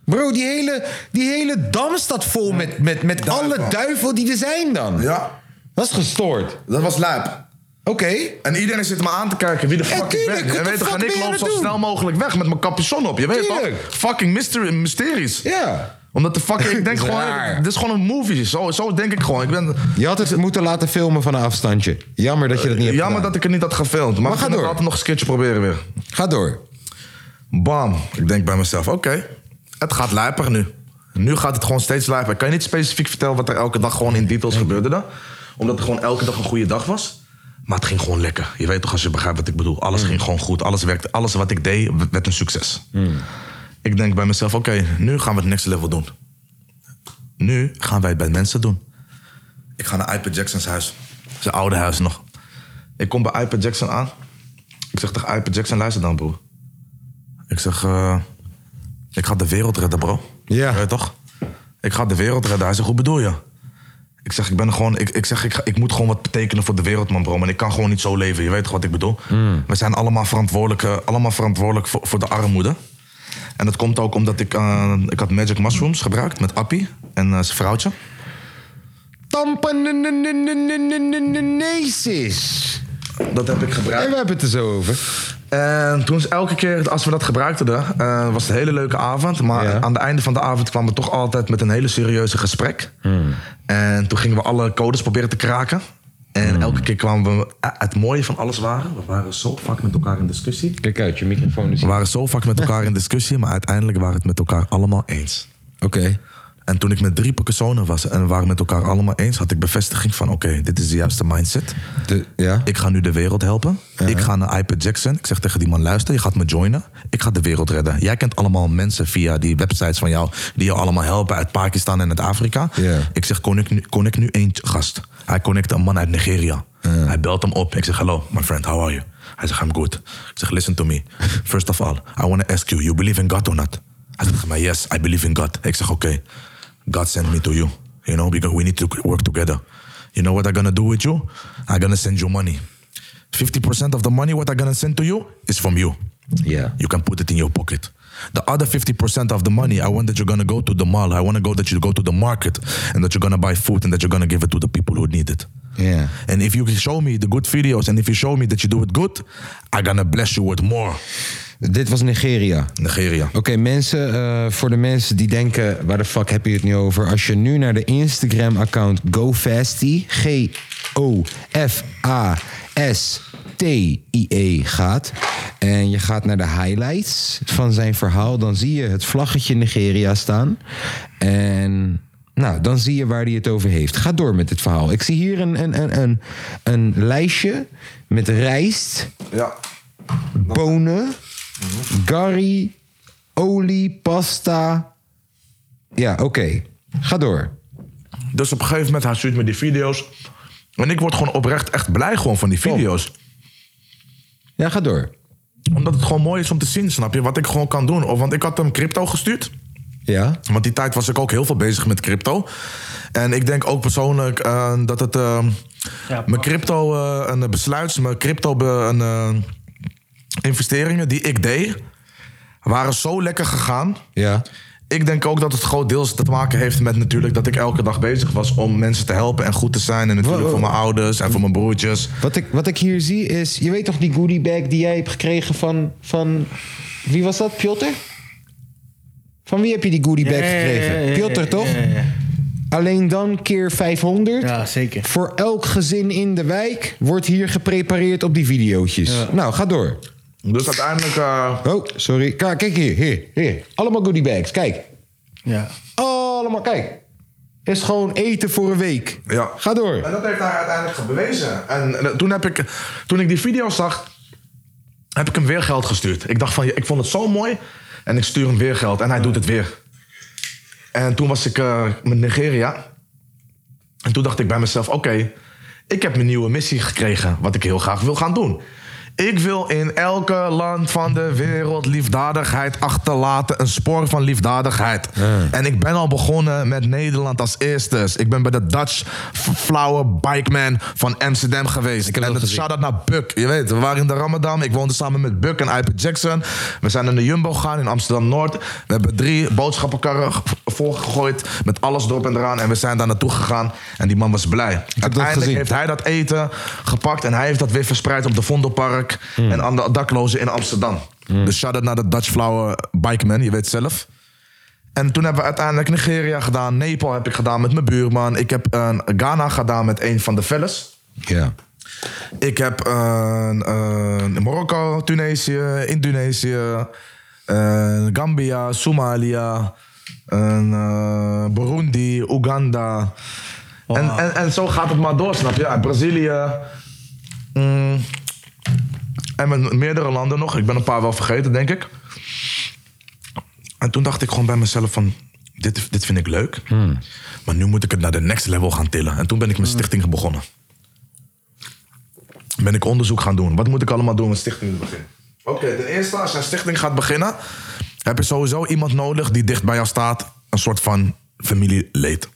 Speaker 1: Bro, die hele, die hele dam staat vol met, met, met alle duivel die er zijn dan.
Speaker 5: Ja,
Speaker 1: Dat is gestoord.
Speaker 5: dat was lijp.
Speaker 1: Oké.
Speaker 5: En iedereen zit me aan te kijken wie de fuck ik
Speaker 1: tuurlijk,
Speaker 5: ben.
Speaker 1: what
Speaker 5: En,
Speaker 1: the
Speaker 5: weet je,
Speaker 1: fuck
Speaker 5: en
Speaker 1: ben
Speaker 5: ik
Speaker 1: je aan
Speaker 5: loop
Speaker 1: het
Speaker 5: zo
Speaker 1: doen?
Speaker 5: snel mogelijk weg met mijn capuchon op. Je weet
Speaker 1: Tuurlijk.
Speaker 5: toch? Fucking mystery, mysteries.
Speaker 1: Ja.
Speaker 5: Omdat de fucking... Ik denk
Speaker 1: Dat is
Speaker 5: gewoon...
Speaker 1: raar.
Speaker 5: Dit is gewoon een movie. Zo, zo denk ik gewoon. Ik ben...
Speaker 1: Je had het moeten laten filmen van een afstandje. Jammer dat je dat niet hebt
Speaker 5: Eh, Jammer dat ik het niet had gefilmd. Maar,
Speaker 1: ga
Speaker 5: ik ga het
Speaker 1: door.
Speaker 5: altijd nog eens een keertje proberen weer.
Speaker 1: ik... Ga door.
Speaker 5: Bam. Ik denk bij mezelf, oké. het gaat lijper nu. Nu gaat het gewoon steeds lijper. Ik kan je niet specifiek vertellen wat er elke dag gewoon in details gebeurde dan. Omdat het gewoon elke dag een goede dag was. Maar het ging gewoon lekker. Je weet toch als je begrijpt wat ik bedoel. Alles ging gewoon goed. Alles werkte. Alles wat ik deed w- werd een succes. Ik denk bij mezelf, oké, nu gaan we het next level doen. Nu gaan wij het bij mensen doen. Ik ga naar Iper Jackson's huis. Zijn oude huis nog. Ik kom bij Iper Jackson aan. Ik zeg tegen Iper Jackson, luister dan broer. Ik zeg, eh, ik ga de wereld redden, bro.
Speaker 1: Ja.
Speaker 5: Je Weet toch? Ik ga de wereld redden. Hij zegt, hoe bedoel je? Ik zeg, ik ben gewoon, ik, ik zeg, ik, ga- ik moet gewoon wat betekenen voor de wereld, man, bro. Maar ik kan gewoon niet zo leven. Je weet toch wat ik bedoel? We zijn allemaal verantwoordelijk, eh, allemaal verantwoordelijk voor, voor de armoede. En dat komt ook omdat ik, eh, ik had magic mushrooms gebruikt met Appie en eh, zijn vrouwtje.
Speaker 1: Tampenesis.
Speaker 5: Dat heb ik
Speaker 1: En
Speaker 5: gebruikt.
Speaker 1: we hebben het er zo over.
Speaker 5: En toen is elke keer als we dat gebruikten, eh, was het een hele leuke avond. Maar
Speaker 1: Ja.
Speaker 5: aan het einde van de avond kwamen we toch altijd met een hele serieuze gesprek. En toen gingen we alle codes proberen te kraken. En elke keer kwamen we... eh, Het mooie van alles waren, we waren zo vaak met elkaar in discussie.
Speaker 1: Kijk uit, je microfoon is...
Speaker 5: We waren zo vaak met elkaar in discussie, maar uiteindelijk waren we het met elkaar allemaal eens.
Speaker 1: Oké.
Speaker 5: En toen ik met drie personen was en we waren met elkaar allemaal eens, had ik bevestiging van: oké, dit is de juiste mindset.
Speaker 1: De- Ja?
Speaker 5: Ik ga nu de wereld helpen. Ik ga naar iPad Jackson. Ik zeg tegen die man: luister, je gaat me joinen. Ik ga de wereld redden. Jij kent allemaal mensen via die websites van jou. die jou allemaal helpen uit Pakistan en uit Afrika.
Speaker 1: Ja.
Speaker 5: Ik zeg: connect nu, connect nu één gast. Hij connecte een man uit Nigeria. Hij belt hem op. Ik zeg: hello, my friend, how are you? Hij zegt: I'm good. Ik zeg: listen to me. First of all, I want to ask you: you believe in God or not? Hij zegt tegen mij: yes, I believe in God. Ik zeg: oké. God sent me to you. You know, because we need to work together. You know what I'm gonna do with you? I'm gonna send you money. 50% of the money what I'm gonna send to you is from you.
Speaker 1: Ja.
Speaker 5: You can put it in your pocket. The other 50% of the money, I want that you're gonna go to the mall. I wanna go that you go to the market and that you're gonna buy food and that you're gonna give it to the people who need it.
Speaker 1: Ja.
Speaker 5: And if you can show me the good videos and if you show me that you do it good, I'm gonna bless you with more.
Speaker 1: Dit was Nigeria.
Speaker 5: Nigeria.
Speaker 1: Oké, mensen, eh, voor de mensen die denken, waar de fuck heb je het nu over? Als je nu naar de Instagram-account GoFasty, G-O-F-A-S-T-I-E E, gaat... en je gaat naar de highlights van zijn verhaal... dan zie je het vlaggetje Nigeria staan. En nou, dan zie je waar hij het over heeft. Ga door met het verhaal. Ik zie hier een, een, een, een, een lijstje met rijst
Speaker 5: Ja.
Speaker 1: bonen, curry, olie, pasta. Ja, oké. Ga door.
Speaker 5: Dus op een gegeven moment, hij stuurt me die video's. En ik word gewoon oprecht echt blij gewoon van die video's.
Speaker 1: Ja, ga door.
Speaker 5: Omdat het gewoon mooi is om te zien, snap je? Wat ik gewoon kan doen. Of, want ik had hem crypto gestuurd.
Speaker 1: Ja?
Speaker 5: Want die tijd was ik ook heel veel bezig met crypto. En ik denk ook persoonlijk eh, dat het... eh, mijn crypto eh, een besluit, mijn crypto be- een, eh, investeringen die ik deed... waren zo lekker gegaan.
Speaker 1: Ja.
Speaker 5: Ik denk ook dat het groot deels te maken heeft met natuurlijk... dat ik elke dag bezig was om mensen te helpen en goed te zijn. En natuurlijk
Speaker 1: Wow.
Speaker 5: voor mijn ouders en voor mijn broertjes.
Speaker 1: Wat ik, wat ik hier zie is... Je weet toch die goodie bag die jij hebt gekregen van... van wie was dat? Oh, Piotr? Van wie heb je die goodie bag
Speaker 3: Ja, ja, ja,
Speaker 1: gekregen?
Speaker 3: ja, ja,
Speaker 1: Piotr,
Speaker 3: ja,
Speaker 1: toch?
Speaker 3: ja, ja.
Speaker 1: Alleen dan keer 500.
Speaker 3: Ja, zeker.
Speaker 1: Voor elk gezin in de wijk wordt hier geprepareerd op die videootjes. Nou, ga door.
Speaker 5: Dus uiteindelijk... eh,
Speaker 1: Oh, sorry. Ka- Kijk hier, hier, hier. Allemaal goodie bags, kijk.
Speaker 3: Ja.
Speaker 1: Allemaal, kijk. Is gewoon eten voor een week.
Speaker 5: ja.
Speaker 1: Ga door.
Speaker 5: En dat heeft hij uiteindelijk bewezen. En eh, toen, heb ik, toen ik die video zag, heb ik hem weer geld gestuurd. Ik dacht van, ik vond het zo mooi. En ik stuur hem weer geld. En hij doet het weer. En toen was ik eh, met Nigeria. En toen dacht ik bij mezelf, oké, ik heb mijn nieuwe missie gekregen. Wat ik heel graag wil gaan doen. Ik wil in elke land van de wereld liefdadigheid achterlaten. Een spoor van liefdadigheid. En ik ben al begonnen met Nederland als eerste. Ik ben bij de Dutch F- Flower Bikeman van Amsterdam geweest.
Speaker 1: heb
Speaker 5: en
Speaker 1: dat
Speaker 5: een
Speaker 1: gezien.
Speaker 5: shout-out naar Buck. Je weet, we waren in de Ramadan. Ik woonde samen met Buck en Iper Jackson. We zijn naar de Jumbo gegaan in Amsterdam-Noord. We hebben drie boodschappenkarren g- volgegooid. Met alles erop en eraan. En we zijn daar naartoe gegaan. En die man was blij. Uiteindelijk
Speaker 1: gezien.
Speaker 5: heeft hij dat eten gepakt en hij heeft dat weer verspreid op de Vondelpark
Speaker 1: Hmm.
Speaker 5: en aan de daklozen in Amsterdam. Dus shout-out naar de Dutch Flower Bikeman, je weet zelf. En toen hebben we uiteindelijk Nigeria gedaan, Nepal heb ik gedaan met mijn buurman. Ik heb eh, Ghana gedaan met een van de fellas.
Speaker 1: Ja.
Speaker 5: Ik heb eh, eh, Marokko, Tunesië, Indonesië, eh, Gambia, Somalië, en, eh, Burundi, Oeganda. En, en, en zo gaat het maar door, snap je? En Brazilië. mm, en met meerdere landen nog. Ik ben een paar wel vergeten, denk ik. En toen dacht ik gewoon bij mezelf van... Dit, dit vind ik leuk. Maar nu moet ik het naar de next level gaan tillen. En toen ben ik mijn stichting begonnen ben ik onderzoek gaan doen. Wat moet ik allemaal doen om een stichting te beginnen? Oké, ten eerste, als je een stichting gaat beginnen, heb je sowieso iemand nodig die dicht bij jou staat. Een soort van familieleed.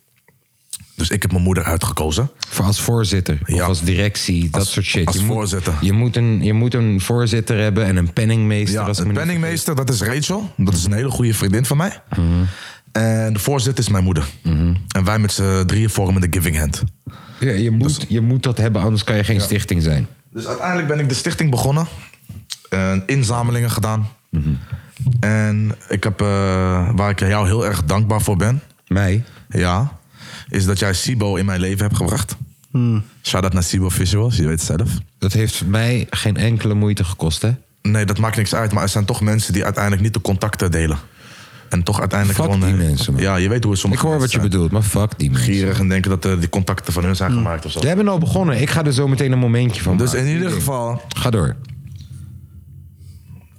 Speaker 5: Dus ik heb mijn moeder uitgekozen.
Speaker 1: Voor als voorzitter of
Speaker 5: Ja.
Speaker 1: als directie, dat
Speaker 5: Als-
Speaker 1: soort shit.
Speaker 5: als
Speaker 1: je moet,
Speaker 5: voorzitter.
Speaker 1: Je moet, een, je moet een voorzitter hebben en een penningmeester.
Speaker 5: Ja,
Speaker 1: als ik
Speaker 5: de
Speaker 1: me niet
Speaker 5: penningmeester, dat is Rachel. Dat is een hele goede vriendin van mij. En de voorzitter is mijn moeder. En wij met z'n drieën vormen de Giving Hand.
Speaker 1: vergis. Ja, je, moet, je moet dat hebben, anders kan je geen stichting zijn.
Speaker 5: Dus uiteindelijk ben ik de stichting begonnen. En inzamelingen gedaan. En ik heb, eh, waar ik jou heel erg dankbaar voor ben,
Speaker 1: Mij?
Speaker 5: ja, is dat jij Sibo in mijn leven hebt gebracht. Shout out naar Sibo Visuals, je weet het zelf.
Speaker 1: Dat heeft mij geen enkele moeite gekost, hè?
Speaker 5: Nee, dat maakt niks uit, maar er zijn toch mensen die uiteindelijk niet de contacten delen. En toch uiteindelijk
Speaker 1: Fuck
Speaker 5: gewoon.
Speaker 1: die
Speaker 5: eh,
Speaker 1: mensen, man.
Speaker 5: Ja, je weet hoe het
Speaker 1: Ik
Speaker 5: sommige
Speaker 1: hoor wat
Speaker 5: mensen
Speaker 1: je
Speaker 5: zijn.
Speaker 1: bedoelt, Hmm. maar fuck die mensen.
Speaker 5: Gierig en denken dat eh, die contacten van hun zijn gemaakt of zo.
Speaker 1: Jij bent al begonnen. Ik ga er zo meteen een momentje van
Speaker 5: Dus
Speaker 1: maken.
Speaker 5: in ieder geval,
Speaker 1: Ga door.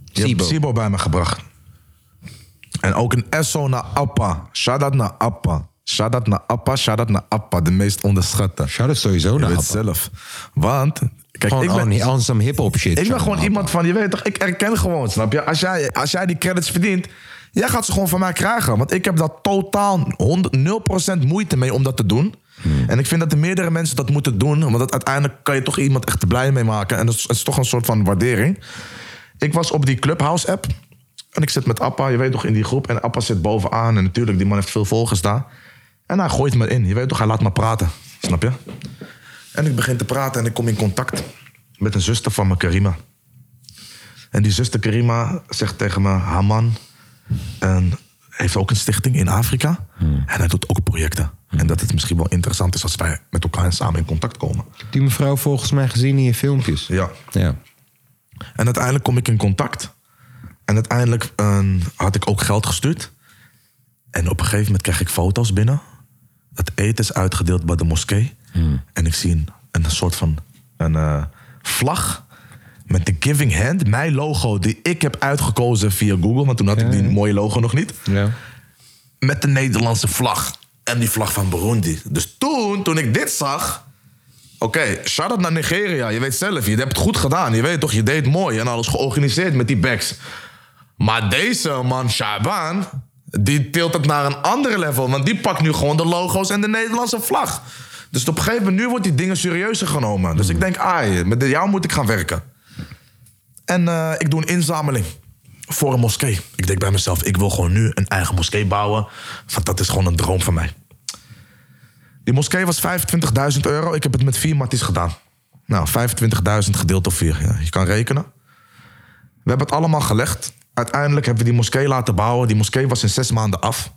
Speaker 5: je hebt
Speaker 1: Sibo.
Speaker 5: Sibo bij me gebracht. En ook een SO naar Appa. Shout out naar Appa. Shout out naar Appa, shout out naar Appa. De meest onderschatte.
Speaker 1: Shout-out sowieso
Speaker 5: Je
Speaker 1: naar
Speaker 5: weet
Speaker 1: Abba.
Speaker 5: zelf. Want, kijk,
Speaker 1: Gewoon
Speaker 5: ik ben,
Speaker 1: on, on some hip-hop shit.
Speaker 5: Ik ben
Speaker 1: shout-out
Speaker 5: gewoon
Speaker 1: naar
Speaker 5: iemand van, je weet toch, ik erken gewoon, snap je? Als jij, als jij die credits verdient, jij gaat ze gewoon van mij krijgen. Want ik heb daar totaal 100, 0% moeite mee om dat te doen. En ik vind dat de meerdere mensen dat moeten doen. Want dat, uiteindelijk kan je toch iemand echt blij mee maken. En dat is, het is toch een soort van waardering. Ik was op die Clubhouse-app. En ik zit met Appa, je weet toch, in die groep. En Appa zit bovenaan. En natuurlijk, die man heeft veel volgers daar. En hij gooit me in. Je weet toch, hij laat me praten. Snap je? En ik begin te praten en ik kom in contact met een zuster van me, Karima. En die zuster Karima zegt tegen me: Haman en heeft ook een stichting in Afrika. En hij doet ook projecten. En dat het misschien wel interessant is als wij met elkaar samen in contact komen.
Speaker 1: Abba. Die mevrouw volgens mij gezien in je filmpjes.
Speaker 5: Ja.
Speaker 1: Ja.
Speaker 5: En uiteindelijk kom ik in contact. En uiteindelijk eh, had ik ook geld gestuurd. En op een gegeven moment krijg ik foto's binnen. Het eten is uitgedeeld bij de moskee. En ik zie een, een soort van een, eh, vlag met de Giving Hand, mijn logo, die ik heb uitgekozen via Google. Want toen had ik die mooie logo nog niet
Speaker 1: ja.
Speaker 5: met de Nederlandse vlag. En die vlag van Burundi. Dus toen, toen ik dit zag... Oké, shout-out naar Nigeria. Je weet zelf, je hebt het goed gedaan. Je weet toch, je deed mooi en alles georganiseerd met die backs. Maar deze man, Shaban, die tilt het naar een andere level. Want die pakt nu gewoon de logo's en de Nederlandse vlag. Dus op een gegeven moment, nu wordt die dingen serieuzer genomen. Dus ik denk, ah, met jou moet ik gaan werken. En eh, ik doe een inzameling voor een moskee. Ik denk bij mezelf, ik wil gewoon nu een eigen moskee bouwen. Want dat is gewoon een droom van mij. Die moskee was 25.000 euro. Ik heb het met vier matties gedaan. Nou, 25.000 gedeeld door vier. Ja, je kan rekenen. We hebben het allemaal gelegd. Uiteindelijk hebben we die moskee laten bouwen. Die moskee was in zes maanden af.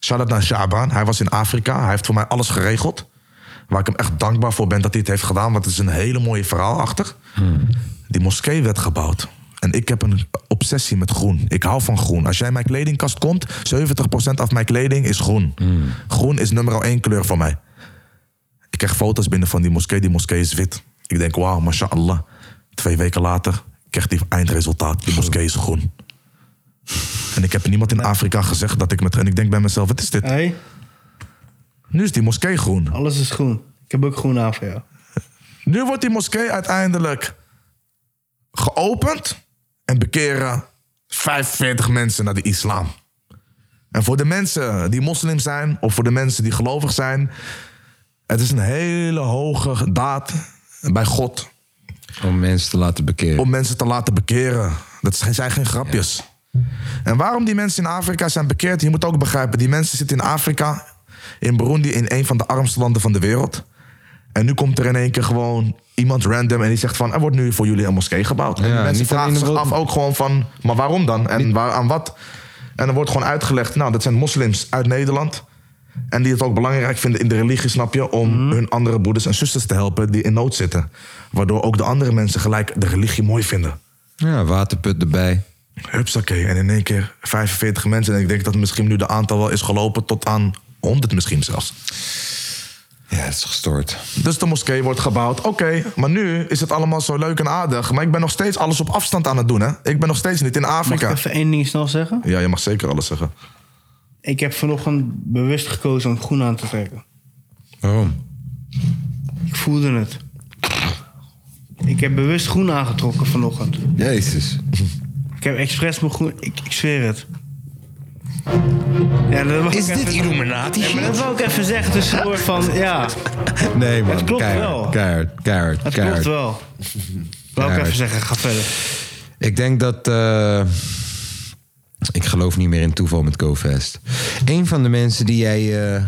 Speaker 5: Shout-out naar Shaban. Hij was in Afrika. Hij heeft voor mij alles geregeld. Waar ik hem echt dankbaar voor ben dat hij het heeft gedaan. Want het is een hele mooie verhaal achter. Die moskee werd gebouwd. En ik heb een obsessie met groen. Ik hou van groen. Als jij in mijn kledingkast komt, 70% af mijn kleding is groen. Groen is nummer één kleur voor mij. Ik krijg foto's binnen van die moskee. Die moskee is wit. Ik denk, wauw, mashallah. Twee weken later krijg ik die eindresultaat. Die moskee is groen. En ik heb niemand in Afrika gezegd dat ik met... En ik denk bij mezelf, wat is dit?
Speaker 3: Hey,
Speaker 5: Nu is die moskee groen.
Speaker 3: alles is groen. Ik heb ook groen aan voor jou.
Speaker 5: Nu wordt die moskee uiteindelijk geopend en bekeren 45 mensen naar de islam. En voor de mensen die moslim zijn of voor de mensen die gelovig zijn, het is een hele hoge daad bij God
Speaker 1: Om mensen te laten bekeren.
Speaker 5: om mensen te laten bekeren. Dat zijn- zijn geen grapjes. En waarom die mensen in Afrika zijn bekeerd, je moet ook begrijpen, die mensen zitten in Afrika, in Burundi, in een van de armste landen van de wereld. En nu komt er in één keer gewoon iemand random en die zegt van, er wordt nu voor jullie een moskee gebouwd. en
Speaker 1: Ja,
Speaker 5: die mensen
Speaker 1: niet alleen
Speaker 5: vragen zich
Speaker 1: een
Speaker 5: af
Speaker 1: wo-
Speaker 5: ook gewoon van, maar waarom dan? En waar, aan wat? En er wordt gewoon uitgelegd, nou, dat zijn moslims uit Nederland. En die het ook belangrijk vinden in de religie, snap je? Om
Speaker 1: Mhm.
Speaker 5: hun andere broeders en zusters te helpen die in nood zitten. Waardoor ook de andere mensen gelijk de religie mooi vinden.
Speaker 1: Ja, waterput erbij.
Speaker 5: Hupsakee. En in één keer 45 mensen. En ik denk dat misschien nu de aantal wel is gelopen tot aan 100 misschien zelfs.
Speaker 1: Ja, het is gestoord.
Speaker 5: Dus de moskee wordt gebouwd. Oké, maar nu is het allemaal zo leuk en aardig. Maar ik ben nog steeds alles op afstand aan het doen, hè? Ik ben nog steeds niet in
Speaker 3: Mag ik
Speaker 5: Afrika.
Speaker 3: even één ding snel zeggen?
Speaker 5: Ja, je mag zeker alles zeggen.
Speaker 3: Ik heb vanochtend bewust gekozen om groen aan te trekken.
Speaker 1: Waarom?
Speaker 3: Ik voelde het. Ik heb bewust groen aangetrokken vanochtend.
Speaker 1: Jezus.
Speaker 3: Ik heb expres mijn groen... Ik, ik zweer het. Ja, dat wou ik even-
Speaker 1: Illuminati?
Speaker 3: Ja, maar dat wou ik even zeggen tussendoor van... Ja,
Speaker 1: Nee, man.
Speaker 3: Het klopt
Speaker 1: keihard,
Speaker 3: wel.
Speaker 1: Keihard, keihard,
Speaker 3: het
Speaker 1: keihard.
Speaker 3: klopt wel. Wou ik
Speaker 1: Keihard.
Speaker 3: even zeggen, ga verder.
Speaker 1: Ik denk dat... eh, ik geloof niet meer in toeval met GoFest. Een van de mensen die jij eh,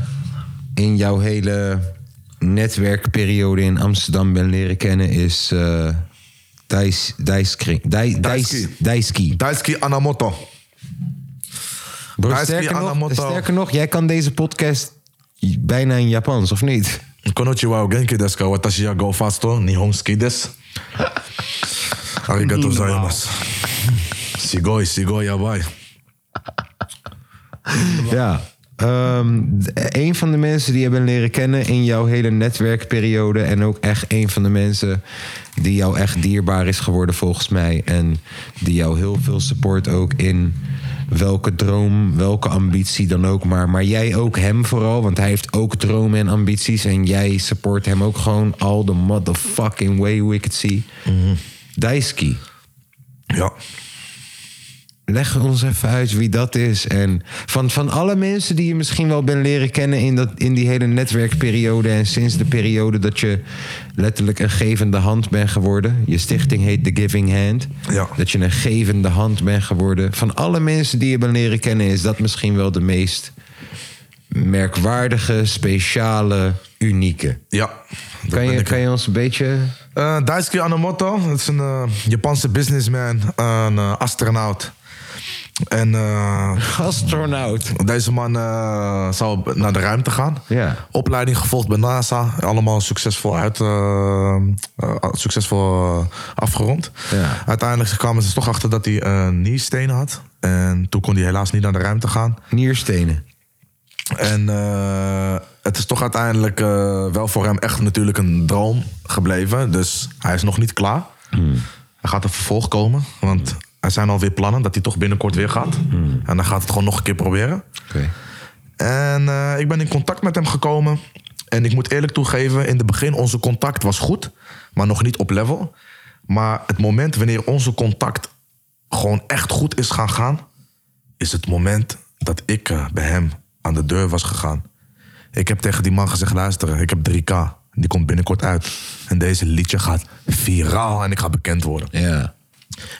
Speaker 1: in jouw hele netwerkperiode in Amsterdam bent leren kennen is... eh Dijs, Dijskring- Dij- Dijs,
Speaker 5: Dijski.
Speaker 1: Dijski.
Speaker 5: Daisuke Anamoto.
Speaker 1: Bro,
Speaker 5: Dijski
Speaker 1: sterker, nog,
Speaker 5: Anamoto.
Speaker 1: sterker nog, jij kan deze podcast bijna in Japans, of niet?
Speaker 5: Konnichiwa o genki desu ka watashi ya go fasto nihon ski desu. Arigato gozaimasu. Sigoi, sigoi, yabai.
Speaker 1: Ja. Ehm, d- een van de mensen die je bent leren kennen in jouw hele netwerkperiode. En ook echt een van de mensen die jou echt dierbaar is geworden volgens mij. En die jou heel veel support ook in welke droom, welke ambitie dan ook. Maar, maar jij ook hem vooral, want hij heeft ook dromen en ambities. En jij support hem ook gewoon all the motherfucking way we could see. Daisuke,
Speaker 5: Ja.
Speaker 1: Leg ons even uit wie dat is. En van, van alle mensen die je misschien wel bent leren kennen in, dat, in die hele netwerkperiode. En sinds de periode dat je letterlijk een gevende hand bent geworden. Je stichting heet The Giving Hand.
Speaker 5: Ja.
Speaker 1: Dat je een gevende hand bent geworden. Van alle mensen die je bent leren kennen, is dat misschien wel de meest merkwaardige, speciale, unieke.
Speaker 5: Ja. dat
Speaker 1: Kan
Speaker 5: ben
Speaker 1: je,
Speaker 5: ik.
Speaker 1: kan je ons een beetje.
Speaker 5: Eh Daisuke Anamoto, dat is een eh, Japanse businessman, een eh, astronaut. En eh,
Speaker 1: Astronaut.
Speaker 5: deze man eh, zou naar de ruimte gaan.
Speaker 1: Ja.
Speaker 5: Opleiding gevolgd bij NASA. Allemaal succesvol, uit, eh, eh, succesvol eh, afgerond.
Speaker 1: Ja.
Speaker 5: Uiteindelijk kwamen ze toch achter dat hij een nierstenen had. En toen kon hij helaas niet naar de ruimte gaan.
Speaker 1: Nierstenen.
Speaker 5: En eh, het is toch uiteindelijk eh, wel voor hem echt natuurlijk een droom gebleven. Dus hij is nog niet klaar. Er gaat een vervolg komen. Want er zijn alweer plannen dat hij toch binnenkort weer gaat. En dan gaat het gewoon nog een keer proberen.
Speaker 1: Oké.
Speaker 5: En eh, ik ben in contact met hem gekomen. En ik moet eerlijk toegeven, in het begin onze contact was goed. Maar nog niet op level. Maar het moment wanneer onze contact gewoon echt goed is gaan gaan... is het moment dat ik eh, bij hem aan de deur was gegaan. Ik heb tegen die man gezegd, luister, ik heb 3K. Die komt binnenkort uit. En deze liedje gaat viraal en ik ga bekend worden.
Speaker 1: Ja.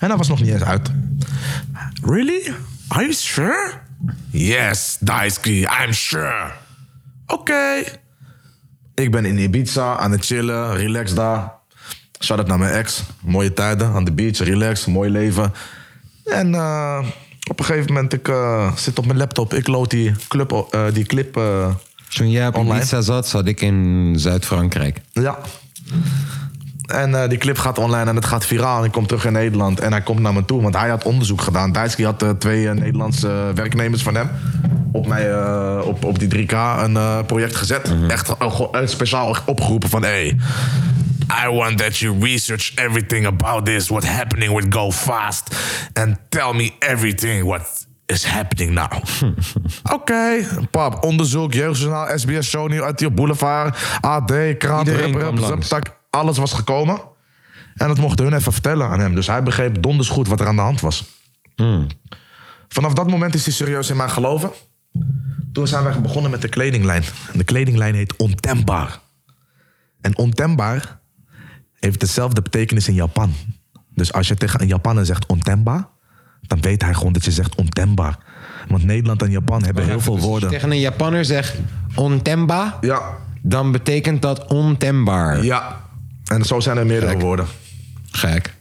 Speaker 5: En dat was nog niet eens uit. Really? Are you sure? Yes, Daisuke, I'm sure. Oké. Ik ben in Ibiza aan het chillen, relax daar. Shout out naar mijn ex. Mooie tijden aan de beach, relax, mooi leven. En eh, op een gegeven moment, ik eh, zit op mijn laptop. Ik lood die, club, o- eh, die clip eh,
Speaker 1: Toen jij op
Speaker 5: Online.
Speaker 1: Ibiza zat, zat ik in Zuid-Frankrijk.
Speaker 5: Ja. En eh, die clip gaat online en het gaat viraal. En ik kom terug in Nederland en hij komt naar me toe. Want hij had onderzoek gedaan. Dijski had eh, twee eh, Nederlandse eh, werknemers van hem op, mij, eh, op, op die 3K een eh, project gezet.
Speaker 1: Mhm.
Speaker 5: Echt eh, gewoon, eh, speciaal opgeroepen van... Hey, I want that you research everything about this, what's happening with Go Fast. And tell me everything what is happening now. Oké, pap, onderzoek, jeugdjournaal, SBS, Sony, RTL Boulevard, AD, krant,
Speaker 1: Iedereen
Speaker 5: rep,
Speaker 1: kwam
Speaker 5: rep,
Speaker 1: langs.
Speaker 5: zap, tak, alles was gekomen. En dat mochten hun even vertellen aan hem. Dus hij begreep donders goed wat er aan de hand was. Vanaf dat moment is hij serieus in mij geloven. Toen zijn we begonnen met de kledinglijn. En de kledinglijn heet Ontembaar. En ontembaar heeft dezelfde betekenis in Japan. Dus als je tegen een Japaner zegt ontembaar, dan weet hij gewoon dat je zegt ontembaar. Want Nederland en Japan hebben heel veel
Speaker 1: Als je
Speaker 5: woorden.
Speaker 1: tegen een Japanner zegt ontemba,
Speaker 5: Ja,
Speaker 1: dan betekent dat ontembaar.
Speaker 5: ja. En zo zijn er meerdere
Speaker 1: Gek.
Speaker 5: woorden.
Speaker 1: Gek.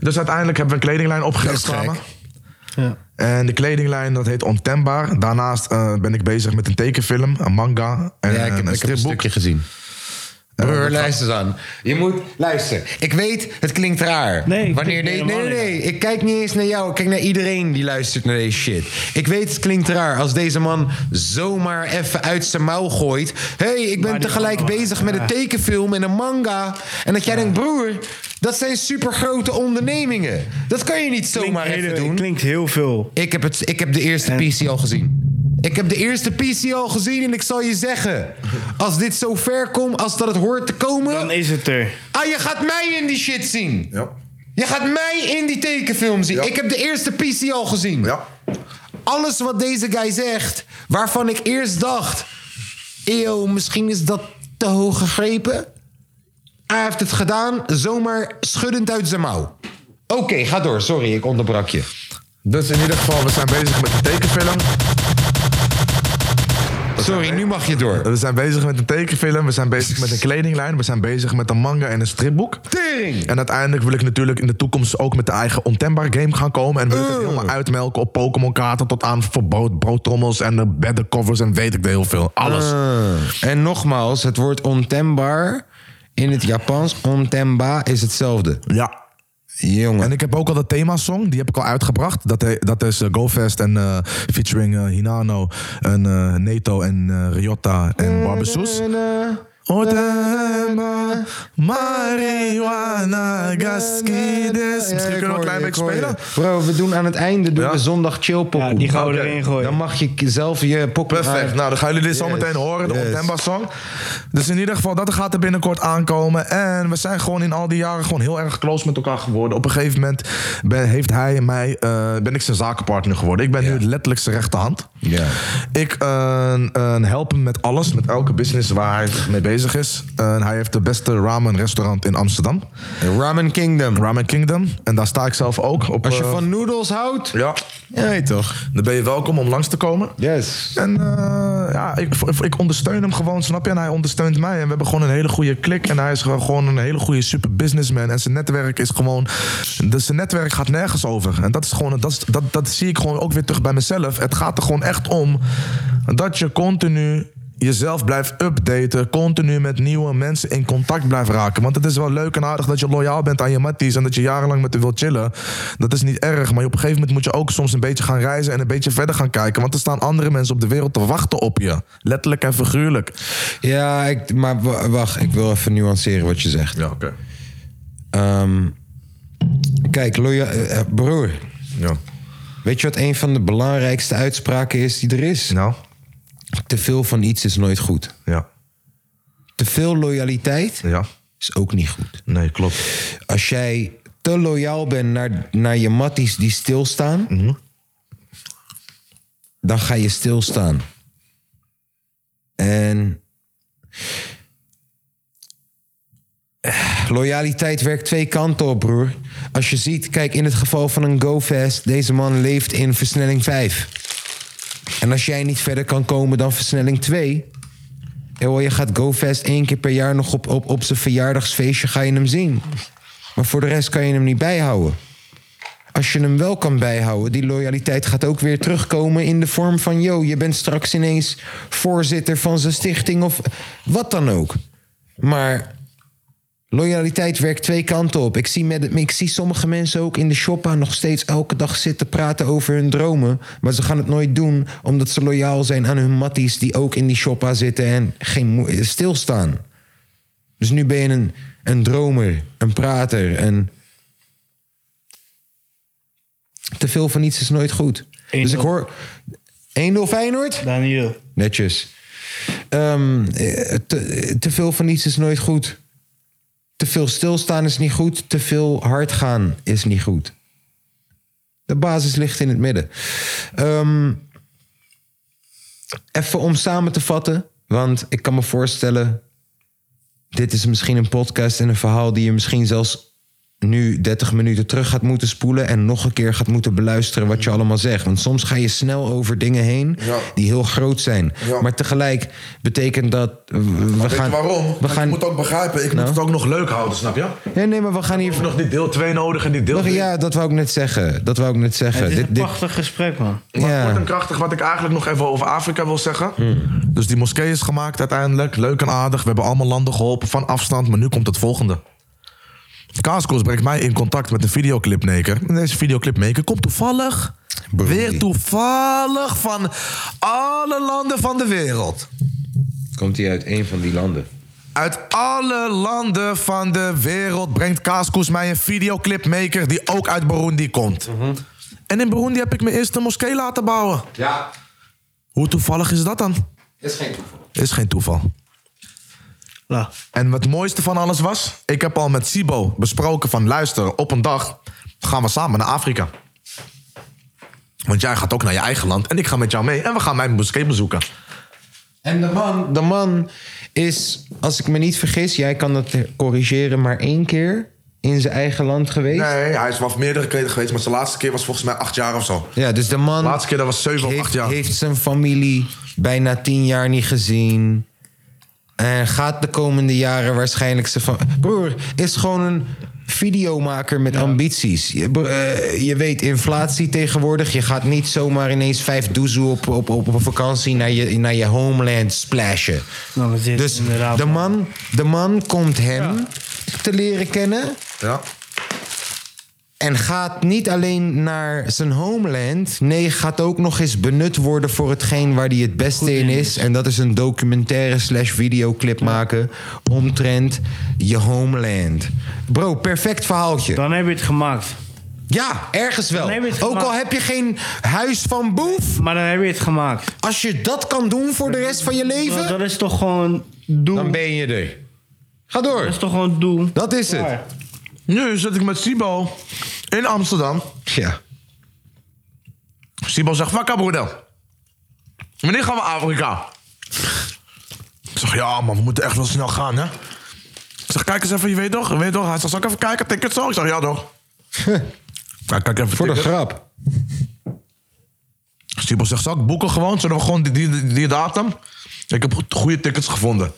Speaker 5: Dus uiteindelijk hebben we een kledinglijn opgericht
Speaker 1: Dat is gek.
Speaker 5: samen.
Speaker 3: Ja.
Speaker 5: En de kledinglijn, dat heet Ontembaar. Daarnaast eh, ben ik bezig met een tekenfilm, een manga en
Speaker 1: Ja, ik heb, ik heb Eh,
Speaker 5: een
Speaker 1: een Eh,
Speaker 5: stripboek.
Speaker 1: stukje gezien. Broer,
Speaker 5: dat
Speaker 1: luister dan. Je moet... Luister, ik weet, het klinkt raar.
Speaker 3: Nee, ik
Speaker 1: Wanneer
Speaker 3: denk
Speaker 1: nee, nee,
Speaker 3: helemaal
Speaker 1: nee, nee. Ik kijk niet eens naar jou. Ik kijk naar iedereen die luistert naar deze shit. Ik weet, het klinkt raar als deze man zomaar even uit zijn mouw gooit. Hé, hey, ik ben tegelijk bezig met een tekenfilm en een manga. En dat jij denkt, broer, dat zijn supergrote ondernemingen. Dat kan je niet zomaar even
Speaker 3: heel,
Speaker 1: doen.
Speaker 3: klinkt heel veel.
Speaker 1: Ik heb, het, ik heb de eerste PC al gezien. Ik heb de eerste PC al gezien en ik zal je zeggen... als dit zo ver komt als dat het hoort te komen...
Speaker 3: Dan is het er.
Speaker 1: Ah, je gaat mij in die shit zien.
Speaker 5: Ja.
Speaker 1: Je gaat mij in die tekenfilm zien.
Speaker 5: Ja.
Speaker 1: Ik heb de eerste PC al gezien.
Speaker 5: Ja.
Speaker 1: Alles wat deze guy zegt, waarvan ik eerst dacht... Eeuw, misschien is dat te hoog gegrepen. Hij heeft het gedaan, zomaar schuddend uit zijn mouw. Oké, ga door. Sorry, ik onderbrak je.
Speaker 5: Dus in ieder geval, we zijn bezig met een tekenfilm.
Speaker 1: Sorry, nu mag je door.
Speaker 5: We zijn bezig met een tekenfilm, we zijn bezig met een kledinglijn, we zijn bezig met een manga en een stripboek.
Speaker 1: Tering!
Speaker 5: En uiteindelijk wil ik natuurlijk in de toekomst ook met de eigen ontembaar game gaan komen. En wil
Speaker 1: Oh.
Speaker 5: ik het helemaal uitmelken op Pokémon kaarten tot aan verbood broodtrommels en eh, beddencovers en weet ik heel veel. Alles.
Speaker 1: Eh. Ah. En nogmaals, het woord ontembaar in het Japans, ontemba, is hetzelfde.
Speaker 5: Ja.
Speaker 1: Jongen.
Speaker 5: En ik heb ook al de themasong, die heb ik al uitgebracht. Dat, he- dat is eh, GoFest en eh, featuring eh, Hinano en eh, Neto en eh, Ryota en Barbesoes. Ordema, marihuana, gaskides. Misschien kunnen we een klein beetje spelen.
Speaker 1: Bro, we doen aan het einde doen
Speaker 5: Ja.
Speaker 1: we zondag chillpoppen.
Speaker 3: Ja, die gaan we erin gooien.
Speaker 1: Oh, Dan mag je k- zelf je pokken
Speaker 5: Perfect. Nou, dan gaan jullie dit zo
Speaker 1: Yes.
Speaker 5: meteen horen. De
Speaker 1: Yes.
Speaker 5: Ontemba song. Dus in ieder geval, dat gaat er binnenkort aankomen. En we zijn gewoon in al die jaren gewoon heel erg close met elkaar geworden. Op een gegeven moment ben, heeft hij en mij, eh, ben ik zijn zakenpartner geworden. Ik ben nu letterlijk zijn rechterhand.
Speaker 1: Ja.
Speaker 5: Ik eh, eh, help hem met alles, met elke business waar hij mee bezig is. En hij heeft de beste ramen restaurant in Amsterdam.
Speaker 1: Ramen Kingdom.
Speaker 5: Ramen Kingdom. En daar sta ik zelf ook op.
Speaker 1: Als je
Speaker 5: eh,
Speaker 1: van noedels houdt,
Speaker 5: Ja,
Speaker 1: ja, toch?
Speaker 5: dan ben je welkom om langs te komen.
Speaker 1: Yes.
Speaker 5: En eh, ja, ik, ik ondersteun hem gewoon, snap je? En hij ondersteunt mij. En we hebben gewoon een hele goede klik. En hij is gewoon een hele goede super businessman. En zijn netwerk is gewoon... Dus zijn netwerk gaat nergens over. En dat, is gewoon, dat, is- dat, dat zie ik gewoon ook weer terug bij mezelf. Het gaat er gewoon echt om dat je continu jezelf blijft updaten. Continu met nieuwe mensen in contact blijft raken. Want het is wel leuk en aardig dat je loyaal bent aan je matties... en dat je jarenlang met hem wilt chillen. Dat is niet erg. Maar op een gegeven moment moet je ook soms een beetje gaan reizen... en een beetje verder gaan kijken. Want er staan andere mensen op de wereld te wachten op je. Letterlijk en figuurlijk.
Speaker 1: Ja, ik, maar w- wacht, ik wil even nuanceren wat je zegt.
Speaker 5: Ja, oké.
Speaker 1: Ehm, kijk, loya- eh, eh, broer,
Speaker 5: Ja.
Speaker 1: weet je wat een van de belangrijkste uitspraken is die er is?
Speaker 5: Nou?
Speaker 1: Te veel van iets is nooit goed.
Speaker 5: Ja.
Speaker 1: Te veel loyaliteit
Speaker 5: Ja.
Speaker 1: is ook niet goed.
Speaker 5: Nee, klopt.
Speaker 1: Als jij te loyaal bent naar, naar je matties die stilstaan, dan ga je stilstaan. En eh, Loyaliteit werkt twee kanten op, broer. Als je ziet, kijk, in het geval van een GoFest... deze man leeft in versnelling 5. En als jij niet verder kan komen dan versnelling 2... Joh, je gaat GoFest één keer per jaar nog op, op, op zijn verjaardagsfeestje ga je hem zien. Maar voor de rest kan je hem niet bijhouden. Als je hem wel kan bijhouden, die loyaliteit gaat ook weer terugkomen in de vorm van: yo, je bent straks ineens voorzitter van zijn stichting of wat dan ook. Maar Loyaliteit werkt twee kanten op. Ik zie, met, ik zie sommige mensen ook in de shoppa nog steeds elke dag zitten praten over hun dromen. Maar ze gaan het nooit doen omdat ze loyaal zijn aan hun matties die ook in die shoppa zitten en geen moe- stilstaan. Dus nu ben je een, een dromer, een prater, een... Te veel van iets is nooit goed. Dus ik hoor... 1-0 Feyenoord?
Speaker 3: Daniel.
Speaker 1: Netjes. Ehm, eh, te, te veel van iets is nooit goed. Te veel stilstaan is niet goed. Te veel hard gaan is niet goed. De basis ligt in het midden. Ehm, even om samen te vatten. Want ik kan me voorstellen. Dit is misschien een podcast en een verhaal die je misschien zelfs nu 30 minuten terug gaat moeten spoelen. En nog een keer gaat moeten beluisteren wat je
Speaker 5: Mhm.
Speaker 1: allemaal zegt. Want soms ga je snel over dingen heen die heel groot zijn.
Speaker 5: Ja.
Speaker 1: Maar tegelijk betekent dat. eh,
Speaker 5: Maar
Speaker 1: We
Speaker 5: weet
Speaker 1: gaan,
Speaker 5: je waarom?
Speaker 1: We
Speaker 5: Want
Speaker 1: gaan,
Speaker 5: Ik moet ook begrijpen, ik
Speaker 1: Nou?
Speaker 5: moet het ook nog leuk houden, snap je?
Speaker 1: Nee, nee, maar we gaan hier...
Speaker 5: nog dit deel 2 nodig en dit deel
Speaker 1: Nog-
Speaker 5: 3.
Speaker 1: ja, dat wou ik net zeggen. Dat wou ik net zeggen.
Speaker 3: Het is
Speaker 1: Dit-
Speaker 3: een
Speaker 1: dit-
Speaker 3: prachtig gesprek, man.
Speaker 5: Maar
Speaker 1: Ja.
Speaker 5: kort en krachtig, wat ik eigenlijk nog even over Afrika wil zeggen. Dus die moskee is gemaakt uiteindelijk. Leuk en aardig. We hebben allemaal landen geholpen van afstand. Maar nu komt het volgende. Kaaskoos brengt mij in contact met een videoclipmaker. En deze videoclipmaker komt toevallig... Weer toevallig van alle landen van de wereld.
Speaker 1: Komt hij uit een van die landen?
Speaker 5: Uit alle landen van de wereld brengt Kaaskoes mij een videoclipmaker die ook uit Burundi komt.
Speaker 1: Mhm.
Speaker 5: En in Burundi heb ik mijn eerste moskee laten bouwen.
Speaker 1: Ja,
Speaker 5: Hoe toevallig is dat dan?
Speaker 1: is geen toeval.
Speaker 5: Is geen toeval.
Speaker 3: Nou,
Speaker 5: En wat het mooiste van alles was, ik heb al met Sibo besproken van luister, op een dag gaan we samen naar Afrika. Want jij gaat ook naar je eigen land en ik ga met jou mee en we gaan mijn moskee bezoeken.
Speaker 1: En de man, de man is, als ik me niet vergis... Jij kan dat corrigeren, maar één keer in zijn eigen land geweest.
Speaker 5: Nee, hij is wel meerdere keren geweest, maar zijn laatste keer was volgens mij acht jaar of zo.
Speaker 1: Ja, dus de man
Speaker 5: De laatste keer dat was zeven of acht
Speaker 1: heeft,
Speaker 5: jaar.
Speaker 1: heeft zijn familie bijna tien jaar niet gezien. En gaat de komende jaren waarschijnlijk ze van. Broer, is gewoon een videomaker met ambities. Je, bro- eh, je weet, inflatie tegenwoordig. Je gaat niet zomaar ineens vijf doezoe op, op, op, op vakantie naar je, naar je homeland splashen.
Speaker 3: nou dat is
Speaker 1: Dus
Speaker 3: inderdaad.
Speaker 1: de man, de man komt hem te leren kennen.
Speaker 5: Ja.
Speaker 1: En gaat niet alleen naar zijn homeland. Nee, gaat ook nog eens benut worden voor hetgeen waar hij het beste in is. En dat is een documentaire slash videoclip maken. Omtrent je homeland. Bro, perfect verhaaltje.
Speaker 3: Dan heb je het gemaakt.
Speaker 1: Ja, ergens wel.
Speaker 3: Dan heb je het
Speaker 1: Ook al
Speaker 3: gemaakt.
Speaker 1: heb je geen huis van boef.
Speaker 3: Maar dan heb je het gemaakt.
Speaker 1: Als je dat kan doen voor de rest van je
Speaker 3: Dat,
Speaker 1: leven.
Speaker 3: dat is toch gewoon doel.
Speaker 1: Dan ben je er. Ga door.
Speaker 3: Dat is toch gewoon doel.
Speaker 1: Dat is het.
Speaker 3: Ja.
Speaker 5: Nu zit ik met Sibo in Amsterdam.
Speaker 1: Ja.
Speaker 5: Sibo zegt, wakka broeder. Wanneer gaan we Afrika? Ik zeg, ja man, we moeten echt wel snel gaan hè. Ik zeg, kijk eens even, je weet toch? Je weet toch? Hij zegt, zal ik even kijken, tickets zo? Ik zeg, ja toch. Ja, kijk even
Speaker 1: Voor de
Speaker 5: tickets.
Speaker 1: grap.
Speaker 5: Sibo zegt, zal ik boeken gewoon? Zullen we gewoon die, die, die datum? Ik heb goed- goede tickets gevonden.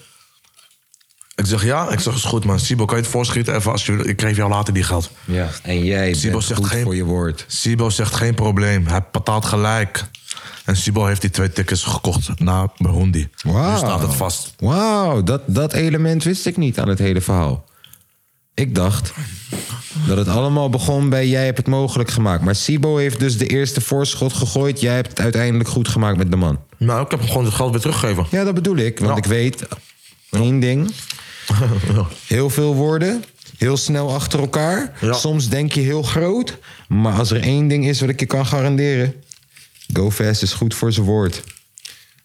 Speaker 5: Ik zeg, ja? Ik zeg, is goed man. Sibo, kan je het voorschieten even? Als je, ik geef jou later die geld.
Speaker 1: Ja. En jij
Speaker 5: Sibo
Speaker 1: bent
Speaker 5: zegt
Speaker 1: goed
Speaker 5: geen-
Speaker 1: voor je woord.
Speaker 5: Sibo zegt geen probleem. Hij betaalt gelijk. En Sibo heeft die twee tickets gekocht naar Burundi.
Speaker 1: Wauw.
Speaker 5: Nu staat het vast.
Speaker 1: Wauw, dat, dat element wist ik niet aan het hele verhaal. Ik dacht dat het allemaal begon bij jij hebt het mogelijk gemaakt. Maar Sibo heeft dus de eerste voorschot gegooid. Jij hebt het uiteindelijk goed gemaakt met de man.
Speaker 5: Nou, ik heb hem gewoon het geld weer teruggegeven.
Speaker 1: Ja, dat bedoel ik. Want
Speaker 5: Ja.
Speaker 1: ik weet één ding. Heel veel woorden. Heel snel achter elkaar.
Speaker 5: Ja.
Speaker 1: Soms denk je heel groot. Maar als er één ding is wat ik je kan garanderen. GoFast is goed voor zijn woord.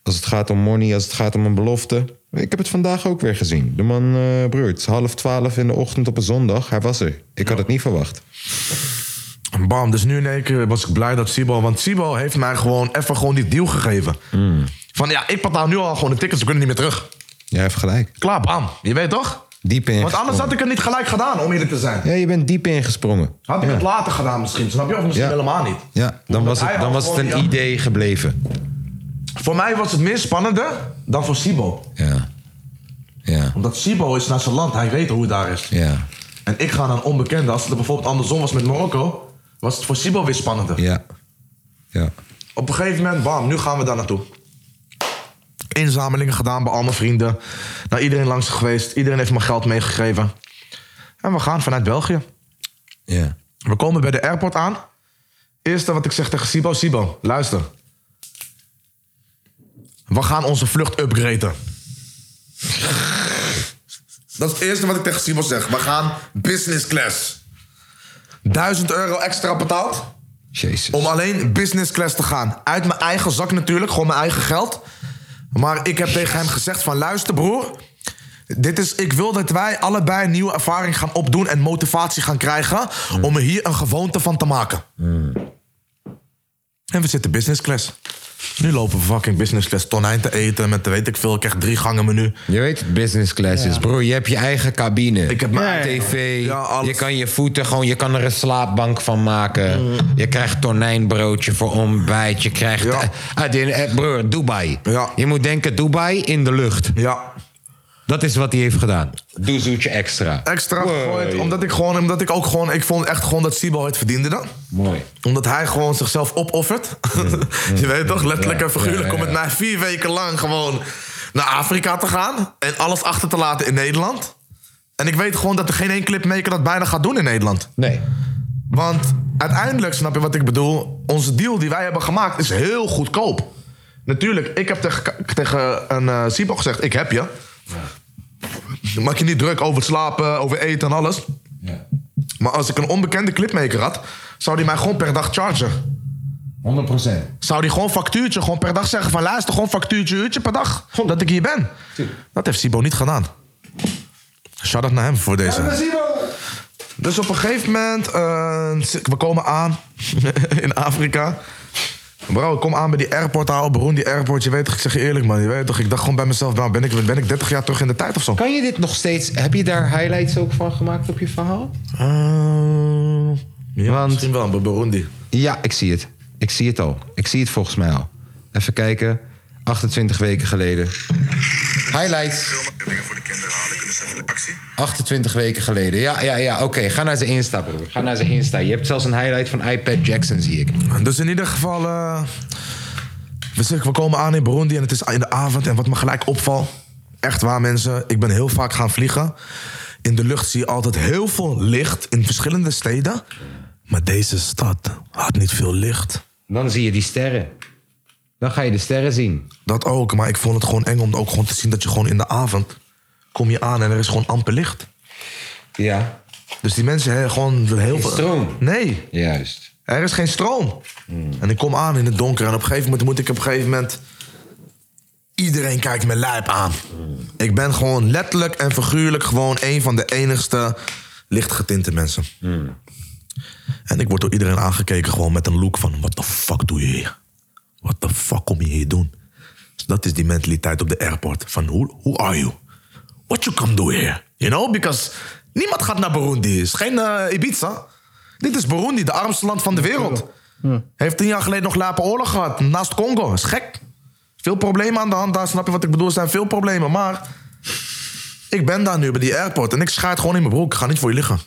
Speaker 1: Als het gaat om money, als het gaat om een belofte. Ik heb het vandaag ook weer gezien. De man eh broer, het is half twaalf in de ochtend op een zondag. Hij was er. Ik had het niet verwacht.
Speaker 5: Bam, dus nu in één keer was ik blij dat Sibo... Want Sibo heeft mij gewoon even gewoon die deal gegeven.
Speaker 1: Hmm.
Speaker 5: Van ja, ik betaal nu al gewoon de tickets. We kunnen niet meer terug.
Speaker 1: Jij hebt gelijk.
Speaker 5: Klaar, bam. Je weet toch?
Speaker 1: Diep ingesprongen.
Speaker 5: Want anders had ik het niet gelijk gedaan, om eerlijk te zijn.
Speaker 1: Ja, je bent diep ingesprongen.
Speaker 5: Had ik
Speaker 1: ja.
Speaker 5: het later gedaan misschien, snap je? Of misschien
Speaker 1: Ja.
Speaker 5: helemaal niet.
Speaker 1: Ja, dan
Speaker 5: Omdat
Speaker 1: was
Speaker 5: hij
Speaker 1: het, dan
Speaker 5: had
Speaker 1: was het
Speaker 5: gewoon
Speaker 1: een
Speaker 5: die-
Speaker 1: idee gebleven.
Speaker 5: Voor mij was het meer spannender dan voor Sibo.
Speaker 1: Ja. Ja.
Speaker 5: Omdat Sibo is naar zijn land, hij weet hoe het daar is.
Speaker 1: Ja.
Speaker 5: En ik ga naar een onbekende. Als het bijvoorbeeld andersom was met Marokko, was het voor Sibo weer spannender.
Speaker 1: Ja. Ja.
Speaker 5: Op een gegeven moment, bam, nu gaan we daar naartoe. Inzamelingen gedaan bij al mijn vrienden. Naar iedereen langs geweest. Iedereen heeft me geld meegegeven. En we gaan vanuit België.
Speaker 1: Ja.
Speaker 5: We komen bij de airport aan. Eerste wat ik zeg tegen Sibo. Sibo, luister. We gaan onze vlucht upgraden. Dat is het eerste wat ik tegen Sibo zeg. We gaan business class. 1000 euro extra betaald.
Speaker 1: Jezus.
Speaker 5: Om alleen business class te gaan. Uit mijn eigen zak natuurlijk, gewoon mijn eigen geld. Maar ik heb tegen hem gezegd van luister broer. Dit is, ik wil dat wij allebei een nieuwe ervaring gaan opdoen en motivatie gaan krijgen om er hier een gewoonte van te maken. En we zitten business class. Nu lopen we fucking business class tonijn te eten met weet ik veel. Ik krijg drie gangen menu.
Speaker 1: Je weet, business class is, broer. Je hebt je eigen cabine.
Speaker 5: Ik heb mijn eigen-
Speaker 1: tv.
Speaker 5: Ja, alles.
Speaker 1: je kan je voeten gewoon, je kan er een slaapbank van maken. Je krijgt tonijnbroodje voor ontbijt. Je krijgt.
Speaker 5: Mm. Ja.
Speaker 1: eh, uit in- eh, broer, Dubai.
Speaker 5: Ja.
Speaker 1: Je moet denken, Dubai in de lucht.
Speaker 5: Ja,
Speaker 1: Dat is wat hij heeft gedaan. Doe zoetje extra.
Speaker 5: extra gegooid. Omdat ik, gewoon, omdat ik ook gewoon... Ik vond echt gewoon dat Sibo het verdiende dan.
Speaker 1: Mooi.
Speaker 5: Omdat hij gewoon zichzelf opoffert. je weet toch, letterlijk
Speaker 1: Mm. Ja,
Speaker 5: en figuurlijk.
Speaker 1: ja, ja,
Speaker 5: Om het
Speaker 1: ja.
Speaker 5: na vier weken lang gewoon naar Afrika te gaan. En alles achter te laten in Nederland. En ik weet gewoon dat er geen één clipmaker dat bijna gaat doen in Nederland.
Speaker 1: Nee.
Speaker 5: Want uiteindelijk, snap je wat ik bedoel? Onze deal die wij hebben gemaakt is heel goedkoop. Natuurlijk, ik heb tegen, tegen een eh Sibo gezegd, ik heb je. Maak je niet druk over het slapen, over eten en alles. Maar als ik een onbekende clipmaker had, zou die mij gewoon per dag chargen
Speaker 1: 100%.
Speaker 5: zou die gewoon factuurtje gewoon per dag zeggen van luister gewoon factuurtje uurtje per dag Gewoon dat ik hier ben. Dat heeft Sibo niet gedaan. Shout out naar hem voor deze. Dus op een gegeven moment, eh, we komen aan in Afrika. Bro, ik kom aan bij die airport, ouwe beroen, die airport. Je weet toch, ik zeg je eerlijk man, je weet toch. Ik dacht gewoon bij mezelf, nou, ben, ik, ben ik 30 jaar terug in de tijd of zo?
Speaker 1: Kan je dit nog steeds... Heb je daar highlights ook van gemaakt op je verhaal?
Speaker 5: ja,
Speaker 1: Want-
Speaker 5: misschien wel, bij Burundi.
Speaker 1: Ja, ik zie het. Ik zie het al. Ik zie het volgens mij al. Even kijken. 28 weken geleden. Highlights. 28 weken geleden. Ja, ja, ja. Oké, ga naar zijn Insta, broer. Ga naar zijn Insta. Je hebt zelfs een highlight van iPad Jackson, zie ik.
Speaker 5: Dus in ieder geval, eh, we, zeggen, we komen aan in Burundi en het is in de avond. En wat me gelijk opvalt, echt waar mensen, ik ben heel vaak gaan vliegen. In de lucht zie je altijd heel veel licht in verschillende steden. Maar deze stad had niet veel licht.
Speaker 1: Dan zie je die sterren. Dan ga je de sterren zien.
Speaker 5: Dat ook, maar ik vond het gewoon eng om ook gewoon te zien dat je gewoon in de avond... kom je aan en er is gewoon amper licht.
Speaker 1: Ja.
Speaker 5: Dus die mensen hebben gewoon heel veel...
Speaker 1: stroom.
Speaker 5: Nee,
Speaker 1: Juist.
Speaker 5: Er is geen stroom. En ik kom aan in het donker. En op een gegeven moment moet ik op een gegeven moment... Iedereen kijkt me lijp aan. Ik ben gewoon letterlijk en figuurlijk... gewoon een van de enigste lichtgetinte mensen. En ik word door iedereen aangekeken gewoon met een look van... What the fuck doe je hier? What the fuck kom je hier doen? Dus dat is die mentaliteit op de airport. Van who, who are you? What you come do here? You know, because... Niemand gaat naar Burundi. Het is geen eh, Ibiza. Dit is Burundi, de armste land van de wereld. Heeft tien jaar geleden nog lapen oorlog gehad. Naast Congo. Is gek. Veel problemen aan de hand daar. Snap je wat ik bedoel? Er zijn veel problemen. Maar ik ben daar nu bij die airport. En ik schaart gewoon in mijn broek. Ik ga niet voor je liggen.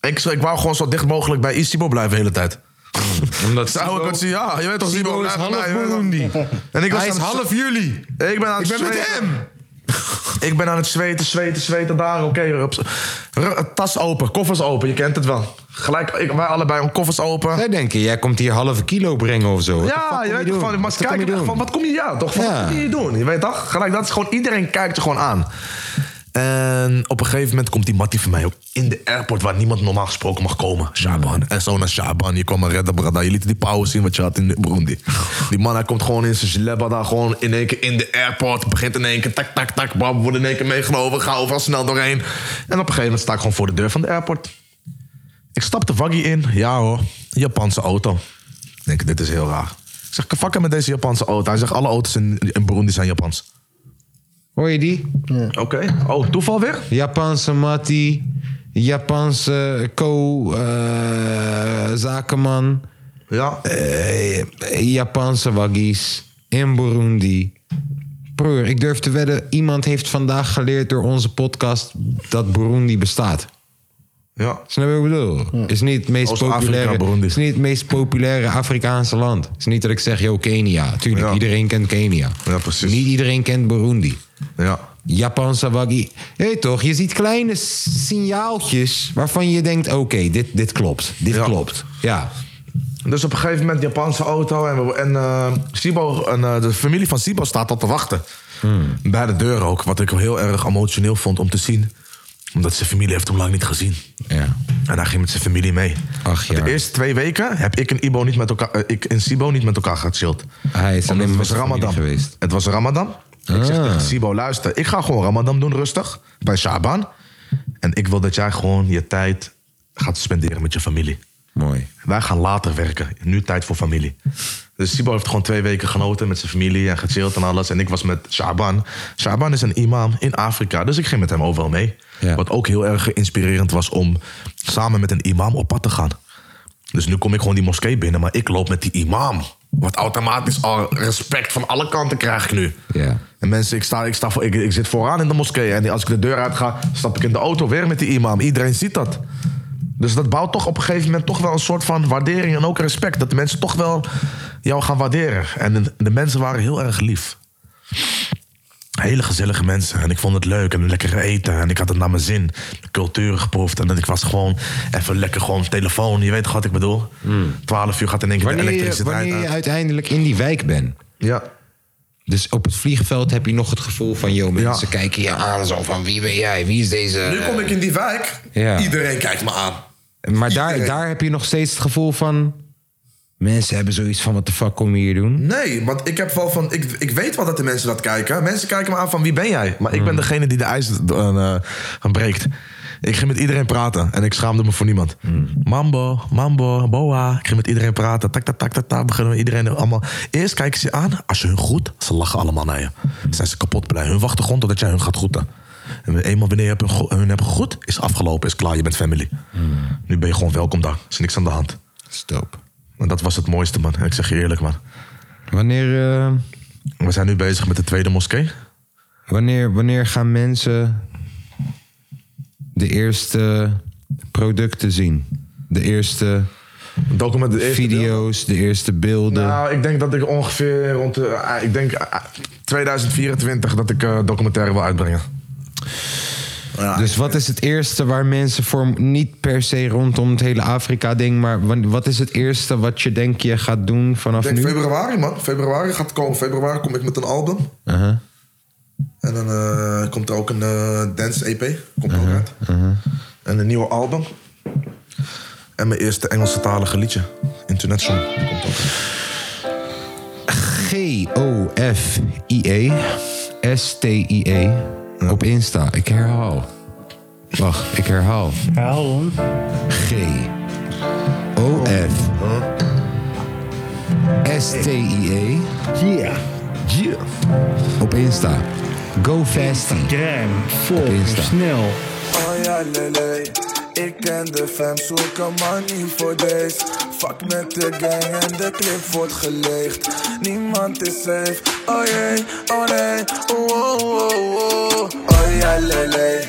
Speaker 5: Ik, ik wou gewoon zo dicht mogelijk bij Isibo blijven de hele tijd.
Speaker 1: Omdat
Speaker 5: Zou ik het zien? Ja, je weet toch, Isibo.
Speaker 1: Isibo is
Speaker 5: blijf
Speaker 1: half
Speaker 5: bij mij, je weet toch.
Speaker 1: Burundi.
Speaker 5: En ik was
Speaker 1: Hij
Speaker 5: aan
Speaker 1: is
Speaker 5: het-
Speaker 1: half jullie.
Speaker 5: Ik ben aan het
Speaker 1: Ik ben met
Speaker 5: zweten. Ik ben aan het zweten, zweten, zweten daar. Oké, op z- r- tas open, koffers open. Je kent het wel. Gelijk, ik, wij allebei, koffers open.
Speaker 1: Zij denken, jij komt hier halve kilo brengen of zo. What the fuck
Speaker 5: Ja,
Speaker 1: kom
Speaker 5: je weet
Speaker 1: doen?
Speaker 5: toch van, maar
Speaker 1: Wat
Speaker 5: ze
Speaker 1: kom je
Speaker 5: kijken echt
Speaker 1: doen?
Speaker 5: van, wat kom je ja toch? Van,
Speaker 1: Ja.
Speaker 5: Wat kom je hier doen? Je weet toch? Gelijk, dat is gewoon, iedereen kijkt je gewoon aan. En op een gegeven moment komt die Mattie van mij ook in de airport waar niemand normaal gesproken mag komen. Shaban. En zo naar Shaban. Je kwam een redder, brada. Je liet die power zien wat je had in Burundi. Die man, hij komt gewoon in zijn gilebba daar gewoon in één keer in de airport. Begint in één keer tak, tak, tak. Bam, wordt in één keer meegenomen. Ga overal snel doorheen. En op een gegeven moment sta ik gewoon voor de deur van de airport. Ik stap de waggie in. Ja hoor, Japanse auto. Ik denk, dit is heel raar. Ik zeg, fucken met deze Japanse auto. Hij zegt, alle auto's in, in Burundi zijn Japans.
Speaker 1: Hoor je die?
Speaker 5: Oké. Oh, toeval weer?
Speaker 1: Japanse Mattie, Japanse eh, co-zakenman,
Speaker 5: Ja.
Speaker 1: Eh, Japanse waggies in Burundi. Broer, ik durf te wedden, iemand heeft vandaag geleerd door onze podcast dat Burundi bestaat.
Speaker 5: Ja.
Speaker 1: Snap je wat ik bedoel? Is niet het meest
Speaker 5: Als Afrika,
Speaker 1: populaire,
Speaker 5: Burundi.
Speaker 1: is niet het meest populaire Afrikaanse land. Is niet dat ik zeg, yo, Kenia. Tuurlijk,
Speaker 5: Ja.
Speaker 1: iedereen kent Kenia.
Speaker 5: Ja, precies.
Speaker 1: Niet iedereen kent Burundi.
Speaker 5: Ja.
Speaker 1: Japan Sawagi. Hé toch, je ziet kleine s- signaaltjes waarvan je denkt: oké, dit, dit klopt. Dit klopt. Ja.
Speaker 5: Dus op een gegeven moment Japanse auto en, we- en eh, Sibo, en eh, de familie van Sibo staat al te wachten. Bij de deur ook, wat ik heel erg emotioneel vond om te zien. Omdat zijn familie heeft hem lang niet gezien.
Speaker 1: Ja.
Speaker 5: En hij ging met zijn familie mee.
Speaker 1: Ach ja.
Speaker 5: De eerste twee weken heb ik en, Ibo niet met elkaar, eh, ik en Sibo niet met elkaar gechilled.
Speaker 1: Hij is
Speaker 5: Omdat
Speaker 1: alleen
Speaker 5: het
Speaker 1: met
Speaker 5: was
Speaker 1: zijn familie
Speaker 5: Ramadan.
Speaker 1: geweest.
Speaker 5: Het was Ramadan. Ik zeg
Speaker 1: Ah.
Speaker 5: tegen Sibo, luister, ik ga gewoon Ramadan doen rustig bij Shaban. En ik wil dat jij gewoon je tijd gaat spenderen met je familie.
Speaker 1: Mooi.
Speaker 5: Wij gaan later werken. Nu tijd voor familie. Dus Sibo heeft gewoon twee weken genoten met zijn familie en gechilled en alles. En ik was met Shaban. Shaban is een imam in Afrika, dus ik ging met hem overal mee.
Speaker 1: Ja.
Speaker 5: Wat ook heel erg inspirerend was om samen met een imam op pad te gaan. Dus nu kom ik gewoon die moskee binnen, maar ik loop met die imam. Wat automatisch al respect van alle kanten krijg ik nu.
Speaker 1: Ja.
Speaker 5: En mensen, ik, sta, ik, sta voor, ik, ik zit vooraan in de moskee. En als ik de deur uit ga, stap ik in de auto weer met die imam. Iedereen ziet dat. Dus dat bouwt toch op een gegeven moment toch wel een soort van waardering en ook respect. Dat de mensen toch wel jou gaan waarderen. En de, de mensen waren heel erg lief. Hele gezellige mensen. En ik vond het leuk en lekker eten. En ik had het naar mijn zin. De cultuur geproefd. En ik was gewoon even lekker gewoon telefoon. Je weet toch wat ik bedoel? 12 uur gaat in één keer de
Speaker 1: Hmm. Wanneer, je,
Speaker 5: elektriciteit
Speaker 1: wanneer je
Speaker 5: uit.
Speaker 1: uiteindelijk in die wijk bent.
Speaker 5: Ja.
Speaker 1: Dus op het vliegveld heb je nog het gevoel van: joh, mensen
Speaker 5: Ja.
Speaker 1: kijken je aan. Zo van: wie ben jij? Wie is deze.
Speaker 5: Nu kom ik in die wijk.
Speaker 1: Ja.
Speaker 5: Iedereen kijkt me aan.
Speaker 1: Maar daar,
Speaker 5: Iedereen.
Speaker 1: daar heb je nog steeds het gevoel van. Mensen hebben zoiets van: wat de fuck kom je hier doen?
Speaker 5: Nee, want ik heb wel van. Ik, ik weet wel dat de mensen dat kijken. Mensen kijken me aan van wie ben jij? Maar ik ben degene die de ijs eh, eh, breekt. Ik ging met iedereen praten en ik schaamde me voor niemand. Mambo, mambo, boa. Ik ging met iedereen praten. Tak, tak, tak, tak, tak. Beginnen we iedereen allemaal. Eerst kijken ze je aan. Als je hun groet, ze lachen allemaal naar je. Zijn ze kapot blij. Hun wachten gewoon totdat jij hun gaat groeten. En eenmaal wanneer je hebt hun, gro- hun hebt gegroet, is afgelopen, is klaar. Je bent family. Nu ben je gewoon welkom daar. Er is niks aan de hand.
Speaker 1: Stop.
Speaker 5: En dat was het mooiste, man. En ik zeg je eerlijk, man.
Speaker 1: Wanneer, eh,
Speaker 5: We zijn nu bezig met de tweede moskee.
Speaker 1: wanneer, wanneer gaan mensen de eerste producten zien? De eerste
Speaker 5: Document de eerste
Speaker 1: video's, de eerste beelden.
Speaker 5: deel. Nou, ik denk dat ik ongeveer rond de, eh, ik denk eh, 2024 dat ik eh, documentaire wil uitbrengen.
Speaker 1: dus wat is het eerste waar mensen voor, niet per se rondom het hele Afrika-ding, maar wan- wat is het eerste wat je denkt je gaat doen vanaf
Speaker 5: Ik denk
Speaker 1: nu?
Speaker 5: februari, man. Februari gaat komen. Februari kom ik met een album.
Speaker 1: Uh-huh.
Speaker 5: En dan eh, komt er ook een eh, dance EP. Komt
Speaker 1: Uh-huh.
Speaker 5: er ook uit. En een nieuwe album. En mijn eerste Engelstalige liedje. International. Die komt ook uit.
Speaker 1: G-O-F-I-E. S-T-I-E. E, Op Insta. Ik herhaal. Wacht, ik herhaal.
Speaker 3: Ja, hoor.
Speaker 1: G. O-F. S-T-I-E.
Speaker 3: Yeah.
Speaker 1: E, Op Insta. Go fasty.
Speaker 3: Damn. Vol.
Speaker 1: Insta.
Speaker 3: Snel.
Speaker 7: Oh ja, lele. Ik ken de fam, zoek een money voor deze. Fuck met de gang en de clip wordt geleegd. Niemand is safe, oh jee, oh nee, oh oh oh oh. Oh ja, lele.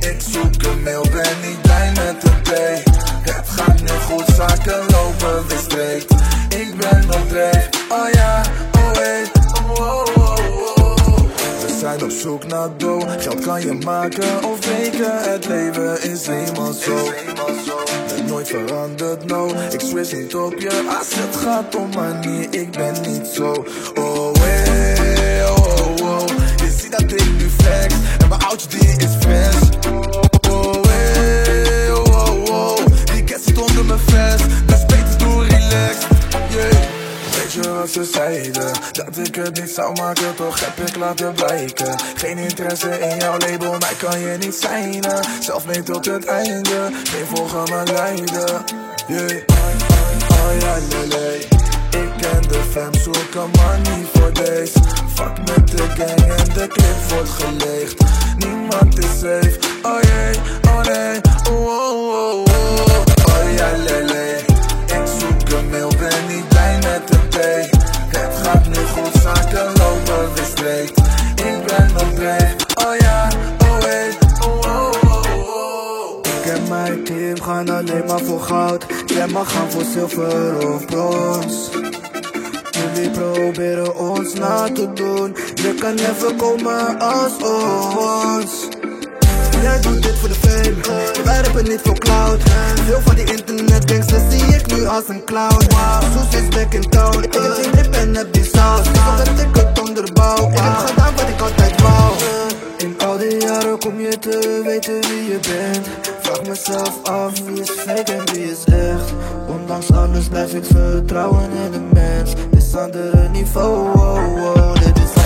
Speaker 7: Ik zoek een mail, ben niet blij met een play. Het gaat nu goed, zaken lopen weer streek. Ik ben op dreef, oh ja, oh hey, oh oh oh oh. We zijn op zoek naar doel, geld kan je maken of breken. Het leven is eenmaal zo. Het nooit verandert, no. Ik switch niet op je als het gaat om money. Ik ben niet zo. Oh, hey, oh, oh. Je ziet dat ik nu flex en mijn oudje die is fresh. Oh, hey, oh, oh, oh. Die cat zit onder mijn vest, dat is beter, doe relax. Yeah. Weet je wat ze zeiden? Dat ik het niet zou maken, toch heb ik laten blijken. Geen interesse in jouw label, mij kan je niet zijn. Zelf mee tot het einde, geen volgen maar lijden. Yeah. Oh ja, lele. Ik ken de fam, zoek een money voor deze. Fuck met de gang en de clip wordt geleegd. Niemand is safe, oh jee, oh nee, oh oh oh oh. Oh ja, lele. Ik zoek een mail, ben niet blij met een thee. Het gaat nu goed, zaken lopen weer streek. Ik ben op dreef, oh ja, oh hey, oh oh oh oh. Ik en mijn team gaan alleen maar voor goud. Jij mag gaan voor zilver of brons.
Speaker 10: Jullie proberen ons na te doen. Je kan even komen als ons. Jij doet dit voor de fame, wij rappen niet voor cloud. Veel van die internetgangsters zie ik nu als een clown. Soes is back in town, ik heb geen lip en heb die saus. Zodat ik het onderbouw, ik heb gedaan wat ik altijd wou. In al die jaren kom je te weten wie je bent. Vraag mezelf af wie is fake en wie is echt. Ondanks alles blijf ik vertrouwen in de mens. Dit is andere niveau, wow, wow, dit is echt.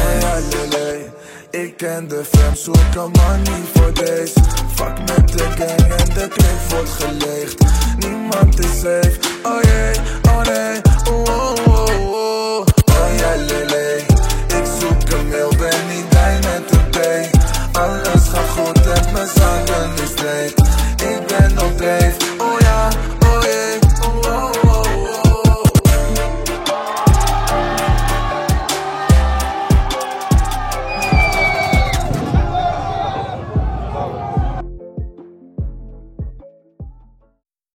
Speaker 11: Ik ken de fam, zoek een money voor deze Fuck met de gang en de clip wordt geleegd Niemand is safe, oh jee, oh nee Oh, oh, oh, oh, oh ja lele Ik zoek een mail, ben niet bij met een P Alles gaat goed en mijn zaken is leeg Ik ben op dreef Oh oh,